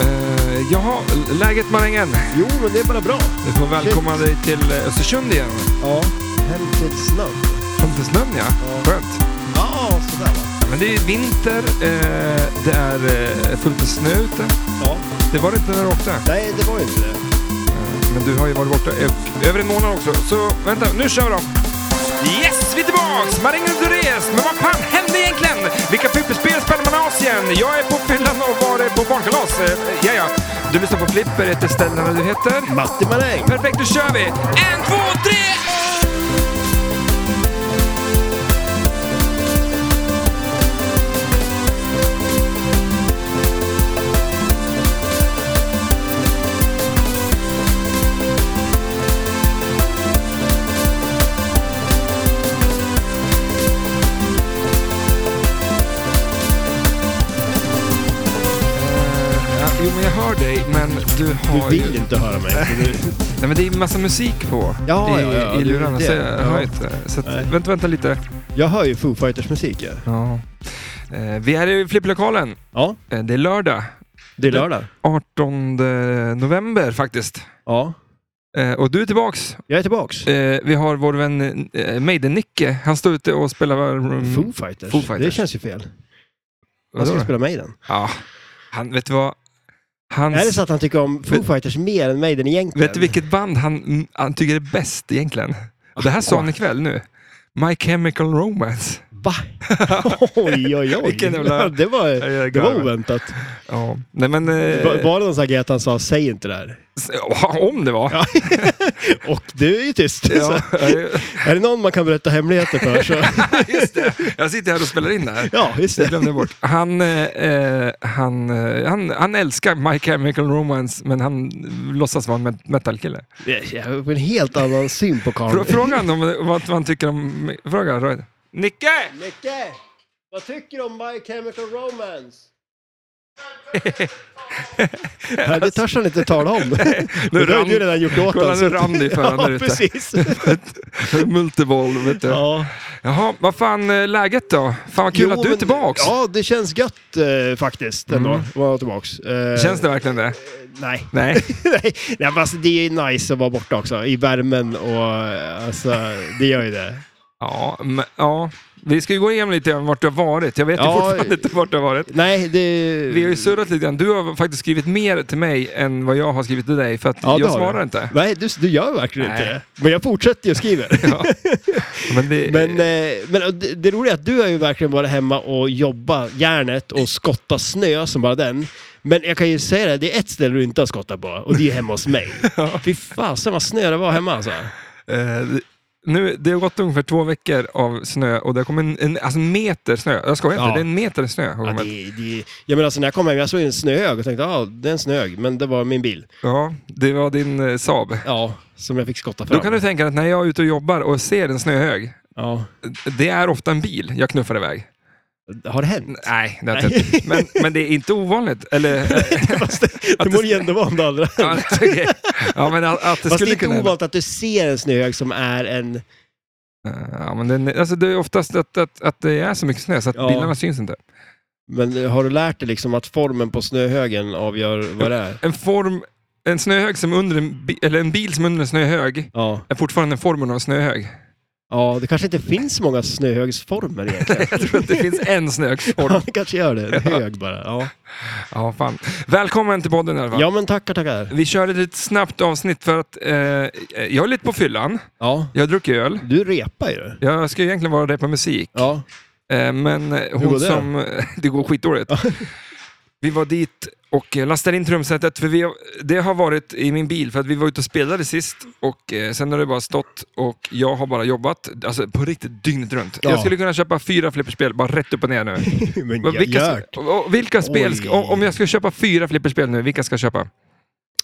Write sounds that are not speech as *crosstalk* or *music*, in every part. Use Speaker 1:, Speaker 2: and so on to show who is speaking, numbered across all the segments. Speaker 1: Eh, jaha, läget marängen?
Speaker 2: Jo, men det är bara bra.
Speaker 1: Du får välkomna dig till eh, Östersund igen.
Speaker 2: Ja. Hem till snön.
Speaker 1: Kom till snön ja. Skönt.
Speaker 2: Ja, sådär va.
Speaker 1: Ja, men det är vinter, eh, det är eh, fullt med snö ute.
Speaker 2: Ja.
Speaker 1: Det var det inte när du åkte.
Speaker 2: Nej, det var ju inte det.
Speaker 1: Men du har ju varit borta ö- över en månad också. Så vänta, nu kör de! Yes, vi är tillbaks! Marängen och Therese. Men vad fan hände egentligen? Vilka flipperspel spelar man av sig igen? Jag är på fyllan och var är på barnkalas. Eh, Ja, ja. Du lyssnar på Flipper, heter Stellan och du heter?
Speaker 2: Matti Maräng.
Speaker 1: Perfekt, då kör vi! En, två, tre! Eh, Eh, ja, Jo, men jag hör dig, men du har
Speaker 2: Du
Speaker 1: ju...
Speaker 2: vill inte höra mig. men du-
Speaker 1: Nej, men det är massa musik på
Speaker 2: Ja,
Speaker 1: i,
Speaker 2: ja, ja,
Speaker 1: i
Speaker 2: det är
Speaker 1: lurarna,
Speaker 2: det.
Speaker 1: så jag
Speaker 2: Ja.
Speaker 1: hör inte. Så att,
Speaker 2: Nej.
Speaker 1: vänta, vänta lite.
Speaker 2: Jag hör ju Foo Fighters musik ja.
Speaker 1: Ja. Eh, vi är i flipplokalen.
Speaker 2: Ja,
Speaker 1: Eh, det är lördag.
Speaker 2: det är lördag.
Speaker 1: 18 november faktiskt.
Speaker 2: Ja,
Speaker 1: Eh, och du är tillbaks.
Speaker 2: jag är tillbaks.
Speaker 1: Eh, vi har vår vän eh, Maiden-Nicke. Han står ute och spelar... Mm,
Speaker 2: Foo Fighters.
Speaker 1: Foo Fighters.
Speaker 2: Det känns ju fel. Han
Speaker 1: vadå
Speaker 2: ska
Speaker 1: då?
Speaker 2: spela Maiden.
Speaker 1: Ja. Han, vet du vad? Hans,
Speaker 2: Är det så att han tycker om Foo
Speaker 1: Vet-
Speaker 2: Fighters mer än Maiden egentligen?
Speaker 1: Vet du vilket band han, mm, han tycker är bäst egentligen? Och det här sa han ikväll nu. My Chemical Romance.
Speaker 2: *laughs* Va? Oj, oj, oj.
Speaker 1: Vilken jävla-
Speaker 2: Det var, det var oväntat.
Speaker 1: Ja. Nej, men, eh,
Speaker 2: Var, var det någon sån här grej att han sa säg inte det *laughs* här?
Speaker 1: s- ja, om det var.
Speaker 2: Ja. Och du är ju tyst.
Speaker 1: Ja,
Speaker 2: *laughs*
Speaker 1: *laughs*
Speaker 2: Är det någon man kan berätta hemligheter för så...
Speaker 1: just det. Jag sitter här och spelar in det här.
Speaker 2: Ja, just
Speaker 1: Det
Speaker 2: det.
Speaker 1: glömde jag bort. Han, eh, eh, han, eh, han, han älskar My Chemical Romance, men han låtsas vara en met- metalkille.
Speaker 2: Jag har en helt annan syn på
Speaker 1: Frå-
Speaker 2: Karl.
Speaker 1: Fråga honom om vad vad han tycker om... Fråga Roy. *laughs* Nicke!
Speaker 2: Micke! Vad tycker du om My Chemical Romance? *laughs* Ja, det törs han inte tala
Speaker 1: *laughs*
Speaker 2: om.
Speaker 1: Nu
Speaker 2: det har
Speaker 1: rann-
Speaker 2: ju du redan gjort åt
Speaker 1: Kolla,
Speaker 2: honom.
Speaker 1: nu rann det i föran där
Speaker 2: Ja,
Speaker 1: ute.
Speaker 2: precis.
Speaker 1: Multiboll, vet du.
Speaker 2: Ja.
Speaker 1: Jaha, vad fan eh, läget då? Fan vad kul
Speaker 2: Jo,
Speaker 1: att du är
Speaker 2: men-
Speaker 1: tillbaks!
Speaker 2: Ja, det känns gött eh, faktiskt ändå.
Speaker 1: Mm.
Speaker 2: att Vara tillbaks. Eh,
Speaker 1: Känns det verkligen det?
Speaker 2: *laughs* Nej.
Speaker 1: *laughs* Nej.
Speaker 2: Nej, nej men alltså, det är ju nice att vara borta också. I värmen och eh, alltså, det gör ju det.
Speaker 1: Ja, men, ja. Vi ska ju gå igenom lite om vart du har varit. Jag vet ju
Speaker 2: Ja,
Speaker 1: fortfarande inte vart du har varit.
Speaker 2: Nej, det...
Speaker 1: Vi har ju surrat lite grann. Du har faktiskt skrivit mer till mig än vad jag har skrivit till dig, för att
Speaker 2: Ja, det
Speaker 1: jag
Speaker 2: har
Speaker 1: svarar
Speaker 2: du. *laughs*
Speaker 1: inte.
Speaker 2: Nej, du, du gör verkligen
Speaker 1: Nej.
Speaker 2: inte det. Men jag fortsätter ju
Speaker 1: *laughs*
Speaker 2: och skriver.
Speaker 1: Ja. Men det,
Speaker 2: Men, eh, men eh, det, det roliga är att du har ju verkligen varit hemma och jobbat järnet och skottat snö som bara den. Men jag kan ju säga det, det är ett ställe du inte har skottat på och det är hemma
Speaker 1: *laughs*
Speaker 2: hos mig. Fy fasen vad snö det var hemma alltså.
Speaker 1: eh, nu, det har gått ungefär två veckor av snö och det har kommit en, en, alltså en meter snö. Jag skojar inte,
Speaker 2: Ja.
Speaker 1: det är en meter snö. har
Speaker 2: Ja,
Speaker 1: kommit.
Speaker 2: det, det, jag menar alltså när jag kom hem, jag såg en snöhög och tänkte ja, ah, det är en snöhög, men det var min bil.
Speaker 1: ja, det var din eh, Saab.
Speaker 2: Ja, som jag fick skotta fram.
Speaker 1: Då kan du tänka dig att när jag är ute och jobbar och ser en snöhög,
Speaker 2: ja.
Speaker 1: det är ofta en bil jag knuffar iväg.
Speaker 2: Har det hänt?
Speaker 1: Nej, det har
Speaker 2: Nej.
Speaker 1: inte- men, men det är inte ovanligt. Eller,
Speaker 2: *laughs* *laughs* Fast det,
Speaker 1: *laughs*
Speaker 2: det
Speaker 1: det
Speaker 2: borde ju ändå vara om det aldrig
Speaker 1: ja, okej. ja, men att, att det
Speaker 2: Fast det
Speaker 1: skulle
Speaker 2: är inte
Speaker 1: kunna hända.
Speaker 2: ovanligt att du ser en snöhög som är en...
Speaker 1: Eh, Ja, men den, alltså det är oftast att, att, att det är så mycket snö så att
Speaker 2: Ja.
Speaker 1: bilarna syns inte.
Speaker 2: Men har du lärt dig liksom att formen på snöhögen avgör vad
Speaker 1: *laughs*
Speaker 2: det är?
Speaker 1: En form, en snöhög som under en, bi, eller en bil som under en snöhög
Speaker 2: Ja.
Speaker 1: är fortfarande formen av en snöhög.
Speaker 2: Ja, det kanske inte finns så många snöhögsformer egentligen.
Speaker 1: *laughs* *laughs* Jag tror att det finns en snöhögsform.
Speaker 2: Ja, det kanske gör det. En hög bara. Ja,
Speaker 1: *laughs* Ja, fan. Välkommen till podden i alla fall.
Speaker 2: ja men tackar, tackar.
Speaker 1: Vi kör ett litet snabbt avsnitt för att eh, jag är lite på fyllan.
Speaker 2: Ja.
Speaker 1: Jag dricker öl.
Speaker 2: Du repar ju.
Speaker 1: Jag ska egentligen vara där på musik. *laughs*
Speaker 2: Ja.
Speaker 1: Eh, men eh, hon
Speaker 2: går det?
Speaker 1: som... *laughs* det går skitdåligt. vi var dit och eh, lastade in trumsetet, för vi, det har varit i min bil, för att vi var ute och spelade sist och eh, sen har det bara stått och jag har bara jobbat, alltså på riktigt dygnet runt.
Speaker 2: Ja.
Speaker 1: Jag skulle kunna köpa fyra flipperspel, bara rätt upp och
Speaker 2: *laughs*
Speaker 1: ner nu.
Speaker 2: Men
Speaker 1: Vad- vilka,
Speaker 2: gört.
Speaker 1: och- och vilka spel, ska,
Speaker 2: Oj.
Speaker 1: om om jag ska köpa fyra flipperspel nu, vilka ska jag köpa?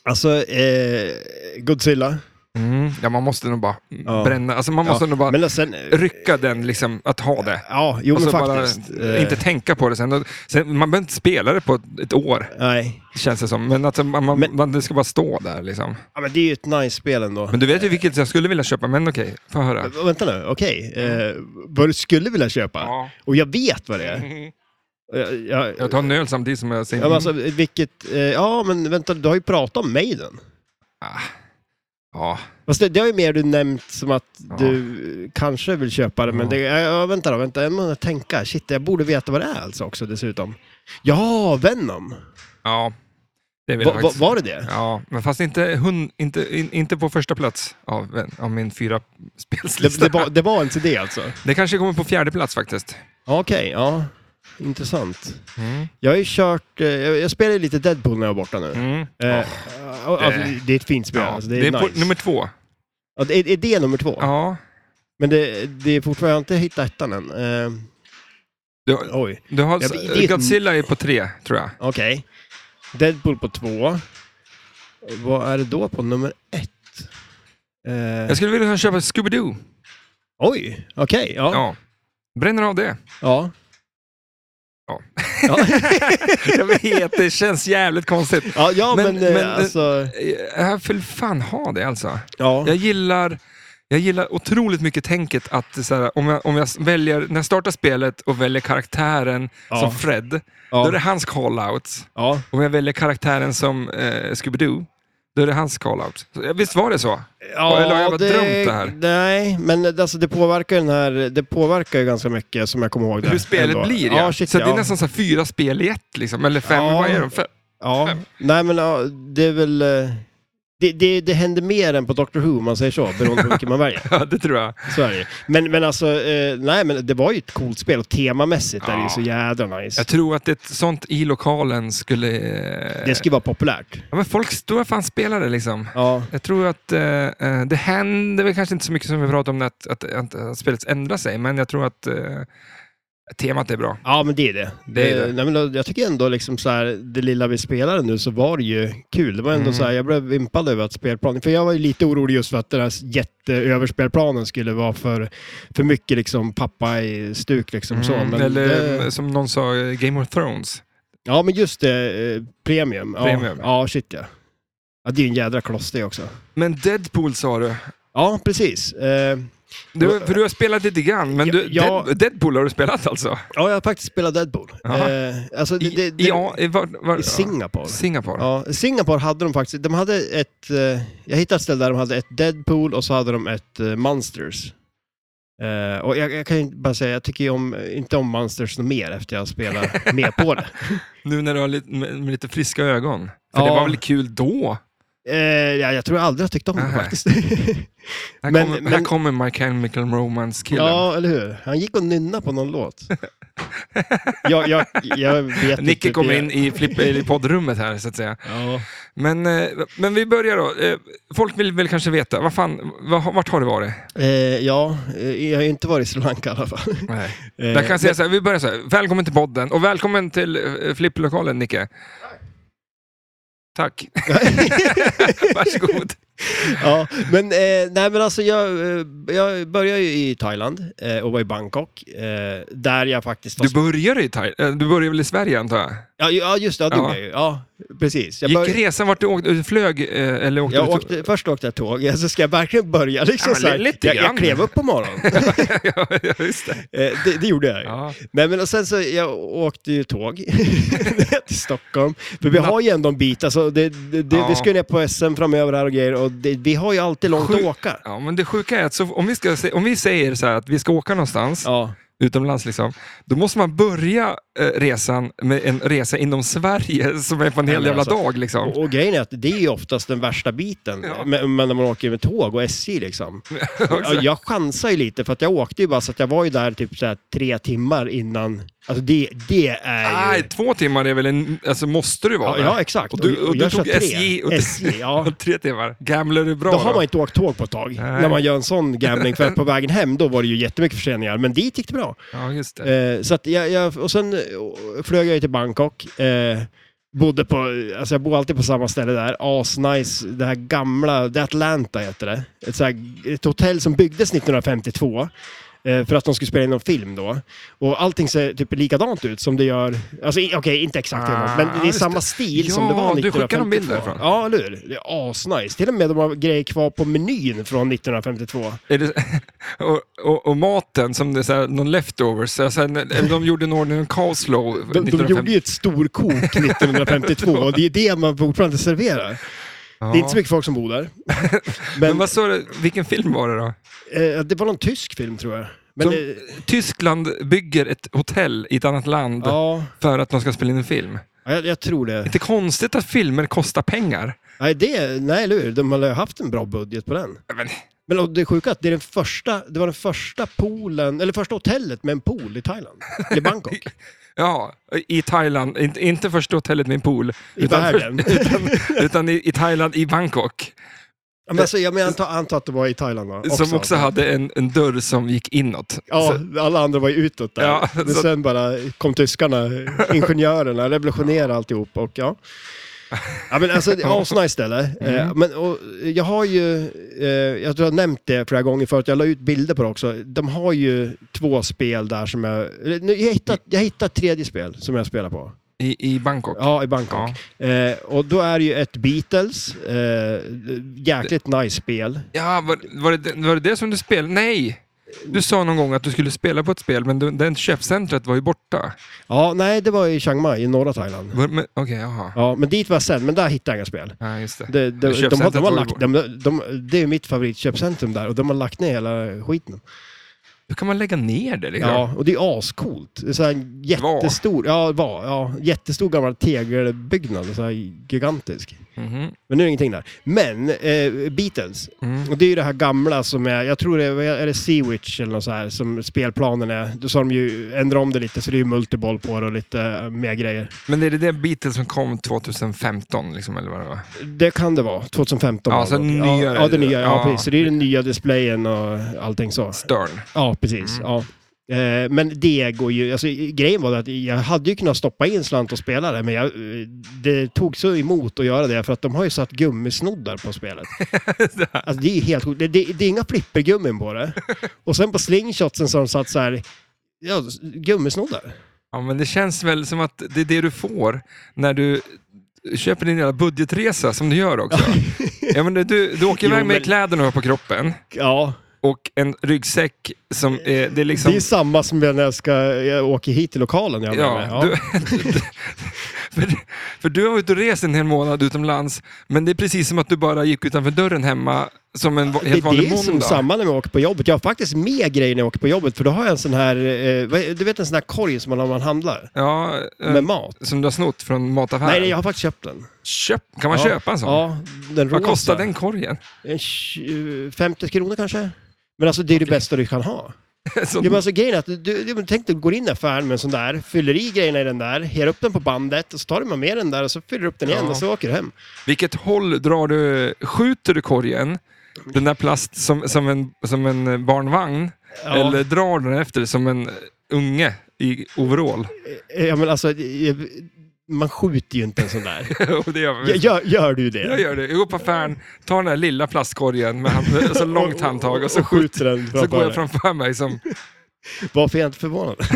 Speaker 2: Alltså, eh, Godzilla.
Speaker 1: Mm, ja, man måste nog bara
Speaker 2: Ja.
Speaker 1: bränna, alltså man måste nog bara
Speaker 2: Men sen...
Speaker 1: rycka den, liksom, att ha det.
Speaker 2: Ja, jo
Speaker 1: och
Speaker 2: men
Speaker 1: så
Speaker 2: faktiskt.
Speaker 1: Alltså, bara
Speaker 2: Eh,
Speaker 1: inte tänka på det sen. Och sen. Man behöver inte spela det på ett- ett år.
Speaker 2: Nej.
Speaker 1: Känns det som. Men, alltså, man, man,
Speaker 2: Men-
Speaker 1: man, det ska bara stå där liksom.
Speaker 2: Ja, men det är ju ett nice spel ändå.
Speaker 1: Men du vet ju vilket jag skulle vilja köpa, men okej. Få höra.
Speaker 2: Vänta nu, okej. Eh, vad du skulle vilja köpa?
Speaker 1: Ja. Mm.
Speaker 2: Och jag vet vad det är. Jag, jag,
Speaker 1: Jag tar en öl samtidigt som jag säger...
Speaker 2: ja, men alltså, vilket, eh, ja, men vänta, du har ju pratat om Maiden.
Speaker 1: Ah. ja.
Speaker 2: Fast det, det har ju mer du nämnt som att
Speaker 1: Ja.
Speaker 2: du kanske vill köpa det, men det, ja, ja, vänta då, vänta, jag måste tänka. Shit, jag borde veta vad det är alltså också dessutom. Ja, Venom!
Speaker 1: ja, det vill
Speaker 2: Va,
Speaker 1: jag
Speaker 2: va,
Speaker 1: faktiskt.
Speaker 2: var det det?
Speaker 1: Ja, men fast inte, hund, inte, in, inte på första plats av, av min fyra
Speaker 2: Det,
Speaker 1: spelslista.
Speaker 2: det, var, det var inte det alltså?
Speaker 1: Det kanske kommer på fjärde plats faktiskt.
Speaker 2: Ja, Okej, ja. Intressant. Jag har ju kört, eh, jag, jag spelade lite Deadpool när jag var borta nu.
Speaker 1: Mm.
Speaker 2: Eh, alltså,
Speaker 1: det-
Speaker 2: det är ett fint spel,
Speaker 1: Ja,
Speaker 2: alltså,
Speaker 1: det
Speaker 2: det är,
Speaker 1: är
Speaker 2: nice.
Speaker 1: på, nummer två.
Speaker 2: ja, det är, är det nummer två?
Speaker 1: Ja.
Speaker 2: Men det, det är fortfarande, jag har inte hittat ettan än. Eh,
Speaker 1: Du,
Speaker 2: oj,
Speaker 1: du har,
Speaker 2: Ja, men det är ett-
Speaker 1: Godzilla är på tre, tror jag.
Speaker 2: okej. Deadpool på två. Vad är det då på nummer ett? Eh,
Speaker 1: Jag skulle vilja köpa Scooby-Doo.
Speaker 2: Oj, okej, ja. ja.
Speaker 1: Ja. Bränner av
Speaker 2: *laughs*
Speaker 1: det.
Speaker 2: ja.
Speaker 1: Ja.
Speaker 2: ja.
Speaker 1: jag vet, det känns jävligt konstigt.
Speaker 2: Ja, ja, men,
Speaker 1: Men-
Speaker 2: eh,
Speaker 1: men, eh,
Speaker 2: alltså...
Speaker 1: Jag vill fan ha det alltså.
Speaker 2: Ja.
Speaker 1: Jag gillar, jag gillar otroligt mycket tänket att så här, om, jag, om jag väljer, när jag startar spelet och väljer karaktären
Speaker 2: Ja.
Speaker 1: som Fred, då är det
Speaker 2: Ja.
Speaker 1: hans call-outs.
Speaker 2: ja.
Speaker 1: Om jag väljer karaktären som eh, Scooby-Doo, då är det hans call-out. Så, ja, Visst var det så? Eller har jag bara drömt det här?
Speaker 2: Nej, men eh, alltså, det påverkar ju den här... Det påverkar ju ganska mycket som jag kommer ihåg det.
Speaker 1: Hur spelet
Speaker 2: ändå.
Speaker 1: blir
Speaker 2: ja.
Speaker 1: ja.
Speaker 2: Shit,
Speaker 1: så
Speaker 2: ja.
Speaker 1: det är nästan så här fyra spel i ett, liksom. eller fem,
Speaker 2: Ja.
Speaker 1: vad är de? Fem? *laughs*
Speaker 2: Ja. Nej, men ja, det är väl... eh, Det, det, det händer mer än på Doctor Who, om man säger så, beroende på vilken man väljer.
Speaker 1: Ja, det tror jag.
Speaker 2: Så är det ju. Men, men alltså, eh, nej men det var ju ett coolt spel och temamässigt är det ju
Speaker 1: Ja.
Speaker 2: så jädra nice.
Speaker 1: Jag tror att ett sånt i lokalen skulle... eh,
Speaker 2: Det skulle vara populärt.
Speaker 1: ja, men folk tror jag fan spelar det liksom.
Speaker 2: Ja.
Speaker 1: Jag tror att eh, eh, det händer väl kanske inte så mycket som vi pratar om att, att, att, att spelet ändrar sig, men jag tror att eh, temat är bra.
Speaker 2: Ja, men det är det.
Speaker 1: Det är det.
Speaker 2: Eh, Nej, men jag tycker ändå liksom så här, det lilla vi spelade nu så var det ju kul. Det var ändå
Speaker 1: Mm.
Speaker 2: så här, jag blev impad över att spelplanen, för jag var ju lite orolig just för att den här jätteöverspelplanen skulle vara för, för mycket liksom pappa i stuk liksom så.
Speaker 1: Mm,
Speaker 2: Men
Speaker 1: Eller
Speaker 2: det,
Speaker 1: eh, som någon sa, eh, Game of Thrones.
Speaker 2: ja, men just det, eh, premium. Ja,
Speaker 1: Premium.
Speaker 2: ja shit ja. ja. Det är ju en jädra kloss det också.
Speaker 1: Men Deadpool sa du.
Speaker 2: Ja, precis. Eh,
Speaker 1: du för du har spelat lite grann, men
Speaker 2: Ja,
Speaker 1: du,
Speaker 2: ja.
Speaker 1: Dead, Deadpool har du spelat alltså?
Speaker 2: Ja, jag har faktiskt spelat Deadpool.
Speaker 1: Jaha.
Speaker 2: Eh, alltså, det,
Speaker 1: I,
Speaker 2: det, det,
Speaker 1: ja, i, var, var,
Speaker 2: I Singapore.
Speaker 1: ja, Singapore.
Speaker 2: Ja, Singapore hade de faktiskt. De hade ett, eh, jag hittade ett ställe där de hade ett Deadpool och så hade de ett eh, Monsters. Eh, och jag, jag kan ju bara säga, jag tycker ju om, inte om Monsters något mer efter
Speaker 1: *laughs*
Speaker 2: jag spelar med på det.
Speaker 1: Nu när du har lite, med, med lite friska ögon. För
Speaker 2: Ja.
Speaker 1: det var väl kul då?
Speaker 2: Eh, ja, jag tror jag aldrig har tyckt om det
Speaker 1: Aha. *laughs*
Speaker 2: faktiskt.
Speaker 1: Här,
Speaker 2: Men-
Speaker 1: kommer, här
Speaker 2: men-
Speaker 1: kommer My Chemical Romance-killen.
Speaker 2: ja, eller hur? Han gick och nynnade på någon låt. jag, jag, jag vet
Speaker 1: Nicke
Speaker 2: inte.
Speaker 1: kommer in i, flipp, i poddrummet här, så att säga.
Speaker 2: Ja.
Speaker 1: Men, eh, men vi börjar då. Eh, Folk vill väl kanske veta, vad fan, vad- vart har det varit?
Speaker 2: Eh, ja, eh, jag har ju inte varit i Sri Lanka i alla fall.
Speaker 1: Nej.
Speaker 2: Eh,
Speaker 1: Jag kan säga så här, vi börjar så här. Välkommen till podden och välkommen till eh, flipplokalen Nicke. Tack.
Speaker 2: *laughs*
Speaker 1: Varsågod.
Speaker 2: Ja, men, eh, nej, men alltså jag, eh, jag började ju i Thailand eh, och var i Bangkok. Eh, där jag faktiskt... var-
Speaker 1: Du börjar i Thai- eh, du börjar väl i Sverige antar jag?
Speaker 2: ja, ju- ja, just det. Ja, det
Speaker 1: Ja.
Speaker 2: gjorde jag ju. Ja, precis. Jag,
Speaker 1: Gick
Speaker 2: började-
Speaker 1: resan vart du åkte? Du flög eh, eller åkte
Speaker 2: jag
Speaker 1: du?
Speaker 2: åkte, först åkte jag tåg, *laughs* alltså ska jag verkligen börja liksom
Speaker 1: Ja, men
Speaker 2: så här?
Speaker 1: lite
Speaker 2: jag, jag
Speaker 1: grann.
Speaker 2: klev upp på morgonen.
Speaker 1: *laughs* *laughs* ja, just det.
Speaker 2: eh, det, det gjorde jag ju.
Speaker 1: Ja.
Speaker 2: Nej, men och sen så, jag åkte ju tåg *laughs* ner till Stockholm. För vi har ju ändå en bit, alltså det, det, det,
Speaker 1: Ja.
Speaker 2: vi ska ju ner på SM framöver här och grejer och det, vi har ju alltid långt
Speaker 1: Sju-
Speaker 2: att åka.
Speaker 1: ja, men det sjuka är att så, om, vi ska, se- om vi säger så här att vi ska åka någonstans,
Speaker 2: Ja.
Speaker 1: utomlands, liksom, då måste man börja eh, resan med en resa inom Sverige *laughs* som är på en
Speaker 2: Nej,
Speaker 1: hel
Speaker 2: men
Speaker 1: jävla
Speaker 2: alltså,
Speaker 1: dag. Liksom.
Speaker 2: Och, och grejen är att det är ju oftast den värsta biten,
Speaker 1: Ja.
Speaker 2: men, men när man åker med tåg och
Speaker 1: *laughs*
Speaker 2: SJ liksom.
Speaker 1: Också.
Speaker 2: Jag, jag chansar ju lite för att jag åkte ju bara så att jag var ju där typ så här tre timmar innan. Alltså det, det är ju...
Speaker 1: Nej, två timmar är väl en... Alltså måste du vara där?
Speaker 2: Ja, ja exakt.
Speaker 1: Och du- och du
Speaker 2: jag
Speaker 1: tog
Speaker 2: kör tre.
Speaker 1: SJ och-
Speaker 2: SJ, ja.
Speaker 1: *laughs* Tre timmar. Gambler är bra
Speaker 2: Då har man inte åkt tåg på ett tag,
Speaker 1: Nej.
Speaker 2: när man gör en sån gambling. För
Speaker 1: *laughs*
Speaker 2: att på vägen hem, då var det ju jättemycket förseningar, men dit gick det bra.
Speaker 1: Ja, just det.
Speaker 2: Eh, så att jag, jag, och sen eh, flög jag ju till Bangkok. Eh, bodde på, alltså jag bor alltid på samma ställe där. Asnice, det här gamla, det är Atlanta heter det. Ett, så här, ett hotell som byggdes 1952. Eh, för att de skulle spela in någon film då. Och allting ser typ likadant ut som det gör. Alltså i- okej, inte exakt likadant, men
Speaker 1: Ah,
Speaker 2: det är
Speaker 1: just
Speaker 2: samma
Speaker 1: det.
Speaker 2: stil som
Speaker 1: Ja,
Speaker 2: det var
Speaker 1: du
Speaker 2: 1952.
Speaker 1: skickade en bild därifrån.
Speaker 2: Ja, eller hur? Det är asnice. Till och med de har grejer kvar på menyn från 1952.
Speaker 1: Är det, *laughs* och, och, och maten, som det är så här, någon leftovers. Så här, eller de gjorde en ordning, en coleslaw
Speaker 2: De, de
Speaker 1: 1950.
Speaker 2: gjorde ju ett storkok 1952 och det är det man fortfarande serverar. Det är inte så mycket folk som bor
Speaker 1: *laughs*
Speaker 2: där.
Speaker 1: Men
Speaker 2: Men
Speaker 1: vad sa du, vilken film var det då?
Speaker 2: eh, det var någon tysk film tror jag. Men,
Speaker 1: de,
Speaker 2: eh,
Speaker 1: Tyskland bygger ett hotell i ett annat land
Speaker 2: ja,
Speaker 1: för att de ska spela in en film.
Speaker 2: jag, jag tror det.
Speaker 1: Inte konstigt att filmer kostar pengar.
Speaker 2: Nej, det, nej eller hur? De har ju haft en bra budget på den.
Speaker 1: Men,
Speaker 2: Men och det sjuka är att det, är den första, det var den första poolen, eller första hotellet med en pool i Thailand.
Speaker 1: *laughs*
Speaker 2: I Bangkok.
Speaker 1: ja, i Thailand. Inte, inte första hotellet med en pool.
Speaker 2: I världen.
Speaker 1: *laughs* utan, utan i, i Thailand, i Bangkok.
Speaker 2: Ja, men alltså, jag menar, antar, antar att det var i Thailand va?
Speaker 1: Som också hade en, en dörr som gick inåt.
Speaker 2: Ja,
Speaker 1: Så-
Speaker 2: alla andra var ju utåt där.
Speaker 1: Ja,
Speaker 2: men
Speaker 1: så-
Speaker 2: sen bara kom tyskarna, ingenjörerna, revolutionerade alltihop och ja. Ja men alltså, det är asnice ställe.
Speaker 1: Mm.
Speaker 2: Eh, men och, jag har ju, eh, jag tror jag har nämnt det flera gånger förut, jag la ut bilder på det också. De har ju två spel där som jag, eller, nu, jag hittat, jag hittat ett tredje spel som jag spelar på.
Speaker 1: i, I Bangkok.
Speaker 2: Ja, i Bangkok.
Speaker 1: Ja.
Speaker 2: Eh, och då är det ju ett Beatles, eh, jäkligt nice spel.
Speaker 1: Ja, var, var, det, var det det som du spelade? Nej! Du sa någon gång att du skulle spela på ett spel, men du, den köpcentret var ju borta.
Speaker 2: Ja, nej det var i Chiang Mai i norra Thailand.
Speaker 1: Var- men- Okej, jaha.
Speaker 2: Ja, men dit var jag sen, men där hittade jag inga spel.
Speaker 1: Ja, just det.
Speaker 2: De, de, de, har,
Speaker 1: Köpcentret
Speaker 2: de
Speaker 1: var
Speaker 2: har
Speaker 1: ju
Speaker 2: lagt,
Speaker 1: bort.
Speaker 2: de, de, det är mitt favoritköpcentrum där och de har lagt ner hela skiten.
Speaker 1: Hur kan man lägga ner det? Liksom?
Speaker 2: Ja, och det är ascoolt. Det är så här en jättestor, ja, var, ja, jättestor gammal tegelbyggnad, så här gigantisk.
Speaker 1: Mhm.
Speaker 2: Men nu är det ingenting där. Men eh, Beatles,
Speaker 1: Mm.
Speaker 2: och det är ju det här gamla som är, jag tror det är, är det Sea Witch eller något så här som spelplanen är. Då sa de ju, ändra om det lite så det är ju multiboll på det och lite eh, mer grejer.
Speaker 1: Men är det det Beatles som kom 2015? Liksom, eller vad det var?
Speaker 2: Det kan det vara, 2015.
Speaker 1: Ja,
Speaker 2: var det
Speaker 1: så
Speaker 2: dock.
Speaker 1: nyare.
Speaker 2: ja, ja, det nya. Ja,
Speaker 1: Ja.
Speaker 2: precis. Så det är den nya displayen och allting så.
Speaker 1: Stern.
Speaker 2: Ja, precis.
Speaker 1: Mm.
Speaker 2: Ja. Eh, Men det går ju, alltså, grejen var att jag hade ju kunnat stoppa in slant och spela det, men jag, eh, det tog så emot att göra det för att de har ju satt gummisnoddar
Speaker 1: *laughs*
Speaker 2: på spelet. alltså, det är ju helt sjukt. det, det, det är inga flippergummin
Speaker 1: *laughs*
Speaker 2: på det. Och sen på slingshotsen så har de satt så här, ja, gummisnoddar.
Speaker 1: Ja, men det känns väl som att det är det du får när du köper din jävla budgetresa som du gör
Speaker 2: *laughs*
Speaker 1: också. ja, men det- du, du åker
Speaker 2: Jo,
Speaker 1: iväg med
Speaker 2: men-
Speaker 1: kläderna på kroppen
Speaker 2: Ja,
Speaker 1: och en ryggsäck som är, det är liksom...
Speaker 2: det är samma som när jag, ska, jag åker hit till lokalen. Jag
Speaker 1: Ja,
Speaker 2: ja, ja.
Speaker 1: Du, *laughs* för, för du har varit och rest en hel månad utomlands, men det är precis som att du bara gick utanför dörren hemma som en va-
Speaker 2: Det
Speaker 1: helt
Speaker 2: är
Speaker 1: vanlig
Speaker 2: det som
Speaker 1: måndag.
Speaker 2: samma när jag åker på jobbet. Jag har faktiskt med grejer när jag åker på jobbet, för då har jag en sån här, eh, vad- du vet en sån här korg som man har när man handlar.
Speaker 1: Ja, eh,
Speaker 2: Med mat?
Speaker 1: Som du har snott från mataffären.
Speaker 2: Nej, jag har faktiskt köpt den.
Speaker 1: Köp, kan man
Speaker 2: ja,
Speaker 1: köpa en sån?
Speaker 2: Ja, den
Speaker 1: Vad
Speaker 2: rosa.
Speaker 1: kostar den korgen? *laughs*
Speaker 2: En tj- 50 kronor kanske? Men alltså det är det bästa du kan ha.
Speaker 1: Sån-
Speaker 2: Ja, men alltså, grejen är att du, du, men tänk dig, du går in i affären med en sån där, fyller i grejerna i den där, ger upp den på bandet, och så tar du med den där och så fyller du upp den igen
Speaker 1: Ja.
Speaker 2: och så åker du hem.
Speaker 1: Vilket håll drar du, skjuter du korgen, den där plast som, som, en, som en barnvagn,
Speaker 2: Ja.
Speaker 1: eller drar du den efter dig som en unge i overall? *laughs*
Speaker 2: Ja, men alltså, eh, man skjuter ju inte en sån
Speaker 1: *laughs*
Speaker 2: där.
Speaker 1: Och det gör man
Speaker 2: Ja,
Speaker 1: visst.
Speaker 2: Gör, gör du det?
Speaker 1: Jag gör det. Jag går på affären, tar den där lilla plastkorgen med hand-
Speaker 2: *laughs*
Speaker 1: så långt handtag och så, skjuter,
Speaker 2: den
Speaker 1: så går jag
Speaker 2: dig.
Speaker 1: framför mig som...
Speaker 2: Varför är jag inte förvånad?
Speaker 1: Ja,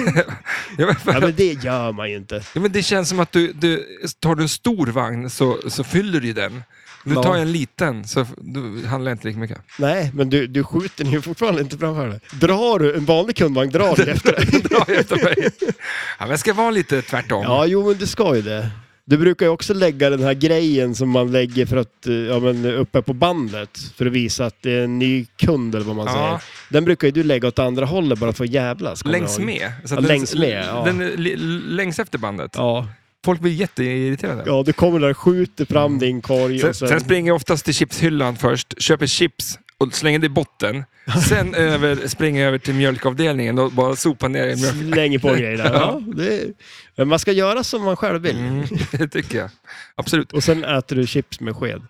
Speaker 1: men,
Speaker 2: ja,
Speaker 1: för,
Speaker 2: men det gör man ju inte.
Speaker 1: ja, men det känns som att du, du tar du en stor vagn så, så fyller du ju den. Du
Speaker 2: Ja.
Speaker 1: tar en liten så f- du handlar inte lika mycket.
Speaker 2: Nej, men du, du skjuter den ju fortfarande inte framför dig. Drar du en vanlig kundvagn, drar du
Speaker 1: *laughs*
Speaker 2: efter dig.
Speaker 1: Dra efter mig. Ja, men jag ska vara lite tvärtom.
Speaker 2: *laughs* Ja, jo men du ska ju det. Du brukar ju också lägga den här grejen som man lägger för att, eh, ja, men uppe på bandet för att visa att det är en ny kund eller vad man
Speaker 1: Ja.
Speaker 2: säger. Den brukar ju du lägga åt andra hållet bara för att jävlas. kommer
Speaker 1: Längs
Speaker 2: jag ihåg.
Speaker 1: med. Så
Speaker 2: Ja,
Speaker 1: den-
Speaker 2: längs med, ja.
Speaker 1: Den, är li- längs efter bandet.
Speaker 2: Ja.
Speaker 1: Folk blir jätteirriterade.
Speaker 2: ja, du kommer där och skjuter fram din korg
Speaker 1: Sen,
Speaker 2: och sen...
Speaker 1: sen springer jag oftast till chipshyllan först, köper chips och slänger det i botten.
Speaker 2: *laughs*
Speaker 1: Sen över, springer jag över till mjölkavdelningen och bara sopar ner i mjölk.
Speaker 2: Slänger på
Speaker 1: *laughs*
Speaker 2: grejer där. Ja, det är... Men man ska göra som man själv vill.
Speaker 1: Mm, det tycker jag. Absolut.
Speaker 2: Och sen äter du chips med sked.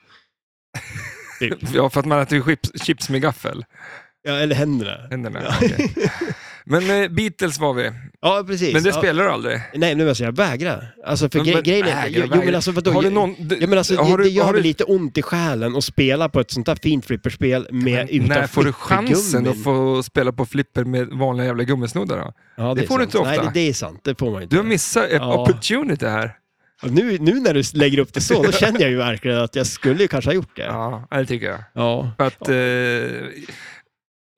Speaker 2: Typ.
Speaker 1: Ja, för att man äter ju chips, chips med gaffel. Mm.
Speaker 2: Ja, eller händerna.
Speaker 1: Händerna. okej. Men eh, Beatles var vi.
Speaker 2: Ja, precis.
Speaker 1: Men det
Speaker 2: ja.
Speaker 1: spelar du aldrig?
Speaker 2: Nej, men alltså jag vägrar. Alltså för
Speaker 1: Men-
Speaker 2: gre-
Speaker 1: men
Speaker 2: grejen är...
Speaker 1: vägra,
Speaker 2: jo,
Speaker 1: vägra.
Speaker 2: men alltså vadå?
Speaker 1: Har du
Speaker 2: Jag-
Speaker 1: någon...
Speaker 2: Ja, men alltså,
Speaker 1: har
Speaker 2: det, det
Speaker 1: du-
Speaker 2: gör
Speaker 1: har
Speaker 2: mig
Speaker 1: du-
Speaker 2: lite ont i själen att spela på ett sånt här fint flipperspel med utan
Speaker 1: När får du chansen
Speaker 2: flippergummin.
Speaker 1: att få spela på flipper med vanliga jävla gummisnoddar då?
Speaker 2: Ja,
Speaker 1: det
Speaker 2: är
Speaker 1: får du
Speaker 2: sant.
Speaker 1: inte ofta.
Speaker 2: Nej, det, det är sant. Det får man inte.
Speaker 1: Du har missat ett
Speaker 2: Ja.
Speaker 1: opportunity här.
Speaker 2: Ja, Nu, nu när du lägger upp det så, då känner jag ju verkligen att jag skulle ju kanske ha gjort det. Ja.
Speaker 1: Ja, det tycker jag.
Speaker 2: Ja,
Speaker 1: För att... Eh,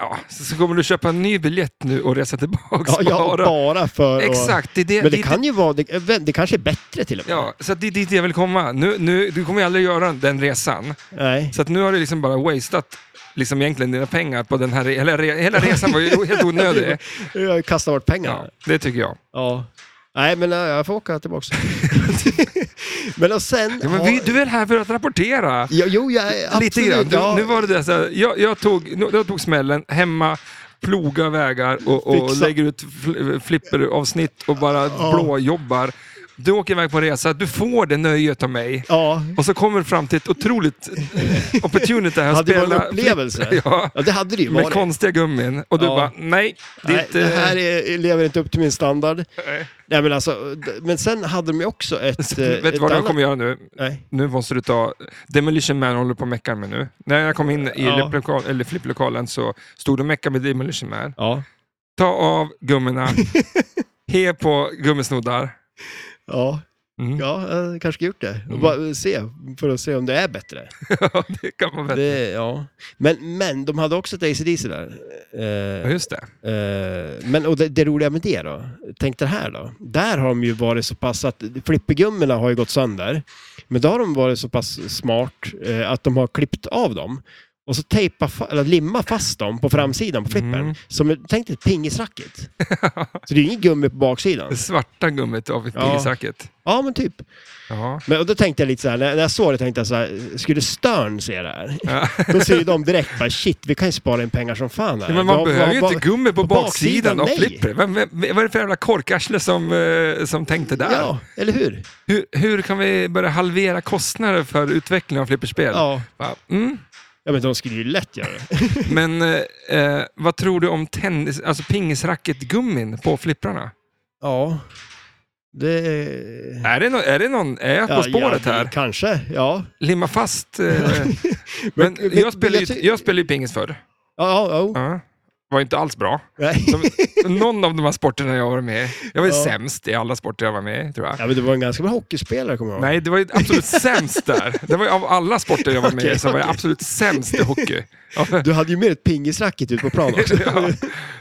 Speaker 1: ja, så så kommer du köpa en ny biljett nu och resa tillbaka.
Speaker 2: ja,
Speaker 1: bara.
Speaker 2: bara för att-
Speaker 1: Exakt, det är det,
Speaker 2: Men
Speaker 1: är
Speaker 2: det kan ju vara... Det, det kanske är bättre till och med.
Speaker 1: Ja, så att det är dit jag vill komma. Nu, nu, du kommer ju aldrig göra den resan.
Speaker 2: Nej.
Speaker 1: Så att nu har du liksom bara wasted liksom egentligen dina pengar på den här... re- Hela, re- hela resan var ju helt
Speaker 2: *laughs*
Speaker 1: onödig.
Speaker 2: Jag har ju kastat bort pengarna.
Speaker 1: Ja, det tycker jag.
Speaker 2: Ja. Nej, men nej, jag får åka
Speaker 1: *laughs*
Speaker 2: tillbaka. *laughs* men och sen...
Speaker 1: Ja, men vi, du är här för att rapportera.
Speaker 2: Jo, jo jag är absolut...
Speaker 1: Lite grann.
Speaker 2: ja.
Speaker 1: Du, nu var det där, så här, jag, jag, tog, nu- jag tog smällen hemma, ploga vägar och, och
Speaker 2: Fixa.
Speaker 1: lägger ut fl- flipperavsnitt och bara blåjobbar. Du åker iväg på en resa, du får det nöjet av mig.
Speaker 2: ja.
Speaker 1: Och så kommer du fram till ett
Speaker 2: *laughs*
Speaker 1: otroligt opportunity här. att
Speaker 2: Hade det varit en
Speaker 1: spela
Speaker 2: upplevelse?
Speaker 1: flipper, *laughs* Ja,
Speaker 2: Ja, det hade det ju
Speaker 1: med
Speaker 2: varit.
Speaker 1: konstiga gummin. Och du
Speaker 2: Ja.
Speaker 1: bara, nej, det, är
Speaker 2: Nej,
Speaker 1: inte,
Speaker 2: det
Speaker 1: *laughs*
Speaker 2: här är, lever inte upp till min standard.
Speaker 1: eh, Nej.
Speaker 2: Nej, men, alltså, d- men sen hade de ju också
Speaker 1: *laughs*
Speaker 2: ett... eh,
Speaker 1: Vet du
Speaker 2: ett
Speaker 1: vad jag
Speaker 2: annat-
Speaker 1: kommer göra nu?
Speaker 2: Nej.
Speaker 1: Nu måste du ta... Demolition Man håller på och meckar med nu. När jag kom in i
Speaker 2: Ja.
Speaker 1: flipplokal, eller flipplokalen så stod de och meckade med Demolition Man.
Speaker 2: Ja.
Speaker 1: Ta av
Speaker 2: *laughs*
Speaker 1: gummorna, he på gummisnoddar. *laughs*
Speaker 2: Ja.
Speaker 1: Mm.
Speaker 2: Ja, jag kanske gjort det.
Speaker 1: Mm.
Speaker 2: Och Bara eh, se, för att se om det är bättre.
Speaker 1: Ja, det kan man väl...
Speaker 2: Det, ja. men, men de hade också ett ACDC där. Eh,
Speaker 1: Ja, just det.
Speaker 2: Eh, men och det, det roliga med det då, tänk det här då. Där har de ju varit så pass att flippergummorna har ju gått sönder. Men då har de varit så pass smart eh, att de har klippt av dem och så tejpa, fa- eller limma fast dem på framsidan på flippern.
Speaker 1: Mm.
Speaker 2: Som ett- tänk dig
Speaker 1: *laughs*
Speaker 2: ett pingisracket. så det är ju inget gummi på baksidan.
Speaker 1: Det svarta gummit av
Speaker 2: Ja.
Speaker 1: pingisracket.
Speaker 2: Ja, men typ.
Speaker 1: Ja.
Speaker 2: Men, och då tänkte jag lite så här, när, när jag såg det tänkte jag så här, skulle Stern se det här?
Speaker 1: Ja.
Speaker 2: då ser ju de direkt bara, shit, vi kan ju spara in pengar som fan här.
Speaker 1: Ja, *laughs* men man
Speaker 2: Vad-
Speaker 1: behöver ju
Speaker 2: vad-
Speaker 1: inte gummi på,
Speaker 2: på
Speaker 1: baksidan,
Speaker 2: baksidan,
Speaker 1: av
Speaker 2: nej.
Speaker 1: flipper. Vem, vem, vad är det för jävla korkarsle som, eh, som tänkte där?
Speaker 2: Ja, eller hur?
Speaker 1: Hur, hur kan vi börja halvera kostnader för utveckling av flipperspel?
Speaker 2: Ja.
Speaker 1: Va? Mm.
Speaker 2: Ja, men de skulle ju lätt göra det.
Speaker 1: Men eh, eh, vad tror du om tennis, alltså pingisracketgummin på flipprarna?
Speaker 2: *laughs* Ja. Det...
Speaker 1: Är, det nå- är, det någon, är jag på spåret
Speaker 2: ja,
Speaker 1: här?
Speaker 2: Kanske, ja.
Speaker 1: Limma
Speaker 2: *laughs*
Speaker 1: fast. Eh, men
Speaker 2: men-
Speaker 1: jag spelade
Speaker 2: jag
Speaker 1: ju,
Speaker 2: ty-
Speaker 1: jag spelade ju pingis förr.
Speaker 2: Ja, ja, ja.
Speaker 1: Ja. Var inte alls bra.
Speaker 2: Nej. *laughs*
Speaker 1: Någon av de här sporterna jag var med i. Jag var ju
Speaker 2: Ja.
Speaker 1: sämst i alla sporter jag var med i, tror jag.
Speaker 2: ja, men du var en ganska bra hockeyspelare kommer jag ihåg.
Speaker 1: Nej, det var ju
Speaker 2: *laughs*
Speaker 1: absolut sämst där. Det var ju av alla sporter jag var med i
Speaker 2: Okej,
Speaker 1: så var jag
Speaker 2: okej.
Speaker 1: absolut sämst i hockey. Ja,
Speaker 2: Du hade ju med ett pingisracket ut på plan också.
Speaker 1: *laughs* Ja.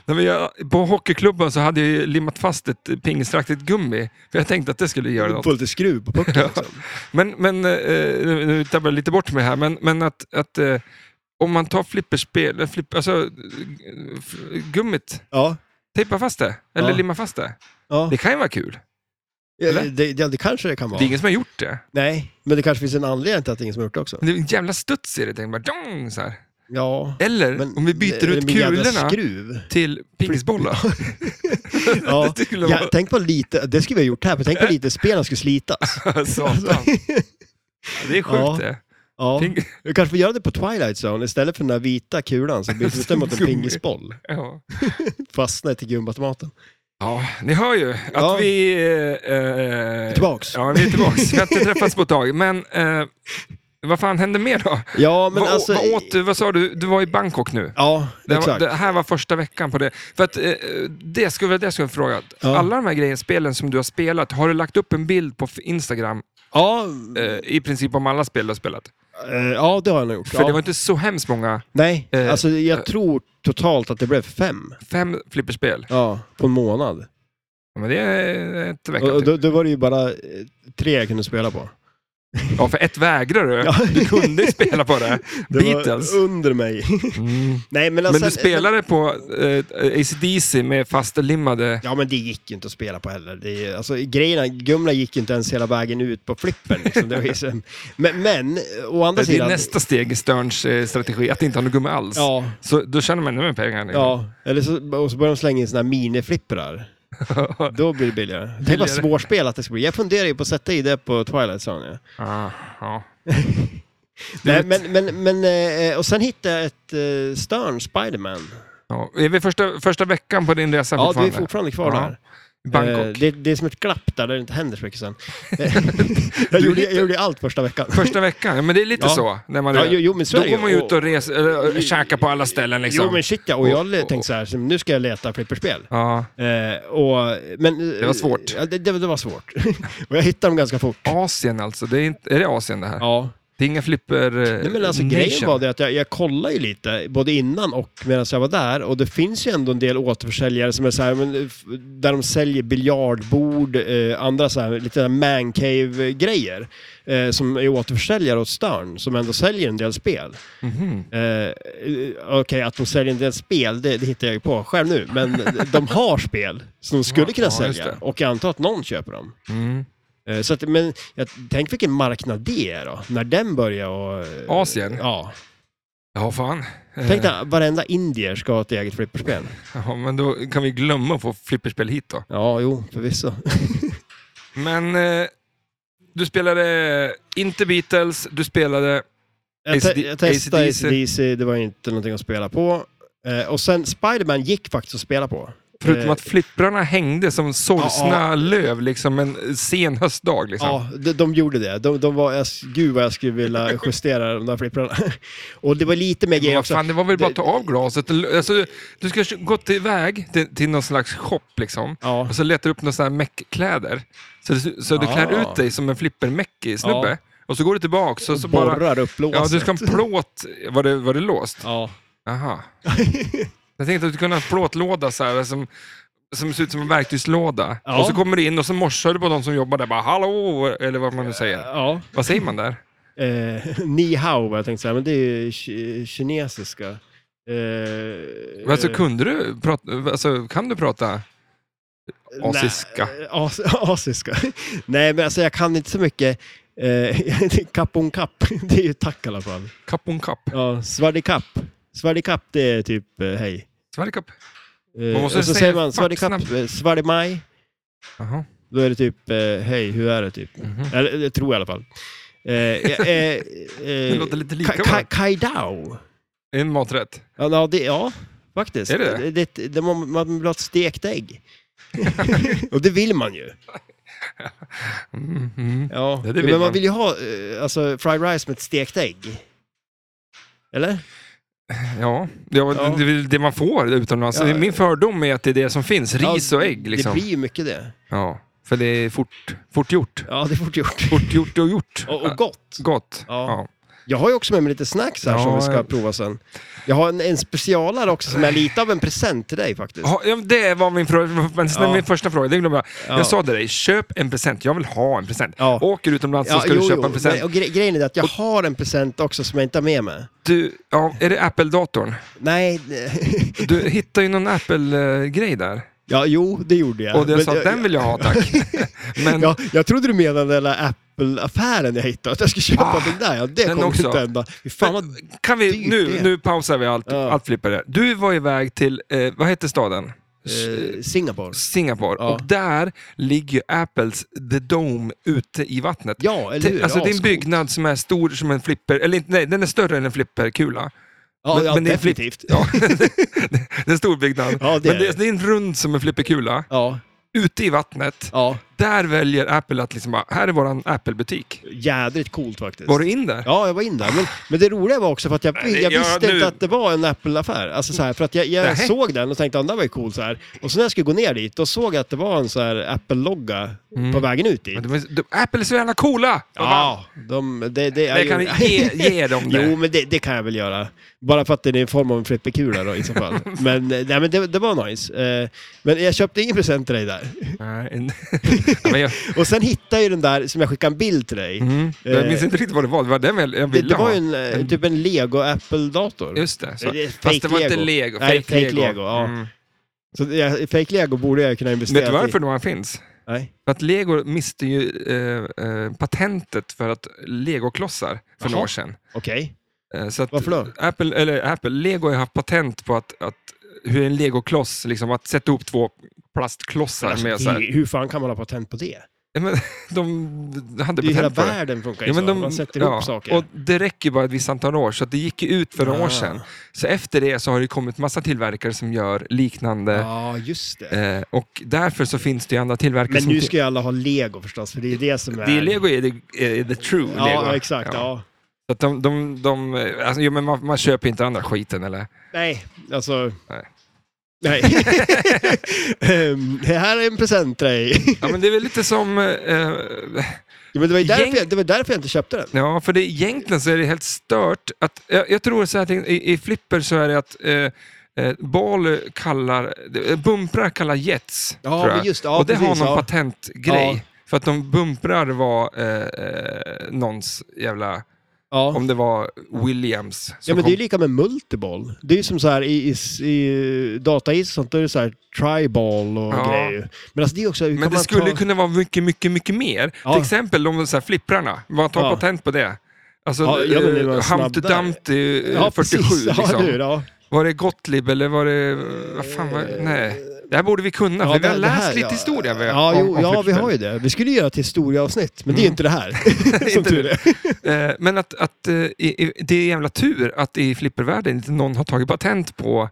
Speaker 1: Nej, men jag, på hockeyklubban så hade jag ju limmat fast ett pingisraktigt gummi. För jag tänkte att det skulle göra något.
Speaker 2: Få lite skruv *laughs* på pucken. liksom.
Speaker 1: Men, men eh, nu nu tappar jag lite bort mig här, men, men att, att eh, om man tar flipperspel, eh, flipp, alltså eh, f- gummit,
Speaker 2: Ja.
Speaker 1: tejpa fast det. Eller
Speaker 2: Ja.
Speaker 1: limma fast det.
Speaker 2: Ja,
Speaker 1: Det kan ju vara kul.
Speaker 2: ja
Speaker 1: eller?
Speaker 2: det, det, det kanske det kan vara.
Speaker 1: Det är ingen som har gjort det.
Speaker 2: Nej, men det kanske finns en anledning till att det är ingen som har gjort det också.
Speaker 1: Men Det är en jävla studs i det. tänker man, dong, så här.
Speaker 2: Ja.
Speaker 1: Eller
Speaker 2: Men
Speaker 1: om vi byter
Speaker 2: det- det
Speaker 1: ut
Speaker 2: blir jävla
Speaker 1: kulorna *laughs*
Speaker 2: skruv.
Speaker 1: till pingisbollar. *laughs*
Speaker 2: Ja.
Speaker 1: Det skulle
Speaker 2: Ja, tänk på lite, det skulle vi ha gjort här, men tänk på lite spelen skulle slitas.
Speaker 1: vara
Speaker 2: *laughs*
Speaker 1: satan. Det är sjukt
Speaker 2: Ja.
Speaker 1: det.
Speaker 2: Ja.
Speaker 1: Ping- *laughs*
Speaker 2: Vi kanske får göra det på Twilight Zone istället för den där vita kulan som byts
Speaker 1: *laughs*
Speaker 2: ut mot en
Speaker 1: Gummi.
Speaker 2: pingisboll.
Speaker 1: Ja.
Speaker 2: Fastnar till gummiautomaten.
Speaker 1: ja, ni hör ju att
Speaker 2: Ja.
Speaker 1: vi... eh, Eh,
Speaker 2: Tillbaks.
Speaker 1: Ja, vi är tillbaks. Vi har
Speaker 2: *laughs*
Speaker 1: inte träffats på ett tag. Men eh, vad fan hände mer då?
Speaker 2: Ja, men
Speaker 1: vad, å-
Speaker 2: alltså...
Speaker 1: vad åt du? Vad sa du? Du var i Bangkok nu.
Speaker 2: Ja,
Speaker 1: Det, var,
Speaker 2: exakt.
Speaker 1: det här var första veckan på det. För att, eh, det skulle jag det skulle jag fråga.
Speaker 2: Ja.
Speaker 1: Alla de här grejerna, spelen som du har spelat, har du lagt upp en bild på f- Instagram
Speaker 2: Ja,
Speaker 1: eh, i princip om alla spel du har spelat?
Speaker 2: eh, ja, det har jag nog gjort.
Speaker 1: För
Speaker 2: Ja.
Speaker 1: det var inte så hemskt många.
Speaker 2: Nej,
Speaker 1: eh,
Speaker 2: alltså jag
Speaker 1: eh.
Speaker 2: tror totalt att det blev fem.
Speaker 1: Fem flipperspel.
Speaker 2: Ja, på en månad.
Speaker 1: Ja, men det är ett vecka
Speaker 2: Och, och
Speaker 1: typ.
Speaker 2: då, då var det ju bara eh, tre jag kunde spela på.
Speaker 1: Ja, för ett vägrade du.
Speaker 2: Ja.
Speaker 1: Du kunde ju spela på det.
Speaker 2: *laughs* Det
Speaker 1: Beatles. Mm.
Speaker 2: var under mig. *laughs* Nej, men alltså...
Speaker 1: Men du spelade på eh, ACDC med fastlimmade...
Speaker 2: Ja, men det gick ju inte att spela på heller. Det är, alltså, grejerna, Gumla gick ju inte ens hela vägen ut på flippen. Liksom. Det var
Speaker 1: *laughs*
Speaker 2: ju så... men, men, å andra
Speaker 1: Det är
Speaker 2: sidan...
Speaker 1: nästa steg i Sterns eh, strategi, att inte ha något gummi alls.
Speaker 2: Ja,
Speaker 1: Så då tjänar man ännu mer pengar. liksom.
Speaker 2: ja. Eller så, och så börjar de slänga in såna här miniflipprar. Då blir det billigare. Det var
Speaker 1: Billigare.
Speaker 2: svårspelat det ska bli. Jag funderar ju på att sätta i det på Twilight Zone. Ja.
Speaker 1: *laughs* Ah, ja.
Speaker 2: Nej, men, men, men, eh, och sen hittade jag ett eh, Stern Spiderman.
Speaker 1: Ja. Är vi första, första veckan på din resa
Speaker 2: Ja, du är
Speaker 1: fortfarande?
Speaker 2: fortfarande kvar
Speaker 1: Ja.
Speaker 2: där.
Speaker 1: I Bangkok.
Speaker 2: Eh, Det, det är som ett glapp där, där det inte händer så
Speaker 1: *laughs*
Speaker 2: mycket sen. Eh, jag, gjorde, jag gjorde allt första veckan.
Speaker 1: Första veckan, ja, men det är lite
Speaker 2: Ja.
Speaker 1: så. När man
Speaker 2: Ja,
Speaker 1: är-
Speaker 2: jo, jo, men så är
Speaker 1: då
Speaker 2: det
Speaker 1: går
Speaker 2: ju.
Speaker 1: man ju ut
Speaker 2: Och-
Speaker 1: och reser, eller, käkar på alla ställen liksom.
Speaker 2: Jo men shit ja, och jag
Speaker 1: Och- och-
Speaker 2: tänkte så här, så nu ska jag leta flipperspel.
Speaker 1: Ja.
Speaker 2: Eh, och, men, eh,
Speaker 1: Det var svårt.
Speaker 2: Ja, det, det, det var svårt. *laughs* och jag hittade dem ganska fort.
Speaker 1: Asien alltså, det är, inte, är det Asien det här?
Speaker 2: Ja.
Speaker 1: Det är inga flipper eh,
Speaker 2: Nej, men alltså,
Speaker 1: nation.
Speaker 2: grejen var det att jag, jag kollade ju lite, både innan och medan jag var där. Och det finns ju ändå en del återförsäljare som är så här, men, f- där de säljer biljardbord, eh, andra så här, lite där mancave-grejer. Eh, som är återförsäljare åt Stern, som ändå säljer en del spel.
Speaker 1: Mhm.
Speaker 2: Eh, eh, Okej, att de säljer en del spel, det, det hittar jag ju på själv nu. Men *laughs* de har spel som de skulle kunna
Speaker 1: Ja, just
Speaker 2: sälja.
Speaker 1: det.
Speaker 2: Och jag antar att någon köper dem.
Speaker 1: Mm.
Speaker 2: Eh, Så att, men jag, tänk vilken marknad det är då, när den börjar och...
Speaker 1: Asien?
Speaker 2: Ja.
Speaker 1: Ja, fan. Eh,
Speaker 2: Tänk dig att varenda indier ska ha ett eget flipperspel.
Speaker 1: *laughs* Ja, men då kan vi glömma att få flipperspel hit då.
Speaker 2: Ja, jo,
Speaker 1: *laughs*
Speaker 2: förvisso.
Speaker 1: Men eh, du spelade inte Beatles, du spelade...
Speaker 2: Jag, te-
Speaker 1: AC/DC.
Speaker 2: jag testade ACDC, det var ju inte någonting att spela på. Eh, och sen Spiderman gick faktiskt att spela på.
Speaker 1: Förutom
Speaker 2: Eh,
Speaker 1: att flipprarna hängde som sorgsna
Speaker 2: Ja,
Speaker 1: löv liksom en sen höstdag. Liksom.
Speaker 2: Ja, de, de gjorde det. De, de var, jag, gud vad jag skulle vilja
Speaker 1: *laughs*
Speaker 2: justera de där flipprarna. *laughs* Och det var lite mer
Speaker 1: Men
Speaker 2: grejer
Speaker 1: vad
Speaker 2: också.
Speaker 1: fan, det var väl bara att
Speaker 2: det-
Speaker 1: ta av glaset. Alltså, du ska gått iväg till, till någon slags shop liksom.
Speaker 2: Ja.
Speaker 1: Och så letar du upp några sådana här meckkläder. Så, du- så du
Speaker 2: Ah.
Speaker 1: klär ut dig som en flippermäckig snubbe. Och så går du tillbaka. Så, så bara,
Speaker 2: Borrar upp låset.
Speaker 1: ja, du ska ha en plåt. Var det, var det låst?
Speaker 2: Ja. *laughs*
Speaker 1: Aha. Jag tänkte att du kunde ha en plåtlåda så här, som, som ser ut som en verktygslåda.
Speaker 2: Ja.
Speaker 1: Och så kommer du in och så morsar du på de som jobbar där. Bara, Hallå! Eller vad man nu säger.
Speaker 2: ja.
Speaker 1: Vad säger man där?
Speaker 2: Eh, *laughs* ni hao var jag tänkte säga, men det är ju ki- kinesiska. Eh,
Speaker 1: Alltså,
Speaker 2: eh,
Speaker 1: kunde du prata, alltså, kan du prata asiska?
Speaker 2: Nej, eh, as, *laughs* asiska. Nej, men alltså jag kan inte så mycket. Eh, *laughs* kapp on kapp, *laughs* det är ju tack i alla fall.
Speaker 1: Kapon kapp?
Speaker 2: Ja, svardikapp. Svardikapp, det är typ eh, hej.
Speaker 1: Sverigekapp?
Speaker 2: Eh,
Speaker 1: Man måste
Speaker 2: och så
Speaker 1: säga
Speaker 2: säger
Speaker 1: det
Speaker 2: man
Speaker 1: fuck
Speaker 2: svardikapp,
Speaker 1: snabbt.
Speaker 2: eh, svardimaj.
Speaker 1: Jaha.
Speaker 2: Då är det typ, eh, hej, hur är det typ?
Speaker 1: Mhm.
Speaker 2: Eller det tror jag i alla fall. Eh, eh,
Speaker 1: *laughs*
Speaker 2: eh,
Speaker 1: Det
Speaker 2: eh,
Speaker 1: låter lite
Speaker 2: Ka-
Speaker 1: lika
Speaker 2: ka-
Speaker 1: bara.
Speaker 2: Kaidao.
Speaker 1: En maträtt.
Speaker 2: Ja, ja, det, ja faktiskt.
Speaker 1: Är det det?
Speaker 2: det, det, det man, man vill ha ett stekt ägg. *laughs* och det vill man ju.
Speaker 1: Mm, mm.
Speaker 2: Ja,
Speaker 1: Ja, det vill
Speaker 2: men man,
Speaker 1: man.
Speaker 2: vill ju ha eh, alltså, fried rice med ett stekt ägg. Eller?
Speaker 1: Ja, det, var-
Speaker 2: Ja.
Speaker 1: det är väl det man får utomlands.
Speaker 2: Ja.
Speaker 1: Det är Min fördom är att det är det som finns, ris
Speaker 2: Ja,
Speaker 1: och ägg. Liksom.
Speaker 2: Det blir ju mycket det.
Speaker 1: Ja, för det är fort, fort gjort.
Speaker 2: Ja, det är fort gjort.
Speaker 1: Fort gjort och gjort.
Speaker 2: Och, och gott.
Speaker 1: Gott.
Speaker 2: Ja.
Speaker 1: Ja.
Speaker 2: Jag har ju också med mig lite snacks här
Speaker 1: Ja,
Speaker 2: som vi ska
Speaker 1: jag-
Speaker 2: prova sen. Jag har en, en specialare också som är lite av en present till dig faktiskt.
Speaker 1: Ja, det var min, fråga, *laughs* men
Speaker 2: Ja.
Speaker 1: min första fråga, det glömde jag.
Speaker 2: Ja.
Speaker 1: Jag sa till dig, köp en present. Jag vill ha en present.
Speaker 2: Ja.
Speaker 1: Åker utomlands så ska du
Speaker 2: jo,
Speaker 1: köpa
Speaker 2: jo,
Speaker 1: en present.
Speaker 2: men- och gre- grejen är det att jag har en present också som jag inte har med mig.
Speaker 1: Du, ja, är det Apple-datorn?
Speaker 2: Nej,
Speaker 1: Du hittade ju någon Apple-grej där.
Speaker 2: *laughs* ja jo, det gjorde jag.
Speaker 1: Och jag
Speaker 2: Men
Speaker 1: sa,
Speaker 2: jag-
Speaker 1: den vill jag ha
Speaker 2: *laughs*
Speaker 1: tack. *laughs* Men
Speaker 2: Ja, jag trodde du menade den där Apple-affären jag hittade, att jag skulle köpa
Speaker 1: Ah,
Speaker 2: den där. Ja, det
Speaker 1: den
Speaker 2: kommer
Speaker 1: också.
Speaker 2: inte hända. Fy Fan vad...
Speaker 1: kan vi,
Speaker 2: dyrt det
Speaker 1: nu,
Speaker 2: är.
Speaker 1: nu pausar vi allt,
Speaker 2: Ja.
Speaker 1: allt flipper där. Du var iväg till, eh, vad hette staden?
Speaker 2: Eh, Singapore.
Speaker 1: Singapore.
Speaker 2: Ja.
Speaker 1: Och där ligger ju Apples The Dome ute i vattnet.
Speaker 2: Ja, eller hur?
Speaker 1: Te- alltså det är en
Speaker 2: Ascoolt.
Speaker 1: byggnad som är stor som en flipper, eller inte- nej, den är större än en flipperkula.
Speaker 2: Ja,
Speaker 1: men-
Speaker 2: ja
Speaker 1: men *laughs* det är flipp-
Speaker 2: definitivt.
Speaker 1: Ja, det är en stor byggnad.
Speaker 2: Ja, det är
Speaker 1: Men det,
Speaker 2: det.
Speaker 1: det är en rund som en flipperkula,
Speaker 2: Ja,
Speaker 1: ute i vattnet.
Speaker 2: ja.
Speaker 1: Där väljer Apple att liksom bara, här är våran Apple-butik.
Speaker 2: Jädrigt coolt faktiskt.
Speaker 1: Var du in där?
Speaker 2: Ja, jag var in där. Men, men det roliga var också för att jag,
Speaker 1: det-
Speaker 2: jag
Speaker 1: ja,
Speaker 2: visste
Speaker 1: nu-
Speaker 2: inte att det var en Apple-affär. Alltså så här, för att jag, jag
Speaker 1: Nähä.
Speaker 2: såg den och tänkte att den var ju cool så här. Och så när jag skulle gå ner dit, då såg jag att det var en så här Apple-logga
Speaker 1: Mm.
Speaker 2: på vägen ut dit.
Speaker 1: Men de är- de- Apple är så jävla coola!
Speaker 2: Ja, de, det, det är
Speaker 1: Jag kan ge, ge dem det.
Speaker 2: *laughs* Jo, men det, det kan jag väl göra. Bara för att den är i form av en flipperkula då i
Speaker 1: *laughs*
Speaker 2: så fall. Men, eh, nej, men det, det var nice. Eh, Men jag köpte ingen present till dig där.
Speaker 1: Nej, en- *laughs* Ja, men jag,
Speaker 2: Och sen hittade jag ju den där som jag skickade en bild till dig.
Speaker 1: mm, jag
Speaker 2: Eh,
Speaker 1: minns inte riktigt vad det var, det var den jag jag
Speaker 2: Det,
Speaker 1: ville
Speaker 2: det var
Speaker 1: ha. Mm.
Speaker 2: ju en, eh, typ en Lego Apple-dator.
Speaker 1: Just det. Så.
Speaker 2: Det är
Speaker 1: Fast det var inte
Speaker 2: fake
Speaker 1: lego.
Speaker 2: Nej,
Speaker 1: fake
Speaker 2: fake Lego, ja. Så det är- fake Lego borde jag kunna investera
Speaker 1: Vet du
Speaker 2: i.
Speaker 1: varför de här finns?
Speaker 2: Nej.
Speaker 1: För att Lego miste ju eh, eh, patentet för att legoklossar för några
Speaker 2: Jaha.
Speaker 1: år sedan.
Speaker 2: Okej.
Speaker 1: Eh, så att
Speaker 2: Varför då?
Speaker 1: Apple, eller Apple, Lego har ju haft patent på att, att hur en legokloss, liksom att sätta ihop två plastklossar med så
Speaker 2: Alltså,
Speaker 1: här.
Speaker 2: hur, hur fan kan man ha patent på det?
Speaker 1: Ja, Men, *laughs* de hade
Speaker 2: Det är ju hela
Speaker 1: patent på det.
Speaker 2: världen funkar ju
Speaker 1: Ja, men
Speaker 2: så.
Speaker 1: de,
Speaker 2: Man sätter ihop
Speaker 1: ja,
Speaker 2: saker.
Speaker 1: Och det räcker ju bara ett visst antal år, så att det gick ju ut för några
Speaker 2: Ah.
Speaker 1: år sedan. Så efter det så har det kommit massa tillverkare som gör liknande.
Speaker 2: ja, just det.
Speaker 1: Eh, och därför så finns det ju andra tillverkare
Speaker 2: Men
Speaker 1: som...
Speaker 2: nu ska ju alla ha lego förstås, för det är det som är...
Speaker 1: Det är Lego är the, är the true
Speaker 2: Ja,
Speaker 1: Lego.
Speaker 2: ja exakt. Ja.
Speaker 1: Så att de, de, de, alltså, jo, men man, man köper inte andra skiten eller?
Speaker 2: Nej, alltså...
Speaker 1: Nej. *laughs*
Speaker 2: Nej. Ehm, det här är en present till dig. *laughs*
Speaker 1: Ja, men det är väl lite som... Eh,
Speaker 2: Ja, men det, var ju
Speaker 1: Gäng-
Speaker 2: därför jag, det var därför jag inte köpte den.
Speaker 1: ja, för det, egentligen så är det helt stört. Att, jag, jag tror så här, i, i flipper så är det att eh, eh, bal kallar... eh, Bumprar kallar jets,
Speaker 2: Ja,
Speaker 1: tror jag.
Speaker 2: men just ja,
Speaker 1: och det
Speaker 2: precis,
Speaker 1: har någon
Speaker 2: ja.
Speaker 1: patentgrej.
Speaker 2: Ja.
Speaker 1: För att de bumprar var eh, eh, någons jävla...
Speaker 2: Ja.
Speaker 1: Om det var Williams. som
Speaker 2: Ja, men det
Speaker 1: kom-
Speaker 2: är ju lika med multiball. Det är ju som så här i, i, i datais och sånt, då är det så här triball och
Speaker 1: Ja.
Speaker 2: grejer. Men alltså det är också... hur kan
Speaker 1: Men det
Speaker 2: man
Speaker 1: skulle
Speaker 2: ta...
Speaker 1: kunna vara mycket, mycket, mycket mer.
Speaker 2: Ja.
Speaker 1: Till exempel de så här flipprarna, man tar
Speaker 2: Ja.
Speaker 1: patent på det. Alltså,
Speaker 2: Ja, ja, men det var
Speaker 1: eh,
Speaker 2: snabb
Speaker 1: Humpty
Speaker 2: där.
Speaker 1: Dumpty eh,
Speaker 2: Ja,
Speaker 1: 47
Speaker 2: precis. Ja,
Speaker 1: liksom.
Speaker 2: du, ja.
Speaker 1: Var det Gottlieb eller var det... Vad fan var Nej. Det här borde vi kunna,
Speaker 2: Ja,
Speaker 1: för vi har
Speaker 2: det- det
Speaker 1: läst
Speaker 2: här,
Speaker 1: lite
Speaker 2: ja.
Speaker 1: historia. Med,
Speaker 2: Ja,
Speaker 1: om-
Speaker 2: jo,
Speaker 1: om
Speaker 2: ja vi
Speaker 1: flipperspel.
Speaker 2: har ju det. Vi skulle ju göra ett historieavsnitt, men det är ju inte
Speaker 1: *laughs*
Speaker 2: det här. som
Speaker 1: Inte
Speaker 2: tur
Speaker 1: det.
Speaker 2: är.
Speaker 1: Eh, Men att, att eh, i- i- det är jävla tur att i flippervärlden inte någon har tagit patent på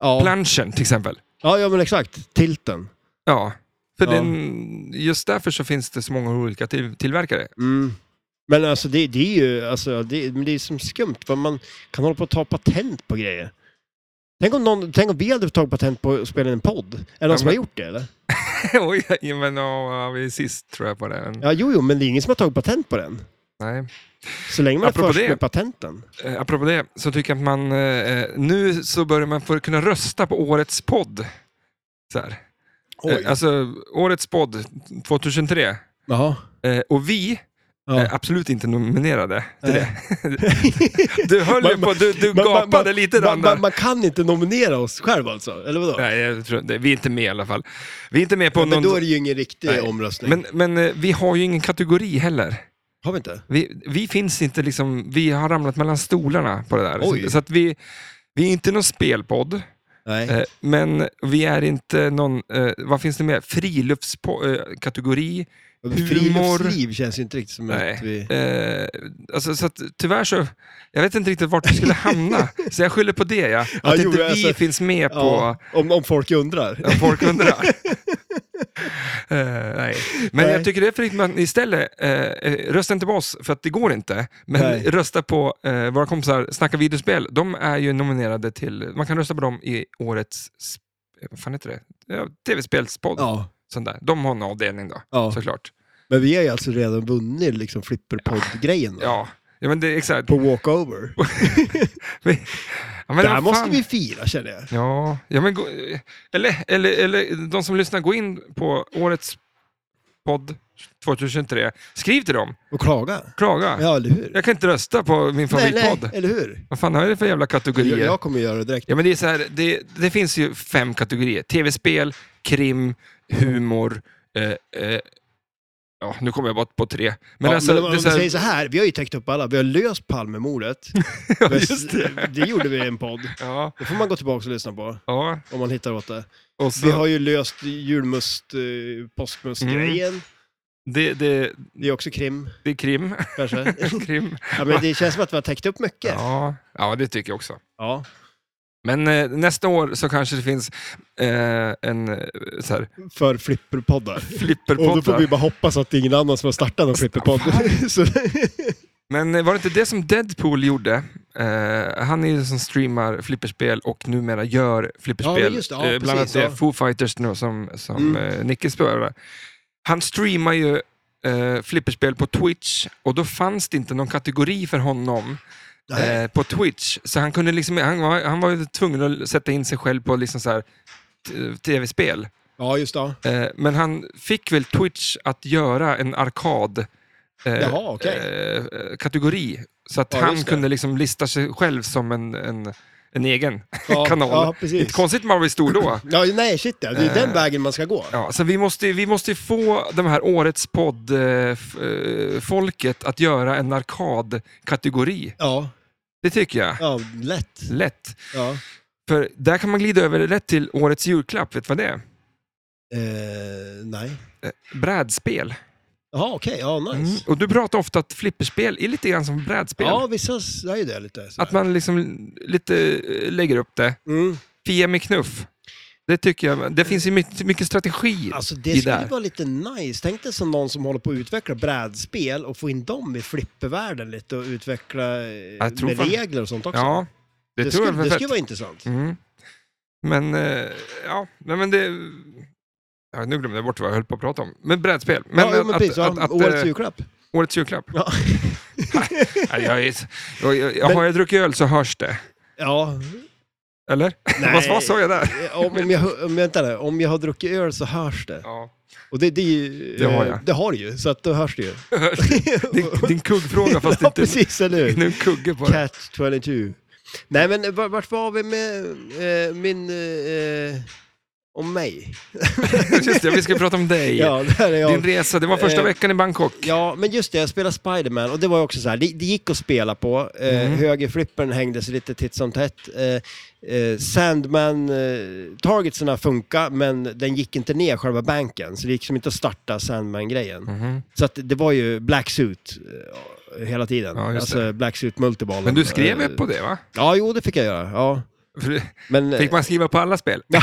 Speaker 2: Ja.
Speaker 1: planschen till exempel.
Speaker 2: Ja, ja, men exakt. Tilten.
Speaker 1: Ja. För
Speaker 2: Ja.
Speaker 1: Den, just därför så finns det så många olika till, tillverkare. *laughs*
Speaker 2: Mm. Men alltså det, det är ju alltså, det, men det är som skumt, för man kan hålla på att ta patent på grejer. Tänk om, någon, tänk om vi hade tagit patent på att spela in en podd. Är det någon som
Speaker 1: men-
Speaker 2: har gjort det eller?
Speaker 1: Oj, ja, men ja, vi är sist tror jag på det. Men,
Speaker 2: Ja, jo, jo, men det är ingen som har tagit patent på den.
Speaker 1: Nej.
Speaker 2: Så länge man är
Speaker 1: Apropå
Speaker 2: först
Speaker 1: det.
Speaker 2: med patenten.
Speaker 1: Eh, apropå det, så tycker jag att man... Eh, nu så börjar man få kunna rösta på årets podd. Så här. Eh, alltså, årets podd 2003.
Speaker 2: Jaha.
Speaker 1: Eh, och vi
Speaker 2: Ja. *laughs*
Speaker 1: är absolut inte nominerade till
Speaker 2: Nej.
Speaker 1: det. Du höll ju
Speaker 2: Man-
Speaker 1: på, du, du
Speaker 2: Man- man-
Speaker 1: gapade
Speaker 2: man-
Speaker 1: lite
Speaker 2: man,
Speaker 1: man,
Speaker 2: man, man kan inte nominera oss själv alltså, eller vadå?
Speaker 1: Nej, jag tror, inte- vi är inte med i alla fall. Vi är inte med på
Speaker 2: men
Speaker 1: någon...
Speaker 2: då är det ju ingen riktig
Speaker 1: Nej.
Speaker 2: omröstning.
Speaker 1: men, men eh, vi har ju ingen kategori heller.
Speaker 2: Har vi inte?
Speaker 1: Vi, vi finns inte liksom, vi har ramlat mellan stolarna på det där. Så,
Speaker 2: Oj.
Speaker 1: så att vi, vi är inte någon spelpodd.
Speaker 2: Nej.
Speaker 1: Eh, Men vi är inte någon, eh, vad finns det mer? eh, Friluftskategori. humor-
Speaker 2: Friluftsliv känns ju inte riktigt som
Speaker 1: Nej.
Speaker 2: att vi...
Speaker 1: Eh, alltså, så att, tyvärr så, jag vet inte riktigt vart vi skulle
Speaker 2: *laughs*
Speaker 1: hamna. så jag skyller på det, ja. Att
Speaker 2: Ja, jo,
Speaker 1: inte vi
Speaker 2: alltså,
Speaker 1: finns med på
Speaker 2: Ja, om, om folk undrar.
Speaker 1: *laughs* vad folk
Speaker 2: *laughs*
Speaker 1: undrar. Eh, nej. Men
Speaker 2: Nej.
Speaker 1: jag tycker det är för att man istället, eh, eh, rösta inte på oss för att det går inte. Men
Speaker 2: Nej.
Speaker 1: rösta på eh, våra kompisar Snacka videospel. De är ju nominerade till, man kan rösta på dem i årets, sp- eh, vad fan heter det? Ja, Tv-spelspodd.
Speaker 2: Ja.
Speaker 1: sånt där. De har en avdelning då,
Speaker 2: Ja.
Speaker 1: såklart.
Speaker 2: Men vi har ju alltså redan vunnit liksom flipperpodd-grejen då.
Speaker 1: Ja, ja men det är exakt.
Speaker 2: På walkover.
Speaker 1: Vi- Ja, men
Speaker 2: det här
Speaker 1: vad
Speaker 2: måste
Speaker 1: fan.
Speaker 2: vi fira känner jag.
Speaker 1: Ja, ja men gå... eller, eller, eller de som lyssnar, gå in på årets podd 2023. Skriv till dem,
Speaker 2: Och klaga.
Speaker 1: klaga.
Speaker 2: Ja, eller hur?
Speaker 1: Jag kan inte rösta på min
Speaker 2: Nej, nej,
Speaker 1: favoritpodd.
Speaker 2: eller hur?
Speaker 1: Vad fan är det för jävla kategorier?
Speaker 2: Jag, jag kommer göra det direkt.
Speaker 1: Ja, men det, är så här, det, det finns ju fem kategorier. Tv-spel, krim, humor, eh, eh, ja nu kommer jag bara på tre. Men
Speaker 2: Men, ja,
Speaker 1: alltså,
Speaker 2: men
Speaker 1: det
Speaker 2: om
Speaker 1: är
Speaker 2: vi
Speaker 1: så här,
Speaker 2: säger så här, vi har ju täckt upp alla. Vi har löst Palmemordet.
Speaker 1: *laughs* Ja, just det.
Speaker 2: det gjorde vi i en podd.
Speaker 1: Ja,
Speaker 2: Det får man gå tillbaka och lyssna på,
Speaker 1: ja.
Speaker 2: om man hittar åt det.
Speaker 1: Och så,
Speaker 2: Vi har ju löst julmust, eh, påskmustgrejen.
Speaker 1: Mm. det, det,
Speaker 2: Det är också krim,
Speaker 1: det är krim. *laughs*
Speaker 2: kanske.
Speaker 1: krim.
Speaker 2: ja, men det känns som att vi har täckt upp mycket.
Speaker 1: Ja, ja, det tycker jag också.
Speaker 2: ja.
Speaker 1: Men eh, nästa år så kanske det finns eh, en eh, så här,
Speaker 2: För flipperpoddar. Och då
Speaker 1: flipperpodd.
Speaker 2: får vi bara hoppas att det är ingen annan som har startat någon flipperpodd. *laughs* Så-
Speaker 1: Men eh, var det inte det som Deadpool gjorde? Eh, han är ju som streamar flipperspel och numera gör flipperspel.
Speaker 2: Ja, men just det. Ja,
Speaker 1: Eh, bland annat
Speaker 2: precis, ja. Mm.
Speaker 1: det Foo Fighters nu som, som eh, Nicke spelade. Han streamar ju eh, flipperspel på Twitch och då fanns det inte någon kategori för honom.
Speaker 2: Nej.
Speaker 1: eh, på Twitch. Så han, kunde liksom, han, var, han var ju tvungen att sätta in sig själv på liksom så här, t- tv-spel.
Speaker 2: Ja, just det.
Speaker 1: Eh, men han fick väl Twitch att göra en arkad eh,
Speaker 2: Jaha, okej.
Speaker 1: eh, eh, kategori. Så att
Speaker 2: Ja,
Speaker 1: han
Speaker 2: just det.
Speaker 1: kunde liksom lista sig själv som en, en, en egen
Speaker 2: *laughs* Ja,
Speaker 1: kanal.
Speaker 2: ja, precis.
Speaker 1: Inte konstigt man blir stor då.
Speaker 2: Ja, nej, shit ja. Det är
Speaker 1: Eh.
Speaker 2: den vägen man ska gå.
Speaker 1: Ja, så vi måste, vi måste ju få de här årets eh, podd-folket att göra en arkadkategori.
Speaker 2: Ja,
Speaker 1: Det tycker jag.
Speaker 2: ja lätt.
Speaker 1: Lätt.
Speaker 2: Ja.
Speaker 1: För där kan man glida över rätt till årets julklapp, vet du vad det är?
Speaker 2: Eh, nej.
Speaker 1: Eh, Brädspel.
Speaker 2: Jaha, okej. Ja, nice.
Speaker 1: Mm. Och du pratar ofta att flipperspel är lite grann som brädspel.
Speaker 2: Ja, vissa säger ju det lite. sådär.
Speaker 1: Att man liksom lite eh, lägger upp det.
Speaker 2: Mm.
Speaker 1: Fia med knuff. Det tycker jag. Det finns ju mycket, mycket strategi.
Speaker 2: Alltså
Speaker 1: i
Speaker 2: det
Speaker 1: det
Speaker 2: skulle
Speaker 1: här.
Speaker 2: vara lite nice. Tänk dig som någon som håller på att utveckla brädspel och få in dem i flippervärlden lite och utveckla eh,
Speaker 1: Jag tror
Speaker 2: med
Speaker 1: fan-
Speaker 2: regler och sånt också.
Speaker 1: ja, det,
Speaker 2: det,
Speaker 1: tror
Speaker 2: skulle, det
Speaker 1: jag. för
Speaker 2: skulle vara intressant.
Speaker 1: Mm. Men, eh, ja, nej, men det... Ja, nu glömde jag bort vad jag höll på att prata om. Men brädspel. Men,
Speaker 2: ja, jo, men
Speaker 1: att-
Speaker 2: precis.
Speaker 1: att-
Speaker 2: Ja,
Speaker 1: att,
Speaker 2: årets
Speaker 1: eh,
Speaker 2: julklapp.
Speaker 1: årets julklapp.
Speaker 2: Ja.
Speaker 1: *laughs*
Speaker 2: *laughs*
Speaker 1: Nej, jag, är- jag, jag, jag,
Speaker 2: Men-
Speaker 1: har jag druckit öl så hörs det.
Speaker 2: ja.
Speaker 1: Eller? *laughs*
Speaker 2: Nej.
Speaker 1: vad, vad sa jag där?
Speaker 2: Om, om, jag, hö- om, vänta nu. om jag har druckit öl så hörs det.
Speaker 1: Ja. *laughs*
Speaker 2: Och det, det, är ju,
Speaker 1: Det har
Speaker 2: eh,
Speaker 1: jag.
Speaker 2: det har du ju, så att då hörs det ju.
Speaker 1: Din, din kuggfråga fast
Speaker 2: *laughs* ja,
Speaker 1: inte...
Speaker 2: precis, eller hur?
Speaker 1: Nu en kugge på det.
Speaker 2: Cat 22. Nej, men var- vart var vi med eh, min... Eh, om mig?
Speaker 1: *laughs* Just det, vi ska prata om dig.
Speaker 2: Ja, där är
Speaker 1: Din
Speaker 2: jag.
Speaker 1: resa, det var första
Speaker 2: Eh,
Speaker 1: veckan i Bangkok.
Speaker 2: Ja, men just det, jag spelade Spiderman och det var ju också så här, det, det gick att spela på. Eh,
Speaker 1: Mm.
Speaker 2: Högerflippern hängdes lite titt som tätt. Eh, eh, Sandman, eh, targetsarna funkar men den gick inte ner själva banken, så det gick som inte att starta Sandman-grejen.
Speaker 1: Mhm.
Speaker 2: Så att det var ju Black Suit eh, hela tiden.
Speaker 1: Ja, just
Speaker 2: alltså Black Suit Multiball.
Speaker 1: Men du skrev
Speaker 2: Eh,
Speaker 1: ju på det va?
Speaker 2: Ja, jo, det fick jag göra. Ja.
Speaker 1: För-
Speaker 2: Men,
Speaker 1: Fick man skriva på alla spel? *laughs*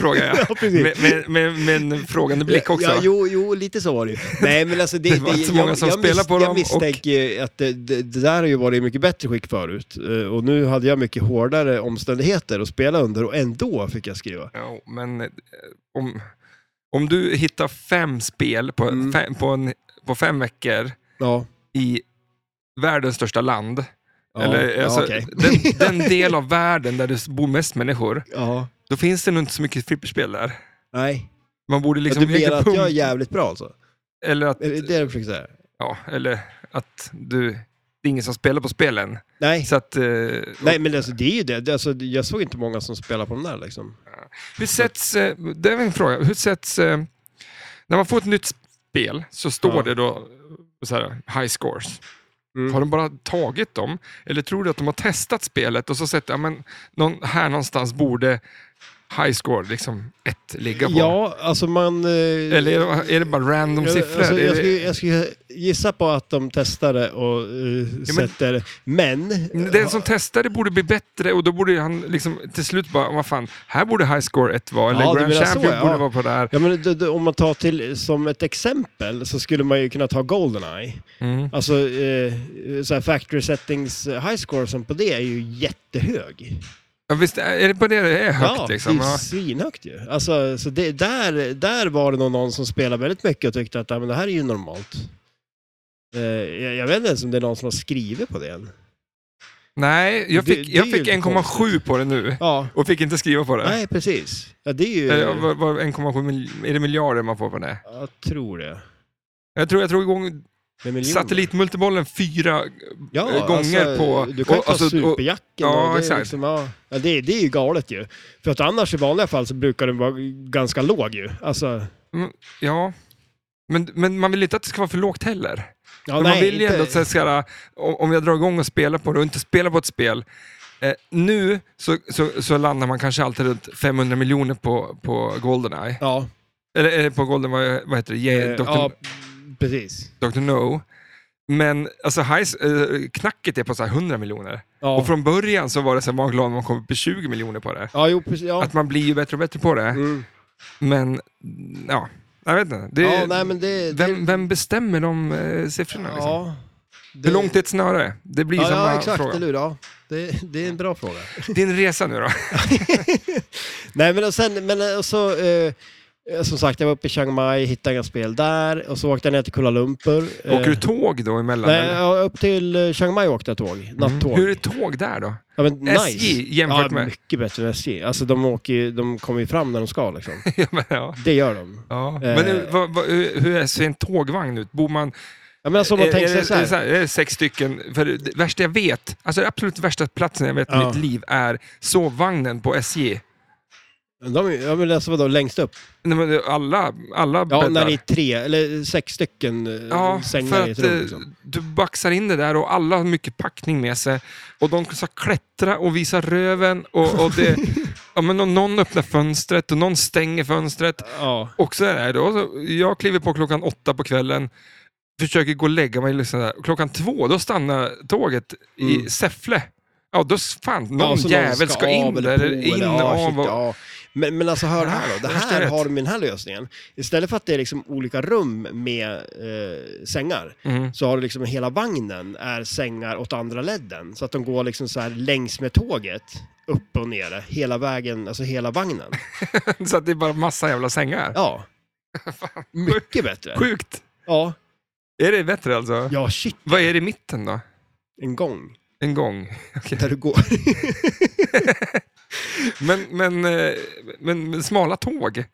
Speaker 1: Frågar jag.
Speaker 2: Ja, precis.
Speaker 1: Med, med, med, med en frågande blick också.
Speaker 2: eh, Ja, jo, jo, lite så var det ju. Nej, men alltså
Speaker 1: *laughs*
Speaker 2: det,
Speaker 1: Det var inte så många som spelar på
Speaker 2: jag
Speaker 1: dem
Speaker 2: Jag misstänker ju att det, det, det där har ju varit i mycket bättre skick förut. Eh, Och nu hade jag mycket hårdare omständigheter att spela under och ändå fick jag skriva.
Speaker 1: Ja, men eh, om, om du hittar fem spel på,
Speaker 2: Mm.
Speaker 1: fem, på, en, på fem veckor
Speaker 2: Ja.
Speaker 1: i världens största land,
Speaker 2: Ja,
Speaker 1: eller
Speaker 2: ja,
Speaker 1: alltså, *laughs*
Speaker 2: okej. *laughs*
Speaker 1: den, den del av världen där det bor mest människor,
Speaker 2: ja,
Speaker 1: då finns det nog inte så mycket flipperspel där.
Speaker 2: nej.
Speaker 1: Man borde liksom
Speaker 2: ja, du menar
Speaker 1: egentligen
Speaker 2: att jag är
Speaker 1: punkt-
Speaker 2: jävligt bra alltså?
Speaker 1: eller att,
Speaker 2: Är det det du försöker säga?
Speaker 1: ja, eller att du, det är ingen som spelar på spelen.
Speaker 2: Nej.
Speaker 1: Så att, eh,
Speaker 2: Nej, men alltså, det är ju det. det. Alltså, jag såg inte många som spelar på de där liksom.
Speaker 1: Hur sätts, eh, det är väl en fråga, hur sätts, eh, när man får ett nytt spel så står
Speaker 2: Ja.
Speaker 1: det då eh, så här, high scores.
Speaker 2: Mm.
Speaker 1: Har de bara tagit dem? Eller tror du att de har testat spelet och så sett, ja men någon, här någonstans borde high score, liksom ett ligga på?
Speaker 2: Ja, alltså man... eh,
Speaker 1: Eller är det, är det bara random
Speaker 2: Jag-
Speaker 1: siffror?
Speaker 2: Alltså,
Speaker 1: Är
Speaker 2: jag,
Speaker 1: det-
Speaker 2: skulle, jag skulle gissa på att de testade och eh, sätter, men...
Speaker 1: Den som testar Mm, det borde bli bättre och då borde han liksom till slut bara, vad fan, här borde high score 1 vara, eller
Speaker 2: Ja, du
Speaker 1: Grand
Speaker 2: menar så,
Speaker 1: Champion
Speaker 2: ja.
Speaker 1: borde vara på det här.
Speaker 2: Ja, men d- d- om man tar till som ett exempel så skulle man ju kunna ta Goldeneye.
Speaker 1: Mm.
Speaker 2: Alltså, eh, så här factory settings eh, high scoresen på det är ju jättehög.
Speaker 1: Ja, visst, är det på det det är högt
Speaker 2: ja,
Speaker 1: liksom?
Speaker 2: det är
Speaker 1: Ja.
Speaker 2: ju svinhögt ju. Alltså, så det, där, där var det nog någon som spelade väldigt mycket och tyckte att ja, men det här är ju normalt. Eh, jag, jag vet inte ens om det är någon som har skrivit på det än.
Speaker 1: Nej, jag
Speaker 2: Det-
Speaker 1: fick,
Speaker 2: det
Speaker 1: jag
Speaker 2: är
Speaker 1: fick
Speaker 2: ju
Speaker 1: 1,7 på det nu
Speaker 2: Ja,
Speaker 1: och fick inte skriva på det.
Speaker 2: nej precis. Ja, det är ju...
Speaker 1: Eller, vad- vad- 1,7 mil- är det miljarder man får på det?
Speaker 2: Jag tror det.
Speaker 1: Jag tror jag drog igång
Speaker 2: Med miljoner.
Speaker 1: satellitmultibollen fyra
Speaker 2: ja,
Speaker 1: eh, gånger
Speaker 2: alltså,
Speaker 1: på...
Speaker 2: Du kan ju
Speaker 1: och-
Speaker 2: ta
Speaker 1: alltså, och-
Speaker 2: superjacken.
Speaker 1: ja,
Speaker 2: och det,
Speaker 1: exakt.
Speaker 2: är liksom, ja, ja, det, det är ju galet ju. För att annars i vanliga fall så brukar den vara ganska låg ju. Alltså, ja,
Speaker 1: mm, Ja. Men, men man vill inte att det ska vara för lågt heller. Men
Speaker 2: nej,
Speaker 1: man vill ju
Speaker 2: inte-
Speaker 1: ändå att så här ska jag- om om jag drar igång och spelar på det och inte spelar på ett spel. Eh, nu så, så, så landar man kanske alltid runt 500 miljoner på, på Goldeneye.
Speaker 2: Ja,
Speaker 1: Eller, eller eh, på Golden, vad, vad heter det? Yeah,
Speaker 2: eh,
Speaker 1: Dr.
Speaker 2: ja, precis.
Speaker 1: Dr. No. Men alltså, high, eh, knacket är på så här 100 miljoner.
Speaker 2: Ja,
Speaker 1: Och från början så var det så här, man var glad när man kom upp i 20 miljoner på det.
Speaker 2: ja jo precis. Ja.
Speaker 1: Att man blir ju bättre och bättre på det.
Speaker 2: Mm.
Speaker 1: Men, ja, jag vet inte. Det,
Speaker 2: ja, nej men det... det
Speaker 1: vem, vem bestämmer de eh, siffrorna? Liksom?
Speaker 2: ja, det,
Speaker 1: Hur långt är ett snöre? Det blir
Speaker 2: Ja,
Speaker 1: samma
Speaker 2: ja exakt,
Speaker 1: fråga.
Speaker 2: eller hur? Ja. Det, det är en
Speaker 1: *laughs*
Speaker 2: bra fråga.
Speaker 1: Din resa nu då?
Speaker 2: Nej, men och sen, men och så, eh, som sagt, jag var uppe i Chiang Mai, hittade inga spel där och så åkte jag ner till Kuala Lumpur.
Speaker 1: Åker du tåg då emellan?
Speaker 2: Eh. Nej,
Speaker 1: eller?
Speaker 2: ja, upp till eh, Chiang Mai åkte jag tåg. Nattåg.
Speaker 1: Mm. Hur är tåg där
Speaker 2: *laughs*
Speaker 1: då?
Speaker 2: Ja, men nice.
Speaker 1: SJ jämfört
Speaker 2: ja,
Speaker 1: med...
Speaker 2: mycket bättre än SJ. Alltså de, åker ju, de kommer ju fram när de ska liksom.
Speaker 1: ja, men, ja.
Speaker 2: Det gör de.
Speaker 1: Ja. men hur- vad- vad- hur, hur ser en tågvagn ut? Bor man
Speaker 2: Ja, men alltså om
Speaker 1: *laughs*
Speaker 2: man
Speaker 1: Är-
Speaker 2: tänker
Speaker 1: är, det-
Speaker 2: sig så här.
Speaker 1: Är det, så här, är det sex stycken, för det värsta jag vet, alltså det absolut värsta platsen jag vet i
Speaker 2: Ja.
Speaker 1: mitt liv är sovvagnen på SJ.
Speaker 2: De, ja, men alltså vadå, längst upp?
Speaker 1: Nej, men det- Alla, alla
Speaker 2: Ja,
Speaker 1: bäddar.
Speaker 2: när det är tre eller sex stycken eh,
Speaker 1: ja,
Speaker 2: sängar
Speaker 1: för
Speaker 2: i ett
Speaker 1: att
Speaker 2: rum.
Speaker 1: eh,
Speaker 2: Liksom.
Speaker 1: du baxar in det där och
Speaker 2: *laughs*
Speaker 1: alla har mycket packning med sig. Och de ska klättra och visa röven och, och det... ja, men om någon öppnar fönstret och någon stänger fönstret.
Speaker 2: Ja.
Speaker 1: Och så är det. Och så, jag kliver på klockan åtta på kvällen, försöker gå och lägga mig. Liksom där. Klockan två, då stannar tåget i
Speaker 2: Mm.
Speaker 1: Säffle. Ja, då s- fan, någon
Speaker 2: Ja, så
Speaker 1: jävel ska,
Speaker 2: av
Speaker 1: in
Speaker 2: eller
Speaker 1: där.
Speaker 2: på
Speaker 1: Eller in,
Speaker 2: ja, shit,
Speaker 1: av och,
Speaker 2: ja. men, men alltså hör här då,
Speaker 1: Ah,
Speaker 2: det
Speaker 1: jag förstår
Speaker 2: här
Speaker 1: rätt.
Speaker 2: har de med den här lösningen. Istället för att det är liksom olika rum med eh, sängar,
Speaker 1: Mm. *laughs*
Speaker 2: så har du liksom hela vagnen är sängar åt andra ledden. Så att de går liksom så här längs med tåget, upp och ner, hela vägen, alltså hela vagnen.
Speaker 1: Så att det är bara massa jävla sängar. *laughs*
Speaker 2: Ja, mycket bättre.
Speaker 1: Sjukt!
Speaker 2: Ja,
Speaker 1: Är det bättre alltså?
Speaker 2: ja shit,
Speaker 1: Vad är det i mitten då?
Speaker 2: en gång
Speaker 1: En gång.
Speaker 2: där
Speaker 1: *laughs*
Speaker 2: du går.
Speaker 1: Men, men, eh, men, men smala tåg?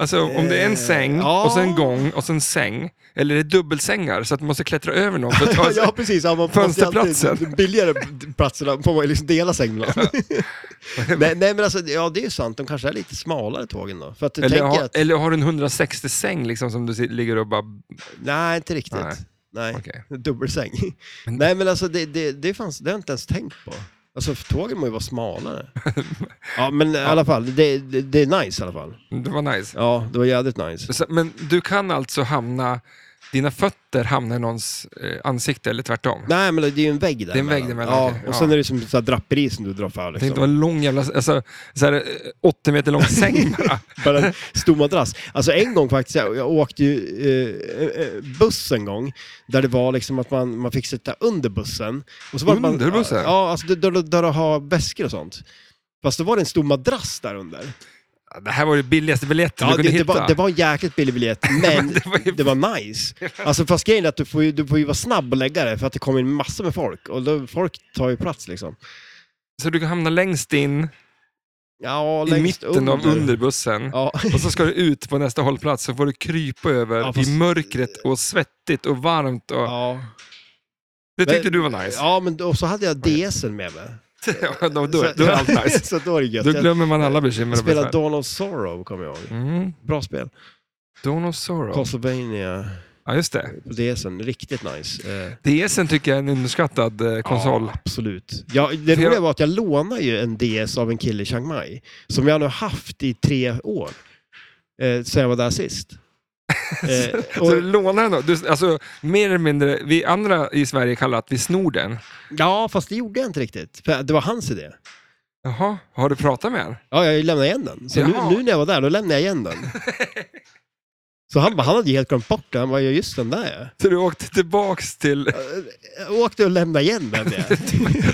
Speaker 1: Alltså om det är en
Speaker 2: Eh,
Speaker 1: säng,
Speaker 2: ja.
Speaker 1: och sen gång, och sen säng. Eller är det dubbelsängar så att man måste klättra över någon? För att ta,
Speaker 2: *laughs* ja, precis. Ja, man måste
Speaker 1: Fönsterplatsen.
Speaker 2: alltid- De *laughs* billigare platserna får man ju liksom dela säng med någon. nej, nej, *laughs* men alltså, ja det är ju sant. De kanske är lite smalare tågen då. För att
Speaker 1: eller,
Speaker 2: tänker
Speaker 1: har,
Speaker 2: att,
Speaker 1: eller har du en 160-säng liksom som du si- ligger och bara...
Speaker 2: nej inte riktigt.
Speaker 1: Nej.
Speaker 2: Nej.
Speaker 1: Okej.
Speaker 2: Dubbelsäng.
Speaker 1: Men-
Speaker 2: nej men alltså det, det, det, fanns, det har jag inte ens tänkt på. Alltså för tågen må ju
Speaker 1: *laughs*
Speaker 2: vara smalare. ja men i alla fall, det, det, det är nice i alla fall.
Speaker 1: Det var nice.
Speaker 2: Ja, det var jävligt nice.
Speaker 1: Så, men du kan alltså hamna... Dina fötter hamnar i någons eh, ansikte eller tvärtom?
Speaker 2: Nej men det är ju en vägg där.
Speaker 1: Det är en vägg däremellan,
Speaker 2: Ja,
Speaker 1: okej.
Speaker 2: och
Speaker 1: Ja.
Speaker 2: sen är det som så här draperi som du drar för
Speaker 1: Tänk
Speaker 2: liksom.
Speaker 1: det var en lång jävla, alltså, så här, eh, 80 meter
Speaker 2: *laughs*
Speaker 1: lång säng bara.
Speaker 2: Bara en stor madrass. Alltså en gång faktiskt, jag, jag åkte ju eh, eh, buss en gång, där det var liksom att man, man fick sitta under bussen. Och så var det bara-
Speaker 1: Under bussen?
Speaker 2: Ja, alltså där, där, där du har väskor och sånt. Fast då var det en stor madrass där under.
Speaker 1: Det här var det billigaste biljetten du
Speaker 2: Ja,
Speaker 1: kunde
Speaker 2: det, det,
Speaker 1: hitta.
Speaker 2: var, det var en jäkligt
Speaker 1: *laughs*
Speaker 2: billig biljett, men
Speaker 1: det var ju-
Speaker 2: det var nice. Alltså fast grejen är att du får, ju, du får ju vara snabb och lägga det, för att det kommer in massor med folk. Och då, folk tar ju plats liksom.
Speaker 1: Så du kan hamna längst in,
Speaker 2: Ja,
Speaker 1: i
Speaker 2: längst
Speaker 1: mitten av underbussen. *laughs*
Speaker 2: Ja.
Speaker 1: Och så ska du ut på nästa hållplats, så får du krypa över
Speaker 2: Ja, fast-
Speaker 1: i mörkret och svettigt och varmt. Och...
Speaker 2: ja.
Speaker 1: Det tyckte
Speaker 2: Men-
Speaker 1: du var nice.
Speaker 2: Ja, men då, och så hade jag DSen med mig.
Speaker 1: *laughs* Ja, då, då, då är allt nice.
Speaker 2: *laughs* så då är det gött.
Speaker 1: Då
Speaker 2: Jag-
Speaker 1: glömmer man alla bekymmer.
Speaker 2: Jag
Speaker 1: och blir
Speaker 2: spelade
Speaker 1: så
Speaker 2: Dawn of Sorrow, kommer jag ihåg.
Speaker 1: här, Mm.
Speaker 2: Bra spel.
Speaker 1: Dawn of Sorrow.
Speaker 2: Castlevania
Speaker 1: Ja, just det.
Speaker 2: på DSen, riktigt nice. Eh,
Speaker 1: DSen tycker jag är en underskattad eh, konsol.
Speaker 2: Ja, absolut. Ja, det
Speaker 1: För jag-
Speaker 2: roliga var att jag lånade ju en DS av en kille i Chiang Mai, som jag nu har haft i tre år, eh, sen jag var
Speaker 1: *laughs*
Speaker 2: där sist. Eh,
Speaker 1: Så
Speaker 2: och,
Speaker 1: du lånar den då? Du, alltså, mer eller mindre, vi andra i Sverige kallar att vi snor den.
Speaker 2: ja, fast det gjorde jag inte riktigt, för det var hans idé.
Speaker 1: Jaha, har du pratat med den?
Speaker 2: Ja, jag lämnade igen den. Så nu,
Speaker 1: Jaha.
Speaker 2: nu när jag var där, då lämnade
Speaker 1: *laughs*
Speaker 2: jag igen den. Så han, bara- han hade ju helt glömt bort det. Han bara, ja just den där ja.
Speaker 1: Så du åkte tillbaks till... *laughs*
Speaker 2: Jag åkte och lämnade igen den.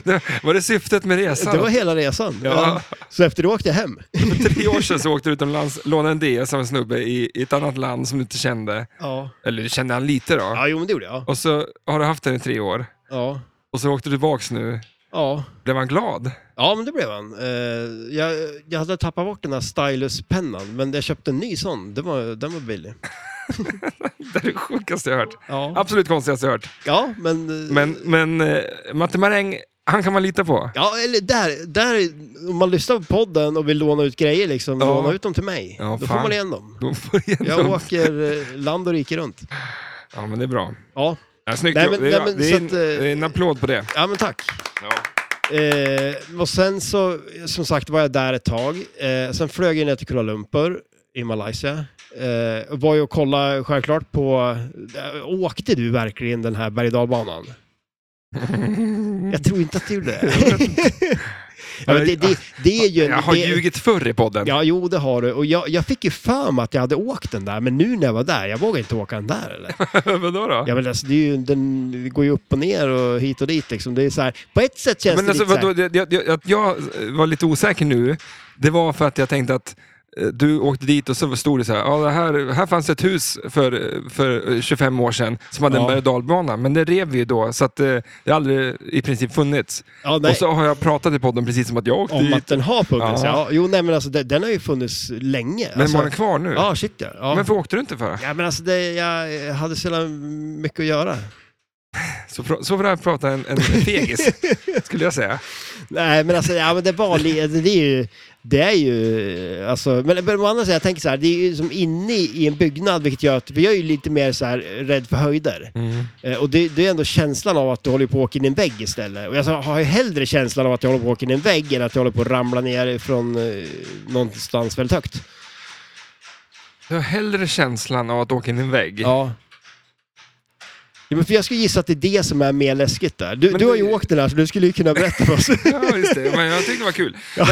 Speaker 2: Ja.
Speaker 1: Var det syftet med resan?
Speaker 2: Det var hela resan.
Speaker 1: Ja.
Speaker 2: Ja. Så efter det åkte jag hem.
Speaker 1: För tre år sedan så åkte du utomlands, lånade en DS av en snubbe i, i ett annat land som du inte kände.
Speaker 2: Ja,
Speaker 1: Eller du kände han lite då.
Speaker 2: ja jo men det gjorde jag.
Speaker 1: Och så har du haft den i tre år.
Speaker 2: Ja,
Speaker 1: Och så åkte du tillbaks nu.
Speaker 2: ja.
Speaker 1: Blev han glad? *laughs*
Speaker 2: ja men det blev han. Eh, jag, jag hade tappat bort den här stylus-pennan, men jag köpte en ny sån. Den var, den var billig.
Speaker 1: Det är det sjukaste jag hört.
Speaker 2: Ja,
Speaker 1: Absolut konstigaste jag hört.
Speaker 2: ja men... eh,
Speaker 1: Men, men eh, Matte Maräng, han kan man lita på.
Speaker 2: Ja, eller där, där, om man lyssnar på podden och vill låna ut grejer, liksom,
Speaker 1: Ja.
Speaker 2: låna ut dem till mig.
Speaker 1: Ja,
Speaker 2: då
Speaker 1: fan.
Speaker 2: får man igen dem.
Speaker 1: De får
Speaker 2: Jag
Speaker 1: igenom. *laughs*
Speaker 2: åker eh, land och rike runt.
Speaker 1: Ja, men det är bra.
Speaker 2: Ja,
Speaker 1: Ja, snyggt
Speaker 2: Nej,
Speaker 1: jobb.
Speaker 2: men-
Speaker 1: det, är,
Speaker 2: nej,
Speaker 1: bra.
Speaker 2: men
Speaker 1: det, är
Speaker 2: så
Speaker 1: en,
Speaker 2: att, eh,
Speaker 1: det är en applåd på det.
Speaker 2: ja men tack.
Speaker 1: Ja.
Speaker 2: Eh, och sen så, som sagt, var jag där ett tag. Eh, sen flög jag ner till Kuala Lumpur i Malaysia. Eh, och var ju och kollade självklart på... eh, åkte du verkligen den här berg och dalbanan? Jag tror inte att du
Speaker 1: *laughs*
Speaker 2: gjorde det. ja, men det, det, det är ju...
Speaker 1: Jag har
Speaker 2: det,
Speaker 1: ljugit förr i podden.
Speaker 2: Ja, jo det har du. Och jag, jag fick ju för mig att jag hade åkt den där, men nu när jag var där, jag vågar inte åka den där
Speaker 1: *laughs*
Speaker 2: eller?
Speaker 1: Vadå då?
Speaker 2: Ja, men alltså, det, är ju, den, det går ju upp och ner och hit och dit liksom. Det är så här, på ett sätt känns
Speaker 1: Men
Speaker 2: det
Speaker 1: alltså,
Speaker 2: lite så här-
Speaker 1: vadå, jag, jag, jag, att jag var lite osäker nu, det var för att jag tänkte att eh, du åkte dit och så stod det så här, ja, det här, här fanns ett hus för, för eh, 25 år sedan som hade en
Speaker 2: Ja.
Speaker 1: berg och dalbana, men det rev vi ju då, så att eh, det har aldrig i princip funnits.
Speaker 2: Ja, nej.
Speaker 1: Och så har jag pratat i podden precis som att jag åkte
Speaker 2: Om
Speaker 1: dit,
Speaker 2: att den har
Speaker 1: Ja.
Speaker 2: funnits, ja. Jo, nej men alltså den, den har ju funnits länge.
Speaker 1: men
Speaker 2: alltså,
Speaker 1: var den kvar nu?
Speaker 2: Ja, shit ja. ja.
Speaker 1: Men varför åkte du inte för?
Speaker 2: Ja men alltså det, jag hade så jävla mycket att göra.
Speaker 1: Så, pra- så får jag prata
Speaker 2: *laughs*
Speaker 1: en, en fegis, skulle jag säga.
Speaker 2: Nej men alltså, ja men det var li- det är ju... det är ju, alltså, men, men å andra sidan, jag tänker så här, det är ju som inne i en byggnad, vilket gör att vi är ju lite mer så här rädd för höjder.
Speaker 1: Mm.
Speaker 2: Eh, och det, det är ändå känslan av att du håller på att åka in i en vägg istället. Och jag sa- har ju hellre känslan av att jag håller på att åka in i en vägg än att jag håller på att ramla ner från eh, någonstans väldigt högt.
Speaker 1: Jag har hellre känslan av att åka in i en vägg.
Speaker 2: Ja. Ja, men för jag skulle gissa att det är det som är mer läskigt där. Du,
Speaker 1: Men
Speaker 2: du har
Speaker 1: det-
Speaker 2: ju åkt den här så du skulle ju kunna berätta
Speaker 1: *laughs*
Speaker 2: för oss.
Speaker 1: Ja, just det. Men jag tyckte det var kul. Nej,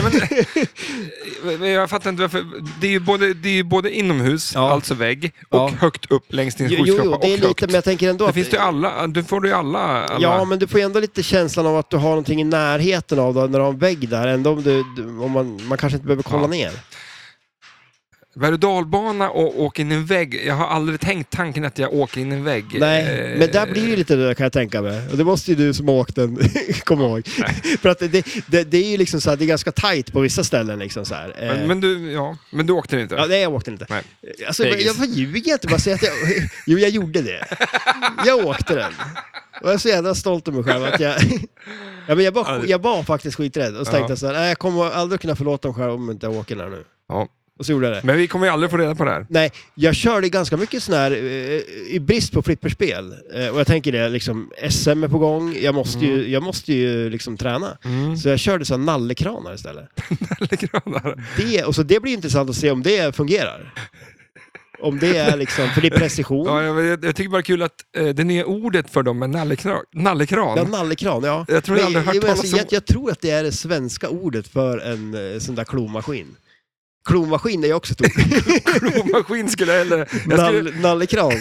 Speaker 1: men, men jag fattar inte varför. Det är ju både, det är ju både inomhus,
Speaker 2: Ja.
Speaker 1: alltså vägg, och
Speaker 2: Ja.
Speaker 1: högt upp längs din
Speaker 2: jo, jo,
Speaker 1: skyskrapa
Speaker 2: jo,
Speaker 1: och
Speaker 2: det är lite,
Speaker 1: högt.
Speaker 2: men jag tänker ändå
Speaker 1: Där
Speaker 2: att...
Speaker 1: finns det ju alla, du får du ju alla. alla.
Speaker 2: Ja, men du får ju ändå lite känslan av att du har någonting i närheten av dig när du har en vägg där. Ändå om, du, du, om man, man kanske inte behöver kolla
Speaker 1: Ja.
Speaker 2: ner.
Speaker 1: Berg och dalbana och åka in i en vägg. Jag har aldrig tänkt tanken att jag åker in i en vägg.
Speaker 2: Nej,
Speaker 1: Eh,
Speaker 2: men där blir det ju lite det där kan jag tänka mig. Och det måste ju du som har åkt den *laughs* komma ihåg. För att det, det, det är ju liksom så här, det är ganska tajt på vissa ställen liksom så här. Eh,
Speaker 1: Men, men, du, ja, men du åkte inte?
Speaker 2: Ja, nej, jag åkte inte.
Speaker 1: Nej.
Speaker 2: Alltså,
Speaker 1: Fegis.
Speaker 2: jag ljuger inte, bara säga att jag... *laughs* Jo, jag gjorde det. Jag åkte den. Och jag är så jävla stolt över mig själv att jag... *laughs* Ja, men jag,
Speaker 1: Ja,
Speaker 2: var,
Speaker 1: det-
Speaker 2: jag var faktiskt skiträdd och så
Speaker 1: Ja.
Speaker 2: tänkte jag så här, nej, jag kommer aldrig kunna förlåta mig själv om inte jag åker där nu.
Speaker 1: Ja.
Speaker 2: Och så gjorde jag det.
Speaker 1: Men vi kommer ju aldrig få reda på det här. *laughs*
Speaker 2: Nej, jag körde ganska mycket sån här, eh, i brist på flipperspel. Eh, och jag tänker det, liksom SM är på gång, jag måste ju, jag måste ju liksom träna.
Speaker 1: Mm.
Speaker 2: Så jag körde så här nallekranar istället.
Speaker 1: Nallekranar.
Speaker 2: Det, och så det blir intressant att se om det fungerar. Om det är liksom, för det är precision.
Speaker 1: Ja, jag, jag, jag tycker bara det är kul att eh, det nya ordet för dem är nallekra- nallekran.
Speaker 2: Ja, nallekran, ja.
Speaker 1: Jag tror jag aldrig hört
Speaker 2: men
Speaker 1: talas
Speaker 2: alltså,
Speaker 1: om-
Speaker 2: jag, jag tror att det är det svenska ordet för en eh, sån där klomaskin. Klomaskin är ju också ett ord.
Speaker 1: Blommaskin skulle jag hellre... *laughs* Jag skulle,
Speaker 2: Nall, nallekran.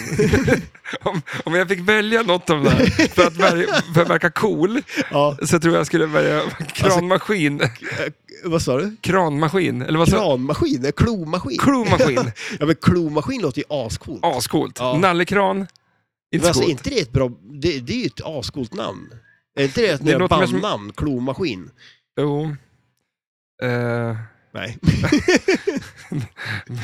Speaker 1: om, om jag fick välja något av det
Speaker 2: *laughs*
Speaker 1: här för att, verka, för att verka cool
Speaker 2: Ja,
Speaker 1: så tror jag jag skulle välja
Speaker 2: Alltså-
Speaker 1: kranmaskin.
Speaker 2: vad sa du?
Speaker 1: Kranmaskin, eller vad sa
Speaker 2: Kranmaskin? Nej, Klomaskin? *laughs*
Speaker 1: Klomaskin.
Speaker 2: Ja, men klomaskin låter ju ascoolt.
Speaker 1: Ascoolt.
Speaker 2: Ja.
Speaker 1: Nallekran.
Speaker 2: men
Speaker 1: Inte
Speaker 2: alltså,
Speaker 1: coolt.
Speaker 2: inte det ett bra... Det, det är ju ett ascoolt namn. Är inte det ett
Speaker 1: Det
Speaker 2: nya
Speaker 1: låter mer som-
Speaker 2: bandnamn? Klomaskin?
Speaker 1: Jo. Eh,
Speaker 2: Nej. *laughs*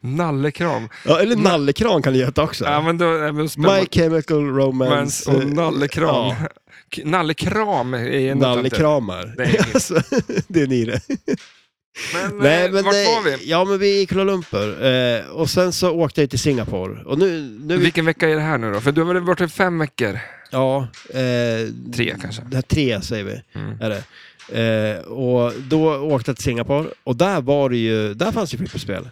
Speaker 1: nallekram.
Speaker 2: Ja, eller nallekran kan det heta också.
Speaker 1: Ja, men då, ja, men då spelar
Speaker 2: My Chemical
Speaker 1: man-
Speaker 2: Romance.
Speaker 1: och
Speaker 2: eh,
Speaker 1: nallekram.
Speaker 2: ja.
Speaker 1: K- Nallekram är något annat.
Speaker 2: Nallekramar.
Speaker 1: Det är inget.
Speaker 2: *laughs* alltså, det är ni det.
Speaker 1: Men,
Speaker 2: Nej,
Speaker 1: Nej,
Speaker 2: men,
Speaker 1: vart
Speaker 2: eh,
Speaker 1: var vi?
Speaker 2: Ja, men vi är i Kuala Lumpur. Eh, och sen så åkte jag till Singapore. Och nu... nu
Speaker 1: Vilken vecka är det här nu då? För du har varit borta i fem veckor?
Speaker 2: ja, eh,
Speaker 1: Tre kanske?
Speaker 2: det här tre säger vi.
Speaker 1: Mm.
Speaker 2: Är det. Eh, och då åkte jag till Singapore. Och där var det ju... Där fanns ju flipperspel.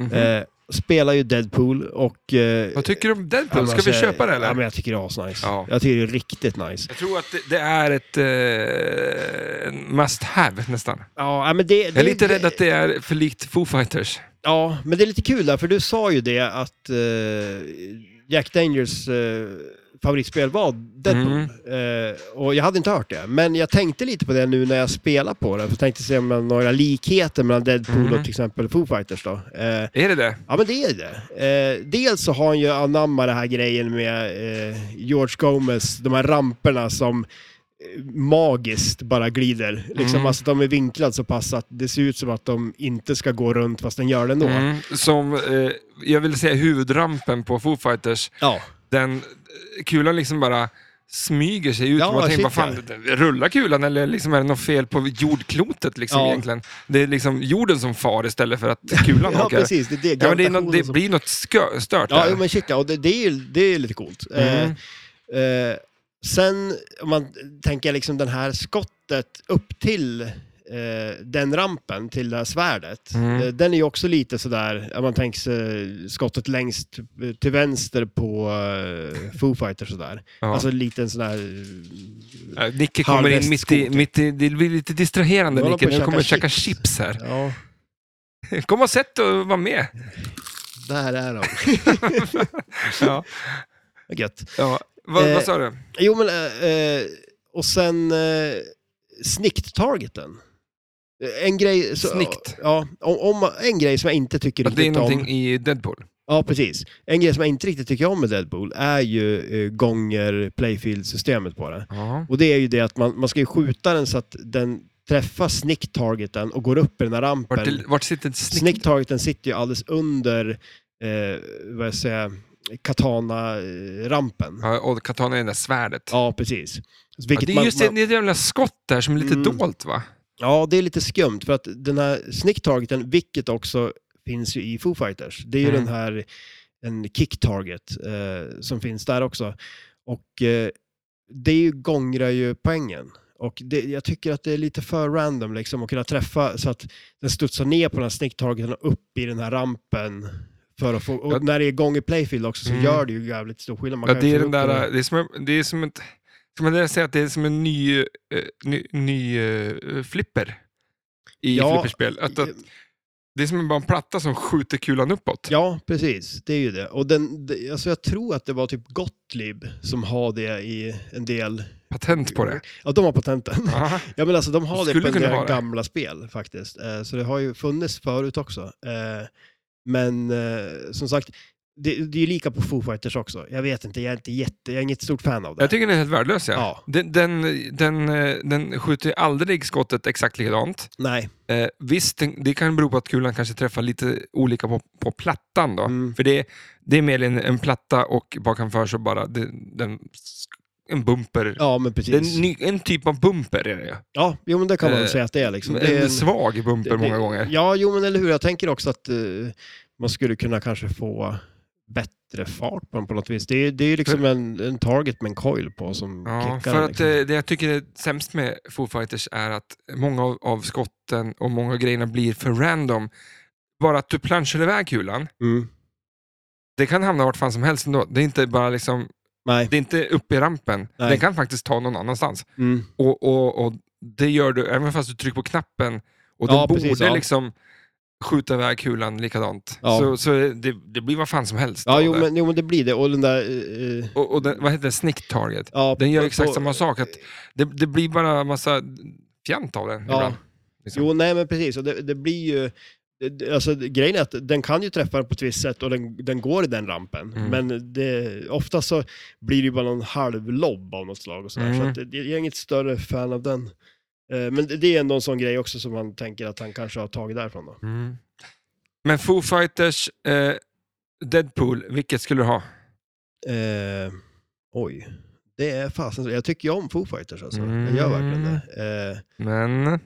Speaker 1: Mhm.
Speaker 2: Eh, spelar ju Deadpool och... Eh,
Speaker 1: Vad tycker du om
Speaker 2: ja, men
Speaker 1: Deadpool? Ska
Speaker 2: alltså,
Speaker 1: vi köpa det eller?
Speaker 2: Ja, men jag tycker det är asnice.
Speaker 1: Ja.
Speaker 2: Jag tycker det är riktigt nice.
Speaker 1: Jag tror att det, det är ett eh, must have nästan.
Speaker 2: Ja, men det,
Speaker 1: Jag är lite rädd att det är för likt Foo Fighters.
Speaker 2: Ja, men det är lite kul där, för du sa ju det att eh, Jack Daniels eh, favoritspel var Deadpool. Eh, och jag hade inte hört det, men jag tänkte lite på det nu när jag spelade på det. För jag tänkte se om det var några likheter mellan Deadpool
Speaker 1: Mm.
Speaker 2: och till exempel Foo Fighters då. Eh,
Speaker 1: Är det det?
Speaker 2: ja, men det är det. Eh, dels så har han ju anammat den här grejen med eh, George Gomez, de här ramperna som eh, magiskt bara glider. Liksom,
Speaker 1: Mm.
Speaker 2: Alltså de är vinklade så pass att det ser ut som att de inte ska gå runt fast den gör det ändå.
Speaker 1: Mm. Som, eh, jag vill säga huvudrampen på Foo Fighters,
Speaker 2: Ja.
Speaker 1: den eh, kulan liksom bara smyger sig ut.
Speaker 2: Ja,
Speaker 1: Man tänker, vad
Speaker 2: shit,
Speaker 1: fan, rullar kulan eller liksom är det något fel på jordklotet liksom
Speaker 2: Ja.
Speaker 1: egentligen? Det är liksom jorden som far istället
Speaker 2: *laughs*
Speaker 1: för att kulan
Speaker 2: Ja,
Speaker 1: åker.
Speaker 2: precis. Det, är det,
Speaker 1: Ja, men det, är något,
Speaker 2: gravitationen
Speaker 1: det
Speaker 2: som-
Speaker 1: blir något skö, stört
Speaker 2: Ja,
Speaker 1: där.
Speaker 2: jo, men shit ja. Och det, det, är, ju- det är lite coolt. Eh,
Speaker 1: Mm.
Speaker 2: eh, sen om man tänker liksom den här skottet upp till eh, den rampen, till det här svärdet.
Speaker 1: Mm.
Speaker 2: Eh, den är ju också lite sådär, om man tänker sig skottet längst eh, till vänster på eh, Foo Fighters sådär.
Speaker 1: Ja.
Speaker 2: Alltså lite en sån där...
Speaker 1: Ja, Nicke kommer in mitt i,
Speaker 2: Harvest-skoter.
Speaker 1: mitt i... Det blir lite distraherande,
Speaker 2: Jag håller
Speaker 1: Nicke.
Speaker 2: på att
Speaker 1: Du kommer att käka
Speaker 2: käka
Speaker 1: chips här.
Speaker 2: Ja,
Speaker 1: *laughs* Kom och sätt dig och var med.
Speaker 2: där
Speaker 1: *laughs*
Speaker 2: är de.
Speaker 1: Ja.
Speaker 2: Gött.
Speaker 1: Ja. Vad,
Speaker 2: Eh,
Speaker 1: vad sa du?
Speaker 2: Jo, men... eh, Eh, och sen eh, snikt-targeten. Eh, En grej, så,
Speaker 1: Snikt.
Speaker 2: Ja, om, om, en grej som jag inte tycker
Speaker 1: Att det är
Speaker 2: riktigt
Speaker 1: någonting
Speaker 2: om...
Speaker 1: i Deadpool?
Speaker 2: Ja, precis. En grej som jag inte riktigt tycker om med Deadpool är ju eh, gånger playfield-systemet på det.
Speaker 1: Ja.
Speaker 2: Och det är ju det att man, man ska ju skjuta den så att den träffar snikt-targeten och går upp i den här rampen.
Speaker 1: Vart, till, vart sitter snick?
Speaker 2: Snikt-targeten sitter ju alldeles under, eh, vad jag säger, katana-rampen.
Speaker 1: Ja, och Katana är det där svärdet.
Speaker 2: Ja, precis.
Speaker 1: Ja,
Speaker 2: Vilket
Speaker 1: det är
Speaker 2: man-
Speaker 1: just det,
Speaker 2: man-
Speaker 1: det är ett jävla skott där som är lite
Speaker 2: Mm.
Speaker 1: dolt va?
Speaker 2: Ja, det är lite skumt för att den här snick-targeten, vilket också finns ju i Foo Fighters, det är ju
Speaker 1: Mm.
Speaker 2: den här en kick-target eh, som finns där också. Och eh, det är ju, gångrar ju poängen. Och det, jag tycker att det är lite för random liksom att kunna träffa så att den studsar ner på den här snick-targeten och upp i den här rampen. För att få, och
Speaker 1: Ja.
Speaker 2: när det är gång i playfield också så
Speaker 1: Mm.
Speaker 2: gör det ju jävligt stor skillnad. Man
Speaker 1: Ja,
Speaker 2: kan
Speaker 1: det
Speaker 2: ju
Speaker 1: är
Speaker 2: få
Speaker 1: den
Speaker 2: upp
Speaker 1: där, eh, det är som, det är som ett, ska man säga att det är som en ny, eh, ny, ny eh, flipper i
Speaker 2: Ja,
Speaker 1: flipperspel. Att, att, det är som bara en platta som skjuter kulan uppåt.
Speaker 2: Ja, precis. Det är ju det. Och den, det- alltså jag tror att det var typ Gottlieb som har det i en del...
Speaker 1: Patent på det.
Speaker 2: Ja, de har patenten.
Speaker 1: Aha.
Speaker 2: Ja, men alltså de har det
Speaker 1: Skulle
Speaker 2: på en
Speaker 1: kunna vara
Speaker 2: del
Speaker 1: det.
Speaker 2: gamla spel faktiskt. Eh, Så det har ju funnits förut också. Eh, Men eh, som sagt, det, det är ju lika på Foo Fighters också. Jag vet inte, jag är inte jätte... Jag är inget stort fan av det.
Speaker 1: Jag tycker den är helt värdelös. Ja.
Speaker 2: Ja.
Speaker 1: Den, den, den, eh, den skjuter ju aldrig skottet exakt likadant.
Speaker 2: Nej.
Speaker 1: Eh, visst, den- det kan bero på att kulan kanske träffar lite olika på, på plattan. Då.
Speaker 2: Mm.
Speaker 1: För det, det är mer en, en platta och bakanför så bara det, den, en bumper.
Speaker 2: Ja, men
Speaker 1: det är
Speaker 2: precis.
Speaker 1: en, ny, en typ av bumper är det ju.
Speaker 2: Ja, jo, men det kan man väl
Speaker 1: Eh,
Speaker 2: säga att det är liksom. Det
Speaker 1: en,
Speaker 2: är en-
Speaker 1: svag bumper
Speaker 2: det- det-
Speaker 1: många gånger.
Speaker 2: Ja, jo men eller hur. Jag tänker också att eh, man skulle kunna kanske få bättre fart på den på något vis. Det är, det är ju liksom en, en target med en coil på som
Speaker 1: Ja,
Speaker 2: kickar
Speaker 1: för
Speaker 2: den,
Speaker 1: att
Speaker 2: liksom.
Speaker 1: eh, det jag tycker är sämst med Foo Fighters är att många av, av skotten och många av grejerna blir för random. Bara att du planschar iväg kulan,
Speaker 2: mm.
Speaker 1: det kan hamna vart fan som helst ändå. Det är inte bara liksom,
Speaker 2: Nej.
Speaker 1: det är inte uppe i rampen.
Speaker 2: Nej.
Speaker 1: Den kan faktiskt ta någon annannans.
Speaker 2: Mm.
Speaker 1: Och, och, och det gör du även fast du trycker på knappen och den
Speaker 2: Ja,
Speaker 1: borde
Speaker 2: precis, ja.
Speaker 1: liksom skjuta iväg kulan likadant.
Speaker 2: Ja.
Speaker 1: Så, så det, det blir vad fan som helst.
Speaker 2: Ja,
Speaker 1: av
Speaker 2: jo
Speaker 1: det.
Speaker 2: men, jo men det blir det. Och den där... eh, eh,
Speaker 1: Och, och den, vad heter det? Snick target.
Speaker 2: ja,
Speaker 1: Den gör
Speaker 2: på-
Speaker 1: exakt
Speaker 2: på-
Speaker 1: samma sak. Att det, det blir bara massa fjant av den
Speaker 2: Ja.
Speaker 1: ibland. Liksom.
Speaker 2: Jo, nej men precis. Och det, det blir ju... det- det- Alltså, grejen är att den kan ju träffa den på ett visst sätt och den, den går i den rampen.
Speaker 1: Mm.
Speaker 2: Men det, ofta så blir det ju bara någon halvlobb av något slag. Och sådär.
Speaker 1: Mm.
Speaker 2: Så att, det- jag är inget större fan av den. Eh, Men det- det är ändå en sån grej också som man tänker att han kanske har tagit därifrån. Då.
Speaker 1: Mm. Men Foo Fighters, eh, Deadpool, vilket skulle du ha?
Speaker 2: Eh, oj, det är fasen. Jag tycker ju om Foo Fighters alltså.
Speaker 1: Mm.
Speaker 2: Jag gör verkligen det. Eh,
Speaker 1: Men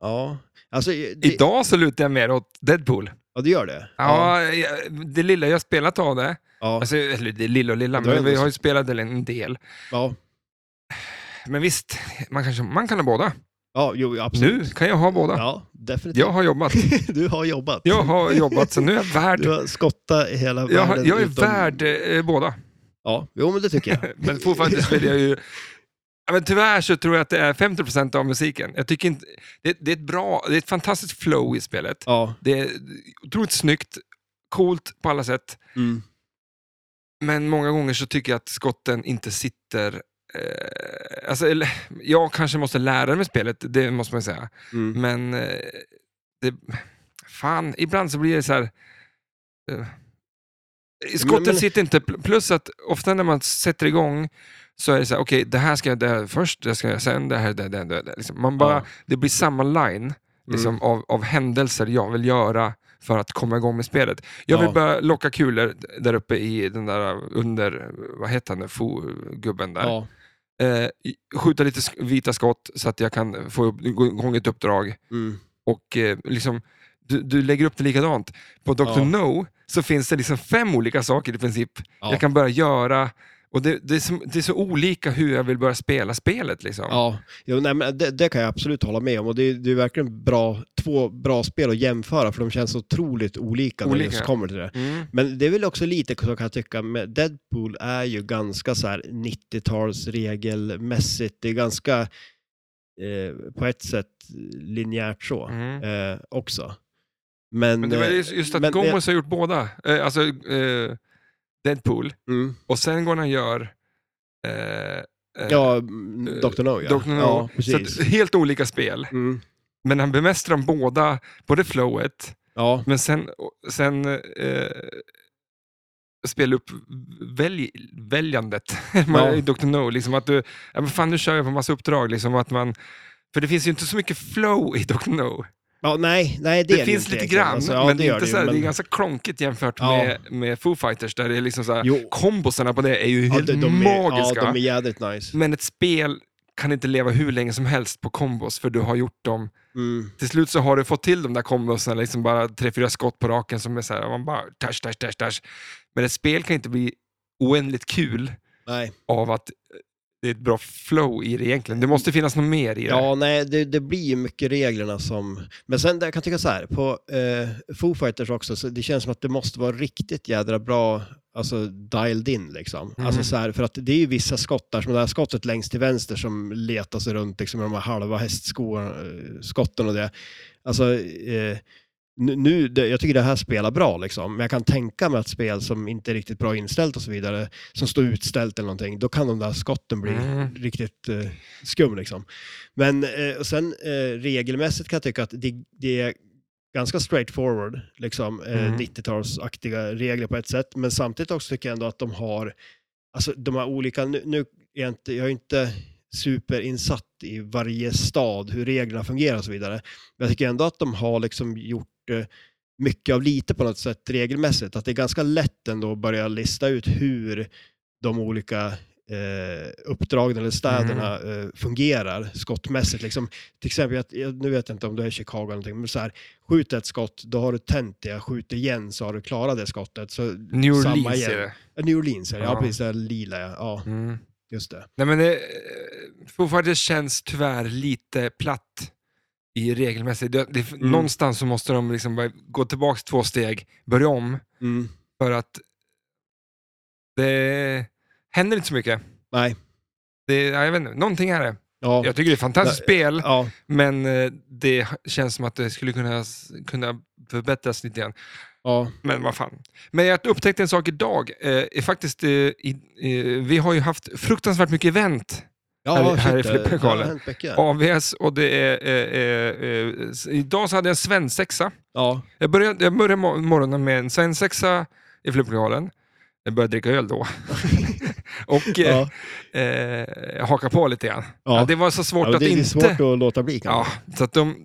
Speaker 2: ja, alltså det,
Speaker 1: idag så lutar jag mer åt Deadpool.
Speaker 2: ja, det gör det.
Speaker 1: Ja, jag- det lilla jag spelat av det,
Speaker 2: ja,
Speaker 1: alltså, eller det lilla och lilla,
Speaker 2: Det är
Speaker 1: men vi
Speaker 2: ändå
Speaker 1: har ju spelat det en del.
Speaker 2: ja,
Speaker 1: Men visst, man, kanske, man kan ha båda.
Speaker 2: ja, jo, absolut.
Speaker 1: Nu kan jag ha båda.
Speaker 2: Ja, definitivt.
Speaker 1: Jag har jobbat.
Speaker 2: *laughs* Du har jobbat.
Speaker 1: Jag
Speaker 2: *laughs*
Speaker 1: har jobbat, så nu är jag värd.
Speaker 2: Du har skottat i hela
Speaker 1: Jag, har-
Speaker 2: världen.
Speaker 1: jag är
Speaker 2: utom-
Speaker 1: värd eh, båda.
Speaker 2: Ja, jo men det tycker
Speaker 1: *laughs*
Speaker 2: jag.
Speaker 1: Men fortfarande så vill jag ju... Ja, men tyvärr så tror jag att det är 50% av musiken. Jag tycker inte... det, det, är ett bra, det är ett fantastiskt flow i spelet.
Speaker 2: Ja,
Speaker 1: Det är otroligt snyggt, coolt på alla sätt.
Speaker 2: mm.
Speaker 1: Men många gånger så tycker jag att skotten inte sitter... Eh, alltså, eller, jag kanske måste lära mig spelet, det måste man säga.
Speaker 2: Mm.
Speaker 1: Men eh, det, fan, ibland så blir det så här... Eh, skotten
Speaker 2: men-
Speaker 1: sitter inte, pl- plus att ofta när man sätter igång så är det så här, okej, det här ska jag göra först, det här ska jag göra sen, det här, det, det, det. det. Liksom. Man bara,
Speaker 2: Ja.
Speaker 1: Det blir samma line liksom,
Speaker 2: Mm.
Speaker 1: av, av händelser jag vill göra för att komma igång med spelet. Jag vill
Speaker 2: Ja.
Speaker 1: börja locka kulor där uppe i den där under, vad heter han, fo- gubben där.
Speaker 2: ja.
Speaker 1: Eh, skjuta lite sk- vita skott så att jag kan få upp, gå igång ett uppdrag.
Speaker 2: Mm.
Speaker 1: Och eh, liksom, du, du lägger upp det likadant. På Dr.
Speaker 2: Ja.
Speaker 1: No så finns det liksom fem olika saker i princip
Speaker 2: Ja.
Speaker 1: jag kan börja göra. Och det, det, är så, det är så olika hur jag vill börja spela spelet. Liksom.
Speaker 2: Ja, jo, nej, men det, det kan jag absolut hålla med om. Och det, är- det är verkligen bra, två bra spel att jämföra för de känns otroligt olika, när det
Speaker 1: Olika.
Speaker 2: just kommer till det.
Speaker 1: Mm.
Speaker 2: Men det är väl också lite så kan jag tycka, med Deadpool är ju ganska så här 90-tals regelmässigt. Det är ganska eh, på ett sätt linjärt så
Speaker 1: Mm.
Speaker 2: eh, också. Men,
Speaker 1: Men det var
Speaker 2: eh,
Speaker 1: just just att
Speaker 2: men-
Speaker 1: Gomez har gjort båda. Eh, alltså eh, Deadpool
Speaker 2: mm.
Speaker 1: och sen går han och gör eh, eh,
Speaker 2: Ja, mm, Dr. No Oh, ja.
Speaker 1: Dr. No.
Speaker 2: Ja,
Speaker 1: så
Speaker 2: precis.
Speaker 1: att, *laughs* helt olika spel.
Speaker 2: Mm.
Speaker 1: Men han bemästrar dem båda, både flowet,
Speaker 2: Ja,
Speaker 1: men sen, sen eh, spelupväljandet *laughs* väljandet
Speaker 2: Ja.
Speaker 1: i Dr. No. Liksom att du, ja, men fan nu kör jag på massa uppdrag. Liksom, att man, för det finns ju inte så mycket flow i Dr. No.
Speaker 2: ja nej, nej det,
Speaker 1: Det,
Speaker 2: är
Speaker 1: finns
Speaker 2: inte
Speaker 1: lite
Speaker 2: egentligen.
Speaker 1: grann,
Speaker 2: Alltså, ja,
Speaker 1: men,
Speaker 2: det
Speaker 1: det är
Speaker 2: gör
Speaker 1: inte
Speaker 2: det ju,
Speaker 1: så här, det är
Speaker 2: men-
Speaker 1: ganska klonkigt jämfört
Speaker 2: Ja.
Speaker 1: med, med Foo Fighters. Där det är liksom så här,
Speaker 2: Jo.
Speaker 1: kombosarna på det är ju
Speaker 2: Ja,
Speaker 1: helt
Speaker 2: de, de är,
Speaker 1: magiska.
Speaker 2: Ja, de är jädrigt nice.
Speaker 1: Men ett spel kan inte leva hur länge som helst på kombos för du har gjort dem.
Speaker 2: Mm.
Speaker 1: Till slut så har du fått till de där kombosna, liksom bara tre, fyra skott på raken som är så här, man bara touch, touch, touch, touch. Men ett spel kan inte bli oändligt kul
Speaker 2: Nej.
Speaker 1: av att eh, det är ett bra flow i det egentligen. Det måste finnas något mer i det.
Speaker 2: Ja, nej, det, det blir ju mycket reglerna som... Men sen, jag kan tycka så här, på eh, Foo Fighters också, så det känns som att det måste vara riktigt jädra bra, alltså dialed in liksom.
Speaker 1: Mm.
Speaker 2: Alltså så här, för att det är ju vissa skott där, som det här skottet längst till vänster som letar sig runt liksom, med de här halva hästskoarna, eh, skotten och det. Alltså, eh, nu- nu, det, jag tycker det här spelar bra liksom, men jag kan tänka mig att spel som inte är riktigt bra inställt och så vidare, som står utställt eller någonting, då kan de där skotten bli
Speaker 1: Mm.
Speaker 2: riktigt eh, skum liksom. Men eh, och sen eh, regelmässigt kan jag tycka att det, det är ganska straightforward, liksom, eh,
Speaker 1: Mm.
Speaker 2: 90-talsaktiga regler på ett sätt, men samtidigt också tycker jag ändå att de har, alltså de här olika, nu, nu är jag, inte, jag är inte superinsatt i varje stad, hur reglerna fungerar och så vidare, men jag tycker ändå att de har liksom gjort eh, mycket av lite på något sätt regelmässigt, att det är ganska lätt ändå att börja lista ut hur de olika eh, uppdragen eller städerna
Speaker 1: Mm.
Speaker 2: eh, fungerar skottmässigt. Liksom, till exempel, jag, jag, nu vet jag inte om du är i Chicago eller någonting, men så här, skjut ett skott, då har du tänt det, skjut igen så har du klarat det skottet. Så,
Speaker 1: New
Speaker 2: samma
Speaker 1: Orleans
Speaker 2: igen.
Speaker 1: är det.
Speaker 2: Eh, New Orleans, ja, ja.
Speaker 1: Ja.
Speaker 2: precis, det här lila, ja. ja
Speaker 1: Mm.
Speaker 2: just det.
Speaker 1: Nej, men det, eh, fortfarande känns tyvärr lite platt i regelmässigt. Det, det,
Speaker 2: Mm.
Speaker 1: Någonstans så måste de liksom bara gå tillbaka två steg, börja om,
Speaker 2: Mm.
Speaker 1: för att det händer inte så mycket.
Speaker 2: Nej,
Speaker 1: Det, ja, jag vet inte, någonting är det.
Speaker 2: ja.
Speaker 1: Jag tycker det är ett fantastiskt spel,
Speaker 2: ja.
Speaker 1: men eh, det känns som att det skulle kunna, kunna förbättras lite grann.
Speaker 2: ja.
Speaker 1: Men vad fan. Men jag upptäckte en sak idag. Eh, är faktiskt, eh, i, eh, vi har ju haft fruktansvärt mycket event
Speaker 2: Ja,
Speaker 1: Här- här
Speaker 2: shit,
Speaker 1: är
Speaker 2: det-
Speaker 1: Flipperkarlen.
Speaker 2: det har hänt mycket.
Speaker 1: AVS och det är... Eh, eh, eh, s- idag så hade jag en svensexa.
Speaker 2: Ja.
Speaker 1: Jag började, jag började mo- morgonen med en svensexa i flygplanen. Jag började dricka öl då. *laughs* och eh,
Speaker 2: Ja.
Speaker 1: eh, haka på lite grann.
Speaker 2: Ja.
Speaker 1: Ja, det var så
Speaker 2: Ja,
Speaker 1: svårt
Speaker 2: men
Speaker 1: att
Speaker 2: det är
Speaker 1: inte...
Speaker 2: svårt att låta bli
Speaker 1: ja,
Speaker 2: kanske.
Speaker 1: så att de,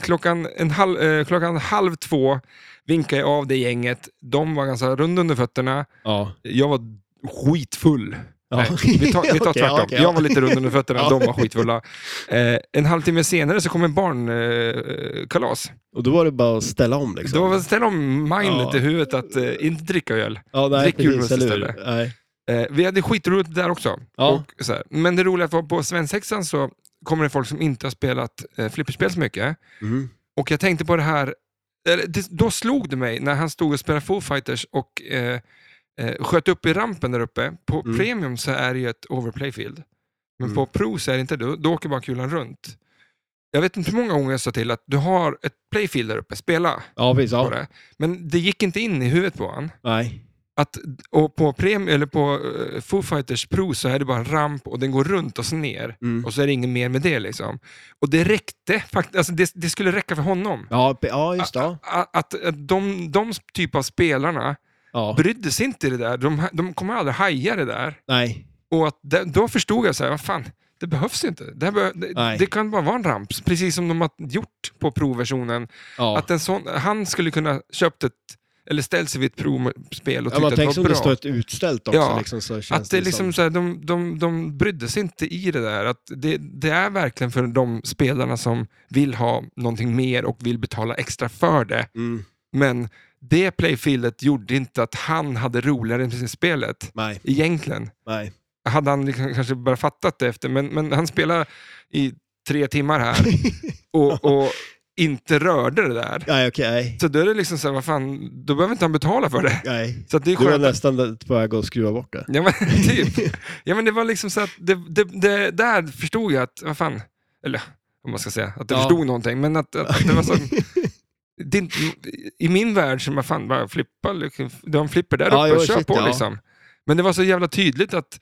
Speaker 1: klockan, en halv, eh, klockan halv två vinkade jag av det gänget. De var ganska runda under fötterna.
Speaker 2: Ja.
Speaker 1: Jag var skitfull.
Speaker 2: Ja.
Speaker 1: Nej, vi tar, vi tar
Speaker 2: *laughs* Okej, ja,
Speaker 1: tvärtom.
Speaker 2: okej, ja.
Speaker 1: Jag var lite rund under fötterna,
Speaker 2: Ja.
Speaker 1: de var skitfulla. Eh, en halvtimme senare så kom en barnkalas. Eh, kalas.
Speaker 2: Och då var det bara att ställa om liksom.
Speaker 1: Då var ställ om mindet
Speaker 2: Ja.
Speaker 1: i huvudet att eh, inte dricka öl.
Speaker 2: Ja, nej,
Speaker 1: drick
Speaker 2: precis,
Speaker 1: julmust
Speaker 2: eller
Speaker 1: istället.
Speaker 2: hur? Nej.
Speaker 1: Eh, vi hade skitroligt där också.
Speaker 2: Ja.
Speaker 1: Och så här. Men det roliga var på svensexan så kommer det folk som inte har spelat eh, flipperspel så mycket.
Speaker 2: Mm.
Speaker 1: Och jag tänkte på det här, eller, det, då slog det mig när han stod och spelade Foo Fighters och eh, eh, sköt upp i rampen där uppe. På
Speaker 2: Mm.
Speaker 1: Premium så är det ju ett overplayfield. Men
Speaker 2: Mm.
Speaker 1: på Pro så är det inte det, då, då åker bara kulan runt. Jag vet inte hur många gånger jag sa till att du har ett playfield där uppe, spela
Speaker 2: Ja, precis.
Speaker 1: på
Speaker 2: Ja.
Speaker 1: det. Men det gick inte in i huvudet på honom.
Speaker 2: Nej.
Speaker 1: Att, och på, Premium, eller på eh, Foo Fighters Pro så är det bara en ramp och den går runt och så ner.
Speaker 2: Mm.
Speaker 1: Och så är det inget mer med det. liksom. Och det räckte, fakt- alltså det, det skulle räcka för honom
Speaker 2: Ja, pe- ja, just det. Ja.
Speaker 1: att, att eh, de, de typ av spelarna
Speaker 2: Ja.
Speaker 1: brydde sig inte i det där. De, de kommer aldrig haja det där.
Speaker 2: Nej.
Speaker 1: Och att det, då förstod jag så här, vad fan, det behövs inte. Det, här be, det,
Speaker 2: Nej.
Speaker 1: det kan bara vara en ramp, precis som de har gjort på provversionen.
Speaker 2: Ja.
Speaker 1: Att en sån, han skulle kunna köpt ett, eller ställt sig vid ett provspel och
Speaker 2: ja, man
Speaker 1: tyckt
Speaker 2: tänker
Speaker 1: att det
Speaker 2: som det
Speaker 1: var
Speaker 2: står
Speaker 1: bra.
Speaker 2: ett utställt också.
Speaker 1: Ja,
Speaker 2: Liksom, så känns
Speaker 1: Att det är
Speaker 2: som-
Speaker 1: liksom så här, de, de, de brydde sig inte i det där. Att det, det är verkligen för de spelarna som vill ha någonting mer och vill betala extra för det.
Speaker 2: Mm.
Speaker 1: Men det playfieldet gjorde inte att han hade roligare med spelet,
Speaker 2: Nej,
Speaker 1: egentligen. *laughs*
Speaker 2: nej.
Speaker 1: Hade han liksom kanske bara fattat det efter, men, men han spelade i tre timmar här
Speaker 2: *laughs*
Speaker 1: och, och inte rörde det där.
Speaker 2: nej, okej. nej.
Speaker 1: Så då är det liksom så här, vad fan, då behöver inte han betala för det.
Speaker 2: Nej.
Speaker 1: Så att det är
Speaker 2: Du var
Speaker 1: skönt. att-
Speaker 2: nästan på väg att skruva bort det.
Speaker 1: Ja men, *laughs*
Speaker 2: *laughs*
Speaker 1: typ. ja, men det var liksom så att, det, det, det, där förstod jag att, vad fan, eller om man ska säga, att jag
Speaker 2: Ja.
Speaker 1: förstod någonting, men att, att, att det var så... det, är inte- I min värld, som vad fan, bara flippa, liksom, du har en flipper där
Speaker 2: Ja,
Speaker 1: uppe,
Speaker 2: jo,
Speaker 1: kör
Speaker 2: shit,
Speaker 1: på
Speaker 2: ja.
Speaker 1: liksom. Men det var så jävla tydligt att,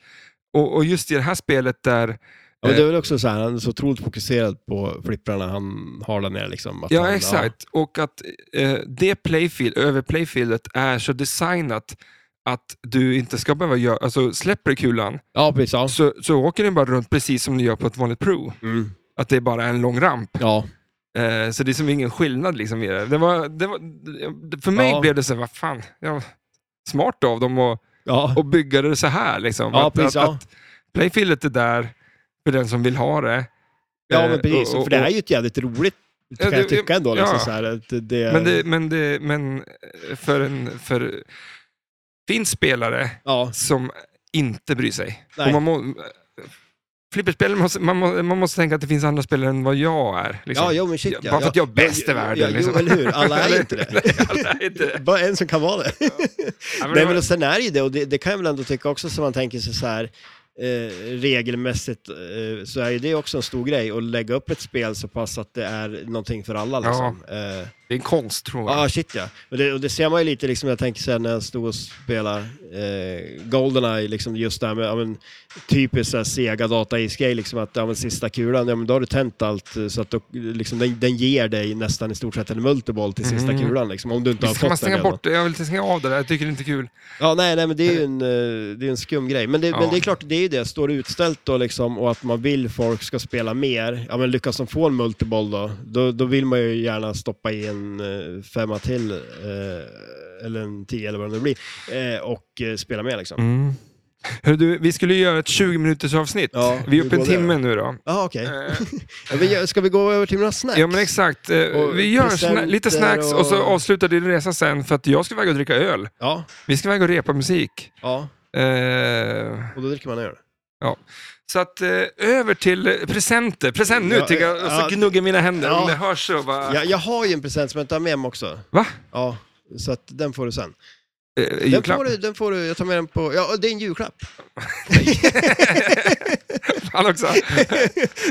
Speaker 1: och, och just i det här spelet där,
Speaker 2: Ja, men det är väl också så här, han är så otroligt fokuserad på flipprarna han har där nere. Liksom, att
Speaker 1: ja
Speaker 2: han,
Speaker 1: exakt, och att eh, det playfield, över playfieldet är så designat att du inte ska behöva göra, alltså släpper du kulan
Speaker 2: Ja, ja precis. Ja.
Speaker 1: så, så åker den bara runt precis som du gör på ett vanligt prov.
Speaker 2: Mm.
Speaker 1: Att det är bara en lång ramp.
Speaker 2: ja.
Speaker 1: Eh, så det är som ingen skillnad liksom i det. det, var, det var, det- för mig
Speaker 2: Ja.
Speaker 1: blev det så här, vad fan, ja, smart av dem att
Speaker 2: ja.
Speaker 1: och bygga det så här. Liksom.
Speaker 2: Ja,
Speaker 1: att,
Speaker 2: precis.
Speaker 1: att,
Speaker 2: Ja.
Speaker 1: att playfieldet är där, för den som vill ha det.
Speaker 2: Ja,
Speaker 1: Eh,
Speaker 2: men precis.
Speaker 1: och-
Speaker 2: för det är
Speaker 1: och-
Speaker 2: ju ett jävligt roligt,
Speaker 1: Ja,
Speaker 2: kan jag
Speaker 1: det-
Speaker 2: tycka ändå. Liksom,
Speaker 1: ja.
Speaker 2: så här, att det,
Speaker 1: Men, det, men, det, men eh, för en för finns spelare
Speaker 2: ja,
Speaker 1: som inte bryr sig.
Speaker 2: Nej.
Speaker 1: Och man må, flipperspel, måste, man, må, man måste tänka att det finns andra spelare än vad jag är. Liksom. *laughs*
Speaker 2: ja, jo, men shit,
Speaker 1: Bara
Speaker 2: ja,
Speaker 1: för
Speaker 2: ja.
Speaker 1: att jag är bäst i
Speaker 2: Ja,
Speaker 1: världen.
Speaker 2: ja,
Speaker 1: liksom.
Speaker 2: Jo, eller hur. Alla
Speaker 1: *laughs*
Speaker 2: är inte det.
Speaker 1: Nej, alla är inte
Speaker 2: *laughs*
Speaker 1: det.
Speaker 2: Bara en som kan vara det.
Speaker 1: *laughs* Ja, men
Speaker 2: Nej,
Speaker 1: det var-
Speaker 2: men och sen är det ju det, och det, det kan jag väl ändå tycka också, som man tänker sig så här, eh, regelmässigt, eh, så är ju det också en stor grej, att lägga upp ett spel så pass att det är någonting för alla. Liksom. Eh,
Speaker 1: Det är en konst, tror jag.
Speaker 2: Ja, shit ja. Och det, och det ser man ju lite, liksom, jag tänker sen när jag stod och spelade eh, Goldeneye, liksom, just det här med ja, men, typiskt så här sega data grej liksom att ja, men, sista kulan, ja, men, då har du tänt allt, eh, så att då, liksom, den, den ger dig nästan i stort sett en multiboll till sista
Speaker 1: Mm.
Speaker 2: kulan, liksom, om du inte har
Speaker 1: Visst kan man
Speaker 2: fått den
Speaker 1: stänga
Speaker 2: redan.
Speaker 1: bort det? Jag vill inte stänga av det där, jag tycker det är inte kul.
Speaker 2: Ja, nej, nej, men det är ju en, eh, det är en skum grej. Men det,
Speaker 1: Ja.
Speaker 2: men det är klart, det är ju det. Står det utställt då liksom och att man vill folk ska spela mer, ja men lyckas de få en multiboll då, då, då vill man ju gärna stoppa i en eh, femma till, eh, eller en tio eller vad det nu blir, eh, och eh, spela mer
Speaker 1: Mm.
Speaker 2: liksom.
Speaker 1: Hörru du, vi skulle ju göra ett 20 minuters avsnitt.
Speaker 2: Ja,
Speaker 1: vi är
Speaker 2: hur
Speaker 1: uppe i
Speaker 2: går det
Speaker 1: timmen
Speaker 2: då?
Speaker 1: nu då.
Speaker 2: Jaha, okej.
Speaker 1: Eh,
Speaker 2: *laughs* Ja, men gör- Ska vi gå över till några snacks?
Speaker 1: Ja men exakt. Eh,
Speaker 2: Och
Speaker 1: Vi gör sna-
Speaker 2: presenter
Speaker 1: lite snacks och så
Speaker 2: och-
Speaker 1: avslutar din resa sen för att jag ska iväg och dricka öl.
Speaker 2: ja,
Speaker 1: Vi ska iväg och repa musik.
Speaker 2: ja,
Speaker 1: Eh,
Speaker 2: och då dricker man öl.
Speaker 1: så att eh, över till eh, presenter. Present nu
Speaker 2: Ja,
Speaker 1: tycker jag. Och
Speaker 2: ja.
Speaker 1: så gnuggar mina händer.
Speaker 2: Ja.
Speaker 1: Om det hörs så bara...
Speaker 2: Ja, jag har ju en present som jag tar med mig också.
Speaker 1: Va?
Speaker 2: Ja, så att den får du sen.
Speaker 1: Eh,
Speaker 2: Den
Speaker 1: julklapp.
Speaker 2: får du, den får du, jag tar med den på, ja det är en julklapp.
Speaker 1: Fan
Speaker 2: *laughs*
Speaker 1: också.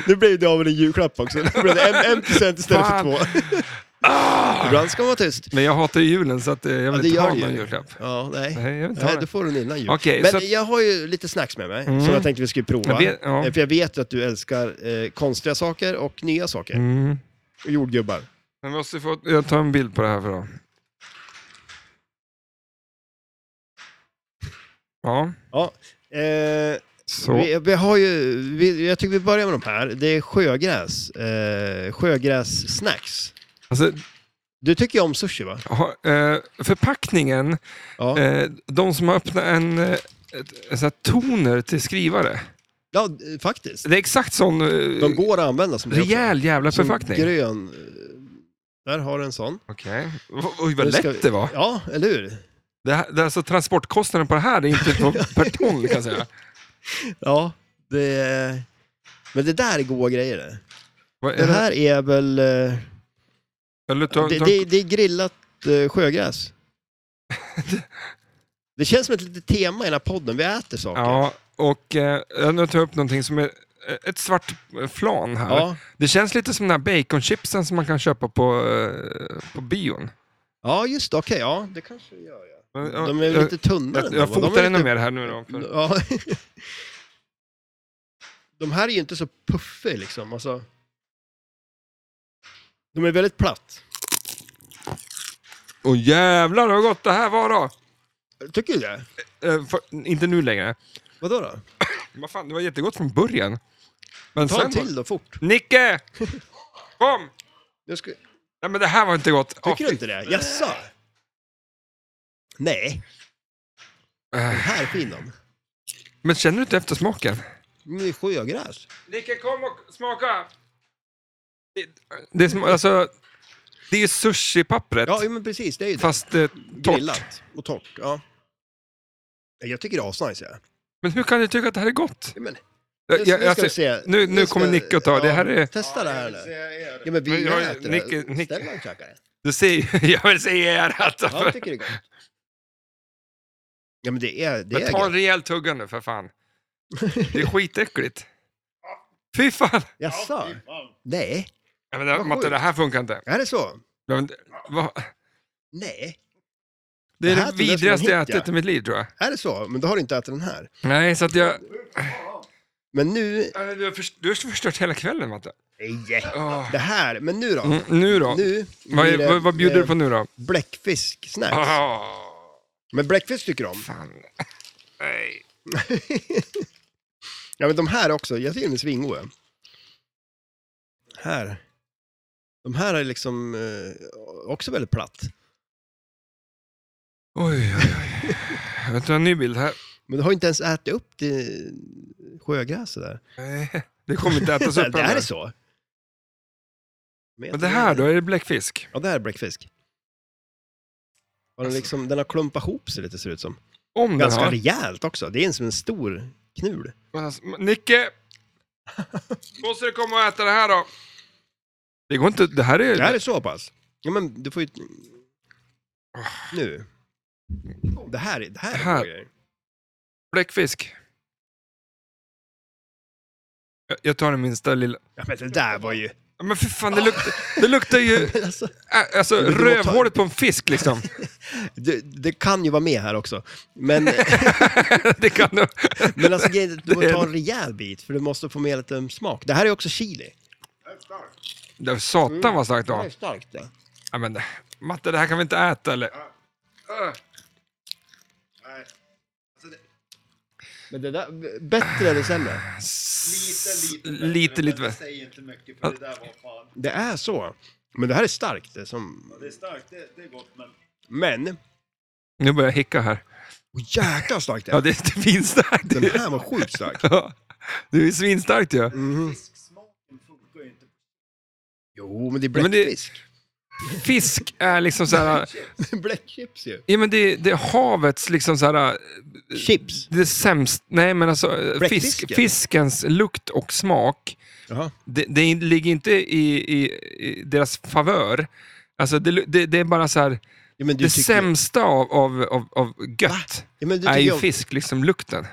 Speaker 2: Nu blev det av med en julklapp också. Nu blev det en, en present istället för
Speaker 1: Fan.
Speaker 2: två.
Speaker 1: Ah!
Speaker 2: Ibland ska man vara tyst.
Speaker 1: Men jag hatar ju julen så att eh, jag
Speaker 2: Ja,
Speaker 1: vill
Speaker 2: det
Speaker 1: inte
Speaker 2: gör
Speaker 1: ha
Speaker 2: du
Speaker 1: någon
Speaker 2: ju.
Speaker 1: julklapp.
Speaker 2: Ja, nej.
Speaker 1: Nej, jag vill inte
Speaker 2: Nej,
Speaker 1: ha
Speaker 2: då
Speaker 1: det.
Speaker 2: får du den innan jul.
Speaker 1: Okej,
Speaker 2: Men
Speaker 1: så att-
Speaker 2: jag har ju lite snacks med mig
Speaker 1: Mm.
Speaker 2: som jag tänkte vi skulle prova.
Speaker 1: Jag vet- ja.
Speaker 2: Eh, För jag vet att du älskar eh, konstiga saker och nya saker.
Speaker 1: Mm.
Speaker 2: Och jordgubbar.
Speaker 1: Jag måste få, jag tar en bild på det här för då. Ja,
Speaker 2: Ja. Eh,
Speaker 1: så.
Speaker 2: vi, vi har ju, vi, jag tycker vi börjar med de här. Det är sjögräs. Eh, sjögräs-snacks.
Speaker 1: Alltså,
Speaker 2: Du tycker ju om sushi va?
Speaker 1: ha, eh, förpackningen,
Speaker 2: Ja.
Speaker 1: eh, de som har öppnat en, eh, ett- en sån här toner till skrivare.
Speaker 2: ja, eh, faktiskt.
Speaker 1: Det är exakt sån eh,
Speaker 2: De går att använda som det också.
Speaker 1: rejäl jävla
Speaker 2: Som
Speaker 1: förpackning.
Speaker 2: grön. eh, Där har du en sån.
Speaker 1: Okej. Oj, vad
Speaker 2: Nu ska
Speaker 1: lätt
Speaker 2: vi-
Speaker 1: det var.
Speaker 2: Ja, eller hur?
Speaker 1: Det här, det, är alltså, transportkostnaden på det här är inte
Speaker 2: *laughs*
Speaker 1: på per ton kan jag säga.
Speaker 2: Ja, det... Men det där är goda grejer det.
Speaker 1: Vad är
Speaker 2: Det
Speaker 1: det?
Speaker 2: här är väl... eh,
Speaker 1: Eller ta,
Speaker 2: det,
Speaker 1: ta,
Speaker 2: det, det är grillat eh, *laughs* sjögräs. Det känns som ett litet tema i den här podden, vi äter saker.
Speaker 1: ja, och eh, jag nu tar jag upp någonting som är ett svart eh, flan här.
Speaker 2: ja.
Speaker 1: Det känns lite som den här baconchipsen som man kan köpa på, eh, på bion.
Speaker 2: Ja, just det, okej, ja, det kanske vi gör. Ja.
Speaker 1: Men, ja,
Speaker 2: De är
Speaker 1: jag,
Speaker 2: lite tunnare.
Speaker 1: jag,
Speaker 2: ändå, va?
Speaker 1: jag
Speaker 2: De är
Speaker 1: fotar ännu
Speaker 2: lite-
Speaker 1: mer här nu då. För,
Speaker 2: Ja. *laughs* De här är ju inte så puffiga liksom, alltså. De är väldigt platt.
Speaker 1: och jävlar vad gott det här var då!
Speaker 2: Tycker du det?
Speaker 1: Eh, för, inte nu längre.
Speaker 2: Vadå då?
Speaker 1: Vad fan, det var jättegott från början. Men
Speaker 2: Ta en
Speaker 1: sen...
Speaker 2: till då, fort.
Speaker 1: Nicke! Kom!
Speaker 2: Jag ska...
Speaker 1: Nej men det här var inte gott. Åh,
Speaker 2: Tycker du inte det? Jaså? Nej,
Speaker 1: eh,
Speaker 2: här är fin de.
Speaker 1: Men känner du inte eftersmaken?
Speaker 2: Det är sjögräs.
Speaker 1: Nicke kom och smaka! Det, det är som, alltså... Det är ju sushipappret.
Speaker 2: Ja, jo, men precis, det är ju det.
Speaker 1: Fast eh, torrt.
Speaker 2: Grillat och torrt, ja. Ja, Jag tycker det är asnice. Ja.
Speaker 1: Men hur kan du tycka att det här är gott?
Speaker 2: Ja, men, nu,
Speaker 1: Jag,
Speaker 2: ska- nu
Speaker 1: jag,
Speaker 2: ska
Speaker 1: alltså,
Speaker 2: vi se.
Speaker 1: nu- nu
Speaker 2: ska-
Speaker 1: kommer Nicke att ta. Det här är-
Speaker 2: Testa det här nu. Ja, men
Speaker 1: Men
Speaker 2: vi
Speaker 1: jag-
Speaker 2: äter
Speaker 1: Nicke-
Speaker 2: det.
Speaker 1: Nicke-
Speaker 2: Stellan käkar det.
Speaker 1: Du ser ju, *laughs* jag vill säga er alltså. att... *laughs*
Speaker 2: Ja, jag tycker det är gott. Ja, men det är... Det
Speaker 1: men
Speaker 2: är
Speaker 1: ta en
Speaker 2: gott.
Speaker 1: rejäl tugga nu för fan. Det är skitäckligt. Fy fan!
Speaker 2: Jaså? Nej,
Speaker 1: Ja, men det,
Speaker 2: Vad
Speaker 1: Matte,
Speaker 2: sjukt.
Speaker 1: det här funkar inte.
Speaker 2: är det så?
Speaker 1: Ja, men det- vad-
Speaker 2: Nej,
Speaker 1: Det är
Speaker 2: Det här
Speaker 1: det,
Speaker 2: tog jag som
Speaker 1: vidrigaste
Speaker 2: en
Speaker 1: jag
Speaker 2: hit,
Speaker 1: ätit i
Speaker 2: ja.
Speaker 1: mitt liv tror jag.
Speaker 2: är det så? Men då har du inte ätit den här.
Speaker 1: Nej, så att jag...
Speaker 2: Men nu...
Speaker 1: Ja, men Du har, först, du har förstört hela kvällen Matte.
Speaker 2: Nej,
Speaker 1: Åh.
Speaker 2: det här. Men nu då?
Speaker 1: Mm, nu då?
Speaker 2: Nu
Speaker 1: vad,
Speaker 2: blir
Speaker 1: är,
Speaker 2: det,
Speaker 1: vad, vad bjuder
Speaker 2: eh,
Speaker 1: du på nu då?
Speaker 2: Bläckfisk-snacks.
Speaker 1: Åh,
Speaker 2: Men bläckfisk
Speaker 1: *laughs*
Speaker 2: tycker de om.
Speaker 1: fan. Nej.
Speaker 2: Ja, men de här också. Jag tycker de är svingoda. Här. De här är liksom eh, också väldigt platt.
Speaker 1: Oj, oj, oj. Jag tar en ny bild här.
Speaker 2: Men du har ju inte ens ätit upp det sjögräset där.
Speaker 1: Nej. Det kommer inte ätas upp
Speaker 2: *laughs* det här
Speaker 1: heller.
Speaker 2: är så.
Speaker 1: Men det här då, är det bläckfisk?
Speaker 2: Ja, det här är bläckfisk. Har
Speaker 1: Alltså.
Speaker 2: den, liksom, den har klumpat ihop sig lite ser det ut som.
Speaker 1: Om den
Speaker 2: Ganska
Speaker 1: har...
Speaker 2: rejält också. Det är en som en stor knul.
Speaker 1: Men alltså, men
Speaker 2: *laughs*
Speaker 1: Nicke! Måste du komma och äta det här då? Det går inte, det här är...
Speaker 2: Det här är så pass. Ja, men du får ju... Nu. Det här, är-
Speaker 1: Det
Speaker 2: det här, det
Speaker 1: här-
Speaker 2: här. är grejer.
Speaker 1: bläckfisk. Jag, jag tar den minsta lilla.
Speaker 2: Ja, men det där
Speaker 1: *laughs*
Speaker 2: var ju...
Speaker 1: Ja, Men för fan, det
Speaker 2: *laughs*
Speaker 1: luktar, det luktar ju
Speaker 2: Men alltså,
Speaker 1: äh, alltså,
Speaker 2: Men du må ta-
Speaker 1: rövhålet på en fisk liksom. *laughs*
Speaker 2: det, det kan ju vara med här också.
Speaker 1: *laughs*
Speaker 2: Men,
Speaker 1: det kan du.
Speaker 2: men alltså, grejen är att du
Speaker 1: Det
Speaker 2: måste
Speaker 1: är-
Speaker 2: ta en rejäl bit för du måste få med lite smak. Det här är också chili.
Speaker 1: Det var satan vad starkt det
Speaker 2: Det
Speaker 1: var.
Speaker 2: är starkt det.
Speaker 1: Ja, men, Matte, det här kan vi inte äta eller?
Speaker 2: Men det där, bättre eller sämre?
Speaker 1: S-
Speaker 3: Lite, lite.
Speaker 1: Lite, lite.
Speaker 3: Det säger inte mycket för det där var fan.
Speaker 2: Det är så. Men det här är starkt. Det är som...
Speaker 3: Det är starkt, det, det är gott men...
Speaker 2: Men,
Speaker 1: Nu börjar jag hicka här.
Speaker 2: oh, jäklar vad starkt det
Speaker 1: Ja,
Speaker 2: är.
Speaker 1: det är *laughs* svinstarkt.
Speaker 2: Den här var sjukt stark.
Speaker 1: Ja, det är ju svinstarkt ju.
Speaker 2: Mhm.
Speaker 3: Fisksmaken funkar ju inte.
Speaker 2: Jo, men det
Speaker 1: Men
Speaker 2: är
Speaker 1: det-
Speaker 2: bläckfisk.
Speaker 1: Fisk är liksom så här...
Speaker 2: Bläckchips ju.
Speaker 1: Ja, men det, det är havets liksom så här...
Speaker 2: Chips.
Speaker 1: Det sämst... Nej, men alltså fisk,
Speaker 2: Bläckfisken.
Speaker 1: fiskens lukt och smak,
Speaker 2: Jaha.
Speaker 1: det, det ligger inte i, i, i deras favör. Alltså, det, lu- det, det är bara så här...
Speaker 2: Ja, men du
Speaker 1: det
Speaker 2: tycker-
Speaker 1: sämsta av, av, av, av gött
Speaker 2: Ja, men du
Speaker 1: är
Speaker 2: tycker
Speaker 1: ju
Speaker 2: om-
Speaker 1: fisk, liksom lukten.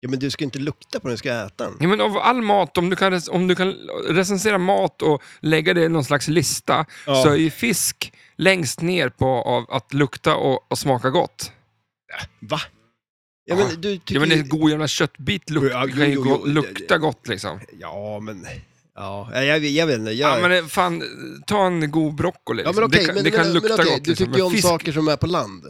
Speaker 2: Ja, men du ska inte lukta på den, du ska äta den.
Speaker 1: Ja, men av all mat, om du, kan, rec- om du kan recensera mat och lägga det i någon slags lista,
Speaker 2: Ja.
Speaker 1: så är ju fisk längst ner på av att lukta och, och smaka gott.
Speaker 2: Va? Ja,
Speaker 1: Ja.
Speaker 2: men du tycker...
Speaker 1: Ja, men en god jävla köttbit luk,
Speaker 2: Ja, jo,
Speaker 1: kan ju
Speaker 2: jo,
Speaker 1: gå-
Speaker 2: jo, det-
Speaker 1: lukta gott liksom.
Speaker 2: Ja, men... Ja, nej, jag, jag vet inte. Jag...
Speaker 1: Ja, men eh, fan, ta en god broccoli.
Speaker 2: Ja,
Speaker 1: Liksom.
Speaker 2: men okej,
Speaker 1: det kan,
Speaker 2: men,
Speaker 1: det kan
Speaker 2: men,
Speaker 1: lukta
Speaker 2: men, okej,
Speaker 1: gott.
Speaker 2: Du
Speaker 1: liksom.
Speaker 2: tycker ju
Speaker 1: Men
Speaker 2: om
Speaker 1: fisk,
Speaker 2: saker som är på land.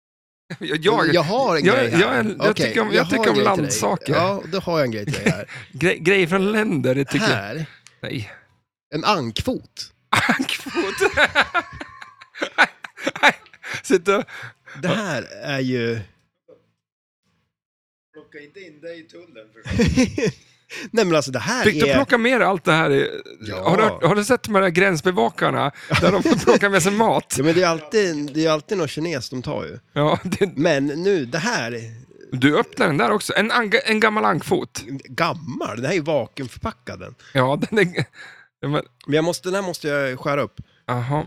Speaker 1: *laughs* jag,
Speaker 2: Jag,
Speaker 1: jag,
Speaker 2: har en
Speaker 1: jag-
Speaker 2: grej här.
Speaker 1: jag- jag tycker
Speaker 2: Okej,
Speaker 1: om- jag tycker
Speaker 2: har en
Speaker 1: om
Speaker 2: grej till dig.
Speaker 1: landsaker.
Speaker 2: Ja, då har jag en grej till dig här.
Speaker 1: gre- grejer från länder, det *laughs* tycker jag...
Speaker 2: här,
Speaker 1: Nej. *laughs*
Speaker 2: en ankfot.
Speaker 1: Ankfot! Sitta och...
Speaker 2: Det här är ju...
Speaker 3: Plocka inte in dig i tullen för
Speaker 2: Nej men alltså det här
Speaker 1: Fick du
Speaker 2: är...
Speaker 1: plocka med dig allt det här? i-
Speaker 2: Ja.
Speaker 1: Har, du, hört- har du sett de här gränsbevakarna? Där de
Speaker 2: *laughs*
Speaker 1: plockar med sig mat?
Speaker 2: Ja, men det är alltid, det är alltid någon kines de tar ju.
Speaker 1: Ja, det,
Speaker 2: Men nu, det här,
Speaker 1: du öppnar den där också. En, ang- en gammal ankfot.
Speaker 2: gammal, den här är ju vakuumförpackad. den.
Speaker 1: Ja, den är... ja, Men,
Speaker 2: Men jag måste, den här måste jag skära upp.
Speaker 1: aha.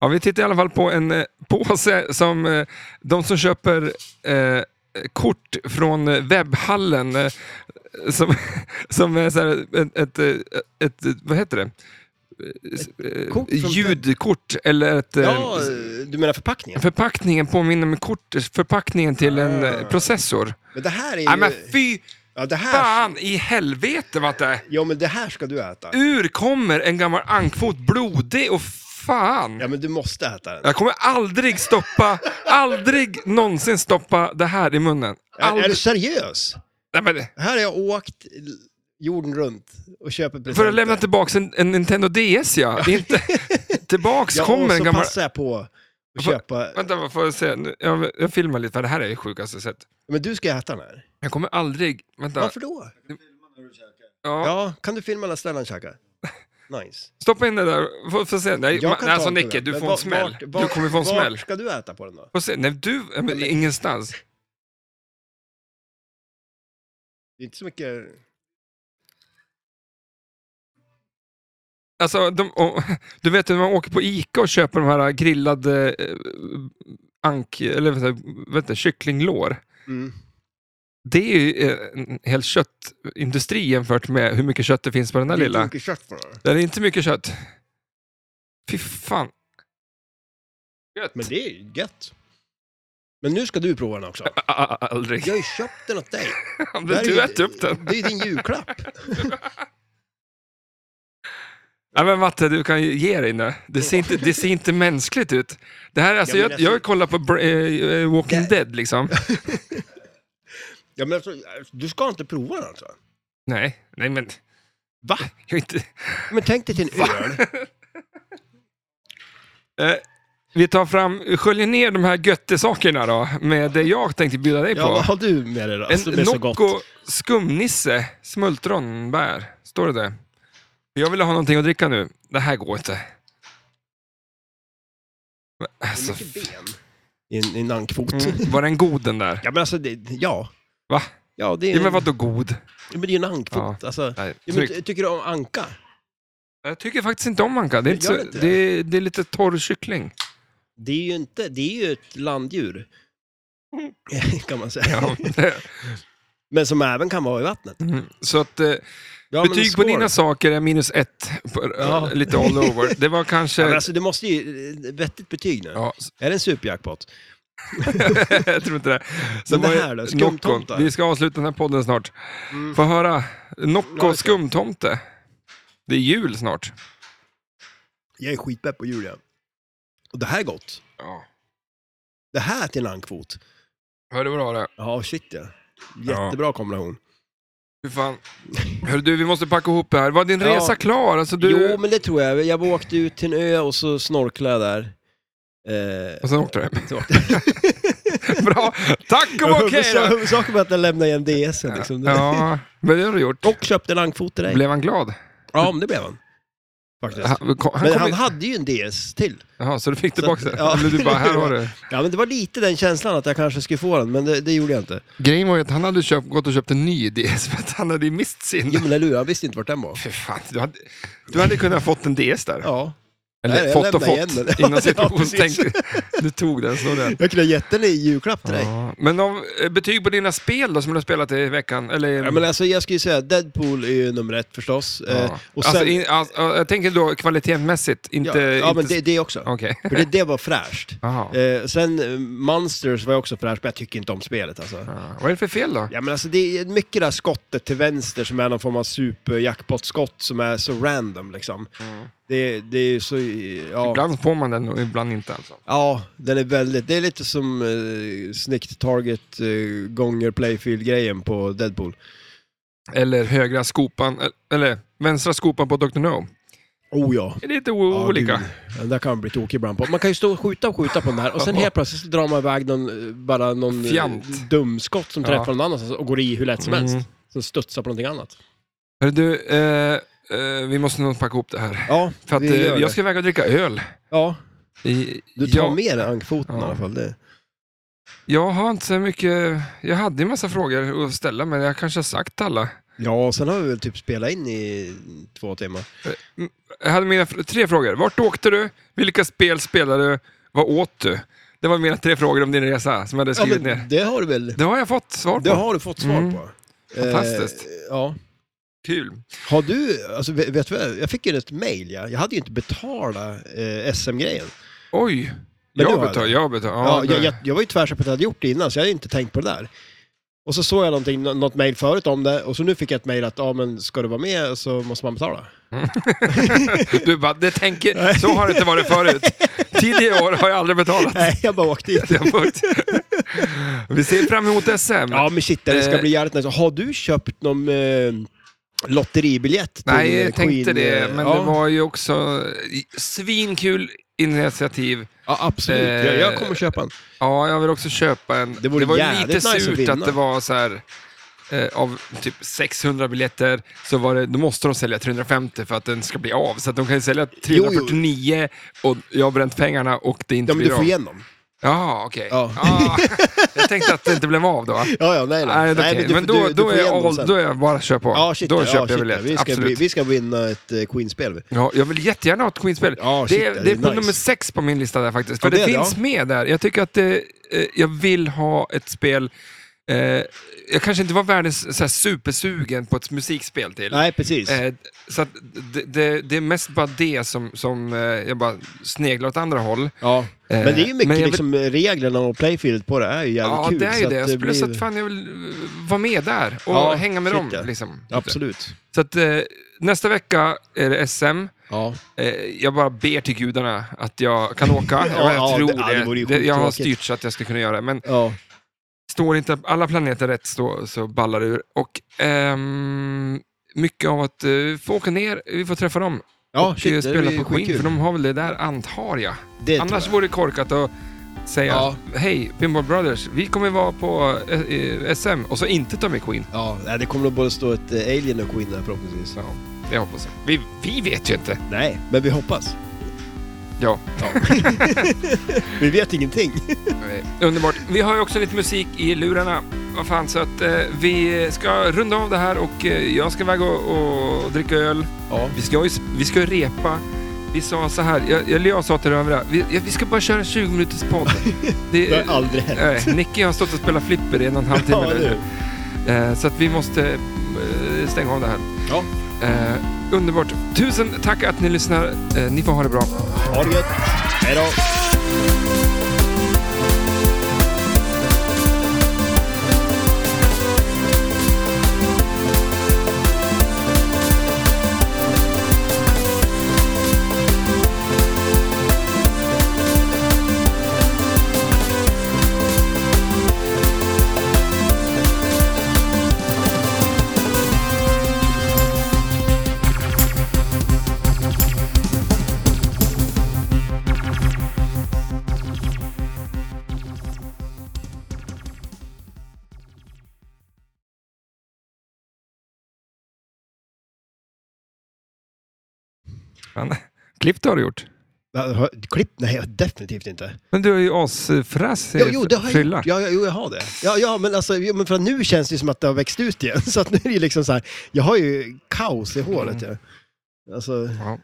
Speaker 1: Ja, vi tittar i alla fall på en eh, påse som eh, de som köper eh, kort från eh, webbhallen eh, som, *laughs* som är så här, ett, ett, eh, ett, eh, vad heter det? Eh,
Speaker 2: kort från-
Speaker 1: ljudkort eller ett... eh,
Speaker 2: Ja, du menar förpackningen?
Speaker 1: Förpackningen påminner mig kort, förpackningen till en
Speaker 2: Ah. Eh,
Speaker 1: eh, processor.
Speaker 2: Men det här är ju...
Speaker 1: Nej men fy
Speaker 2: ja, det här,
Speaker 1: fan i helvete vad det är.
Speaker 2: ja, men det här ska du äta.
Speaker 1: Ur kommer en gammal ankfot, blodig och fan.
Speaker 2: Ja, men du måste äta den.
Speaker 1: Jag kommer aldrig stoppa, aldrig någonsin stoppa det här i munnen.
Speaker 2: Är, är du
Speaker 1: Aldrig.
Speaker 2: seriös?
Speaker 1: Nej, men,
Speaker 2: Här har jag åkt l- jorden runt och köper presenter.
Speaker 1: för att lämna tillbaka en, en Nintendo DS ja.
Speaker 2: *laughs*
Speaker 1: Inte, tillbaks
Speaker 2: ja, och
Speaker 1: kommer
Speaker 2: så
Speaker 1: en gammal...
Speaker 2: passar jag på att
Speaker 1: Får-
Speaker 2: köpa...
Speaker 1: Vänta, vad får jag säga? Nu- Jag, jag filmar lite, för det här är det sjukaste jag sett.
Speaker 2: Men du ska äta den här.
Speaker 1: Jag kommer aldrig... Vänta.
Speaker 2: Varför då?
Speaker 3: du filmar när du käkar.
Speaker 1: Ja.
Speaker 2: Ja, kan du filma alla ställen käka? Nice.
Speaker 1: Stoppa in det där, får, får se. Nej,
Speaker 2: Jag
Speaker 1: ma- nej
Speaker 2: kan ta
Speaker 1: alltså
Speaker 2: den,
Speaker 1: Nicke, du
Speaker 2: men
Speaker 1: får en
Speaker 2: vart-
Speaker 1: smäll.
Speaker 2: vart- vart-
Speaker 1: Du kommer få en
Speaker 2: Vart
Speaker 1: smäll.
Speaker 2: ska du äta på den då?
Speaker 1: Får se. Nej, du, ja, men, ingenstans.
Speaker 2: Det är inte så mycket... mm.
Speaker 1: Alltså, de, och, *laughs* du vet när man åker på Ica och köper de här grillade eh, ank, eller vad heter det, vet du, kycklinglår.
Speaker 2: Mm.
Speaker 1: Det är ju eh, en hel köttindustri jämfört med hur mycket kött det finns på den där
Speaker 2: Det är inte
Speaker 1: lilla.
Speaker 2: mycket kött på den. här.
Speaker 1: Det är inte mycket kött. Fy fan. Gött.
Speaker 2: Men det är ju gött. Men nu ska du prova
Speaker 1: *laughs*
Speaker 2: den också.
Speaker 1: A- a- a- Ah, Aldrig.
Speaker 2: Jag har ju köpt den åt dig.
Speaker 1: *laughs* Men
Speaker 2: Det här är
Speaker 1: du
Speaker 2: ju-
Speaker 1: äter upp den.
Speaker 2: Det är ju din julklapp.
Speaker 1: Nej men Matte, du kan ju ge dig nu. Det ser inte, det ser inte mänskligt ut. Det här, alltså,
Speaker 2: Ja, men
Speaker 1: jag,
Speaker 2: alltså-
Speaker 1: jag kollar på Bra- eh, Walking
Speaker 2: Det-
Speaker 1: Dead
Speaker 2: *laughs*
Speaker 1: liksom.
Speaker 2: Ja, men alltså, du ska inte prova den alltså?
Speaker 1: Nej, nej men...
Speaker 2: Va?
Speaker 1: Jag är inte... *laughs*
Speaker 2: Men tänk dig till en öl.
Speaker 1: Eh, Vi tar fram, sköljer ner de här göttesakerna då, med det jag tänkte bjuda dig
Speaker 2: Ja, vad
Speaker 1: på.
Speaker 2: har du med dig då?
Speaker 1: En
Speaker 2: som är så gott?
Speaker 1: Nocco skumnisse smultronbär. Står det det? Jag vill ha någonting att dricka nu. Det här går inte. Men,
Speaker 2: Det
Speaker 1: Alltså,
Speaker 2: är mycket ben i en, i en ankfot.
Speaker 1: mm, var den god den där?
Speaker 2: *laughs* Ja, men alltså, det, ja.
Speaker 1: Va?
Speaker 2: Ja, det är,
Speaker 1: Ja, men vadå god?
Speaker 2: ja, men det är ju en ankfot.
Speaker 1: Ja.
Speaker 2: Alltså,
Speaker 1: Nej,
Speaker 2: ja, men,
Speaker 1: tryck.
Speaker 2: ty- tycker du om anka?
Speaker 1: Jag tycker faktiskt inte om anka. Det är, inte
Speaker 2: Gör
Speaker 1: så,
Speaker 2: inte det?
Speaker 1: det är, det är lite torr kyckling.
Speaker 2: Det är ju inte, det är ju ett landdjur. *laughs* kan man säga.
Speaker 1: Mm. Ja, det-
Speaker 2: Men som även kan vara i
Speaker 1: *laughs*
Speaker 2: vattnet.
Speaker 1: mm. Så att, eh,
Speaker 2: Ja, men
Speaker 1: betyg på
Speaker 2: skål.
Speaker 1: dina saker är minus ett. På, eh,
Speaker 2: Ja.
Speaker 1: Lite all over. Det var
Speaker 2: *laughs* Ja, men
Speaker 1: kanske...
Speaker 2: alltså, det måste ju, eh, vettigt betyg nu.
Speaker 1: Ja,
Speaker 2: Är det en superjackpot?
Speaker 1: *laughs* jag tror inte det. Sen
Speaker 2: det
Speaker 1: var ju
Speaker 2: här då?
Speaker 1: Nocco.
Speaker 2: Skumtomtar?
Speaker 1: Vi ska avsluta den här podden snart. Få höra.
Speaker 2: Ja,
Speaker 1: Nocco
Speaker 2: just det.
Speaker 1: skumtomte. Det är jul snart.
Speaker 2: Jag är skitpepp på Julia. Och det här är gott.
Speaker 1: Ja.
Speaker 2: Det här till en ankfot.
Speaker 1: Hör du bra det?
Speaker 2: Ja, shit ja. Jättebra kombination.
Speaker 1: Hur fan. Hör du, vi måste packa ihop det här. Var din
Speaker 2: Ja.
Speaker 1: resa klar? Alltså, du...
Speaker 2: Jo, men det tror jag. Jag åkte ut till en ö och så snorklade jag där. Eh, *laughs*
Speaker 1: Och sen åkte du hem. *laughs*
Speaker 2: så.
Speaker 1: Bra. Tack
Speaker 2: *laughs*
Speaker 1: och bock, hej
Speaker 2: Huvudsa-
Speaker 1: då.
Speaker 2: Huvudsaken var att jag lämnade igen DSen. Liksom.
Speaker 1: Ja, men det har du gjort.
Speaker 2: Och köpte en ankfot till dig.
Speaker 1: Blev han glad?
Speaker 2: Ja, men det blev han. Faktiskt.
Speaker 1: Han, kom, han
Speaker 2: men
Speaker 1: kom
Speaker 2: han
Speaker 1: in-
Speaker 2: hade ju en DS till.
Speaker 1: Jaha, så du fick tillbaka
Speaker 2: Så-
Speaker 1: det?
Speaker 2: ja.
Speaker 1: Eller du bara, här har
Speaker 2: *laughs*
Speaker 1: du.
Speaker 2: Ja, men det var lite den känslan att jag kanske skulle få den, men det, det gjorde jag inte.
Speaker 1: Grejen var ju att han hade köpt, gått och köpt en ny DS för att han hade ju mist sin.
Speaker 2: Jo, men eller hur? Han visste inte vart den var.
Speaker 1: Fy fan, du hade, du hade kunnat fått en DS där.
Speaker 2: Ja.
Speaker 1: Eller
Speaker 2: Nej, jag
Speaker 1: fått och
Speaker 2: lämnar igen
Speaker 1: fått.
Speaker 2: den.
Speaker 1: Innan
Speaker 2: *laughs* Ja,
Speaker 1: situationstänk.
Speaker 2: precis.
Speaker 1: Du tog den, så den.
Speaker 2: Jag kunde ha gett den i julklapp till dig.
Speaker 1: Ja. Men om, eh, betyg på dina spel då, som du har spelat i veckan? Eller,
Speaker 2: Ja, men alltså, jag skulle ju säga Deadpool är ju nummer ett förstås. Eh, och sen,
Speaker 1: alltså, in, alltså, jag tänker då kvalitetsmässigt, inte...
Speaker 2: ja, ja, men
Speaker 1: inte
Speaker 2: det, det också.
Speaker 1: Okej.
Speaker 2: För det, det
Speaker 1: *laughs*
Speaker 2: var fräscht.
Speaker 1: Jaha.
Speaker 2: Eh, sen eh, Monsters var jag också fräscht, men jag tycker inte om spelet alltså.
Speaker 1: Ja. Vad är det för fel då?
Speaker 2: Ja men alltså det är mycket det här skottet till vänster som är någon form av superjackpot-skott som är så random liksom. Det, det är ju så, ja.
Speaker 1: Mm. Ibland får man den och ibland inte alltså.
Speaker 2: Ja, den är väldigt, det är lite som eh, snicked target eh, gånger playfield-grejen på Deadpool.
Speaker 1: Eller högra skopan, el- eller vänstra skopan på Dr. No.
Speaker 2: Oh ja.
Speaker 1: Det är lite
Speaker 2: Ja,
Speaker 1: olika.
Speaker 2: gud. Den där kan man bli tokig ibland på. Man kan ju stå och skjuta och skjuta på den här och sen helt plötsligt så drar man iväg någon, eh, bara någon eh,
Speaker 1: Fjant.
Speaker 2: dumskott som
Speaker 1: Ja.
Speaker 2: träffar någon annanstans och går i hur lätt som
Speaker 1: Mm.
Speaker 2: helst. Sen studsar på någonting annat.
Speaker 1: Hörru du, eh, eh, vi måste nog packa ihop det här.
Speaker 2: Ja,
Speaker 1: För att
Speaker 2: vi gör
Speaker 1: eh, jag
Speaker 2: det.
Speaker 1: ska iväg och dricka öl.
Speaker 2: Ja,
Speaker 1: I,
Speaker 2: du tar
Speaker 1: jag,
Speaker 2: med dig ankfoten i
Speaker 1: Ja.
Speaker 2: alla fall. Det.
Speaker 1: jag har inte så mycket... Jag hade ju massa frågor att ställa, men jag kanske har sagt alla.
Speaker 2: Ja, sen har vi väl typ spelat in i två timmar.
Speaker 1: Jag hade mina fr- tre frågor. Vart åkte du? Vilka spel spelade du? Vad åt du? Det var mina tre frågor om din resa som jag hade
Speaker 2: Ja,
Speaker 1: skrivit
Speaker 2: men
Speaker 1: ner.
Speaker 2: det har du väl?
Speaker 1: Det har jag fått svar på.
Speaker 2: Det har du fått svar
Speaker 1: Mm.
Speaker 2: på.
Speaker 1: Fantastiskt.
Speaker 2: Eh, ja.
Speaker 1: Kul.
Speaker 2: Har du, alltså vet vet du vad, jag fick ju ett mail ja. Jag hade ju inte betalat eh, SM-grejen.
Speaker 1: Oj.
Speaker 2: Men du
Speaker 1: jag
Speaker 2: har
Speaker 1: betalar,
Speaker 2: det.
Speaker 1: jag betalar.
Speaker 2: Ja,
Speaker 1: Ja,
Speaker 2: jag,
Speaker 1: det-
Speaker 2: jag, jag var ju tvärsäker på att jag hade gjort det innan, så jag hade inte tänkt på det där. Och så såg jag någonting, nå- något mejl förut om det, och så nu fick jag ett mejl att ja, men ska du vara med så måste man betala. *laughs*
Speaker 1: Du bara, det tänker, så har det inte varit
Speaker 2: *laughs*
Speaker 1: förut. Tidigare år har jag aldrig betalat.
Speaker 2: Nej, jag bara åkte dit.
Speaker 1: Det har varit- Vi ser fram emot SM.
Speaker 2: Ja, men shit, det ska
Speaker 1: Eh.
Speaker 2: bli jävligt nice. Har du köpt någon eh, lotteribiljett till
Speaker 1: Nej,
Speaker 2: eh,
Speaker 1: jag tänkte
Speaker 2: Queen?
Speaker 1: det,
Speaker 2: eh,
Speaker 1: men
Speaker 2: ja.
Speaker 1: det var ju också svinkul initiativ.
Speaker 2: Ja, absolut.
Speaker 1: Eh,
Speaker 2: jag, jag kommer köpa en.
Speaker 1: Ja, jag vill också köpa en.
Speaker 2: Det vore
Speaker 1: var ju
Speaker 2: jävligt
Speaker 1: lite
Speaker 2: nice att
Speaker 1: surt
Speaker 2: vinna.
Speaker 1: att det var så här, eh, av typ 600 biljetter, så var det, då måste de sälja 350 för att den ska bli av. Så att de kan ju sälja 349 och jag har bränt pengarna och det inte
Speaker 2: Ja, men
Speaker 1: blir
Speaker 2: du får
Speaker 1: av.
Speaker 2: igen dem.
Speaker 1: Ja, okej.
Speaker 2: Ja.
Speaker 1: Ah, jag tänkte att det inte blev av då.
Speaker 2: Ja, ja,
Speaker 1: Nej,
Speaker 2: nej, nej.
Speaker 1: okej.
Speaker 2: nej
Speaker 1: men,
Speaker 2: du får-
Speaker 1: då,
Speaker 2: du- du
Speaker 1: då,
Speaker 2: får
Speaker 1: är
Speaker 2: igen
Speaker 1: jag
Speaker 2: dem
Speaker 1: all,
Speaker 2: sen.
Speaker 1: då är jag bara kör på.
Speaker 2: Ja, shit,
Speaker 1: då
Speaker 2: ja,
Speaker 1: köper
Speaker 2: shit,
Speaker 1: jag biljett.
Speaker 2: Vi ska,
Speaker 1: Absolut.
Speaker 2: vi, vi ska vinna ett eh, Queen-spel.
Speaker 1: Ja, jag vill jättegärna ha ett Queen-spel.
Speaker 2: Ja, shit,
Speaker 1: det,
Speaker 2: det
Speaker 1: är,
Speaker 2: är
Speaker 1: det är på
Speaker 2: nice.
Speaker 1: nummer sex på min lista där faktiskt. För
Speaker 2: Ja,
Speaker 1: det,
Speaker 2: det är det,
Speaker 1: finns
Speaker 2: ja.
Speaker 1: med där. Jag tycker att det, eh, jag vill ha ett spel. Eh, jag kanske inte var världens så här, supersugen på ett musikspel till.
Speaker 2: Nej, precis.
Speaker 1: Eh, så att det, det, det är mest bara det som, som eh, jag bara sneglar åt andra håll.
Speaker 2: Ja. Men det är ju mycket
Speaker 1: Eh, men jag vill-
Speaker 2: liksom, reglerna och playfield på det är ju jävligt
Speaker 1: Ja,
Speaker 2: kul.
Speaker 1: det är ju
Speaker 2: så att
Speaker 1: det. Så,
Speaker 2: blir-
Speaker 1: så att fan, jag vill eh, vara med där och
Speaker 2: Ja,
Speaker 1: hänga med
Speaker 2: shit,
Speaker 1: dem.
Speaker 2: ja.
Speaker 1: Liksom.
Speaker 2: Absolut.
Speaker 1: Så att, eh, nästa vecka är det SM.
Speaker 2: Ja.
Speaker 1: Eh, jag bara ber till gudarna att jag kan
Speaker 2: *laughs*
Speaker 1: åka.
Speaker 2: Ja,
Speaker 1: jag
Speaker 2: ja,
Speaker 1: tror
Speaker 2: det-
Speaker 1: det.
Speaker 2: ja, det vore ju
Speaker 1: Det- jag har
Speaker 2: skittråkigt.
Speaker 1: styrt så att jag ska kunna göra det. Men
Speaker 2: ja.
Speaker 1: står inte alla planeter rätt så, så ballar det ur. Och ehm, mycket av att eh, få åka ner, vi får träffa dem.
Speaker 2: Ja,
Speaker 1: och
Speaker 2: shit,
Speaker 1: eh,
Speaker 2: det
Speaker 1: spela
Speaker 2: blir
Speaker 1: på Queen,
Speaker 2: skitkul.
Speaker 1: för de har väl det där antar jag.
Speaker 2: Det tror
Speaker 1: Annars
Speaker 2: jag.
Speaker 1: vore det korkat att säga
Speaker 2: Ja.
Speaker 1: Hej, Pinball Brothers, vi kommer vara på eh, eh, SM och så inte ta med Queen.
Speaker 2: Ja, nej, det kommer nog både stå ett eh, Alien och Queen där förhoppningsvis.
Speaker 1: Ja, det hoppas jag. Vi, vi vet ju inte.
Speaker 2: Nej, men vi hoppas.
Speaker 1: Ja,
Speaker 2: Vi
Speaker 1: *laughs*
Speaker 2: vet ingenting.
Speaker 1: eh, underbart. Vi har ju också lite musik i lurarna. Vad fan, så att eh, vi ska runda av det här och eh, jag ska iväg och, och dricka öl.
Speaker 2: Ja.
Speaker 1: Vi ska ju vi ska ju repa. Vi sa så här, jag, eller jag sa till de övriga, vi, vi ska bara köra en 20 minuters *laughs* podd. Det,
Speaker 2: Det har aldrig hänt.
Speaker 1: Nej, Nicky har stått och spelat flipper i en och en halv timme
Speaker 2: Ja,
Speaker 1: nu. Eh, Så att vi måste eh, stänga av det här.
Speaker 2: Ja.
Speaker 1: Eh, Underbart. Tusen tack att ni lyssnar. Eh, Ni får ha det bra.
Speaker 2: Ha det gött. Hej då.
Speaker 1: Fan. Klipp det har du gjort.
Speaker 2: Klipp? Nej, definitivt inte.
Speaker 1: Men du är ju asfräsig
Speaker 2: Jo, jo, det har jag
Speaker 1: frilla.
Speaker 2: gjort. Ja, ja, jo, jag har det. Ja, ja men, alltså, jo, men för att nu känns det ju som att det har växt *laughs*
Speaker 1: Mm.
Speaker 2: ut igen. Så att nu är det ju liksom så här, jag har ju kaos i håret. ju. Alltså,
Speaker 1: Ja.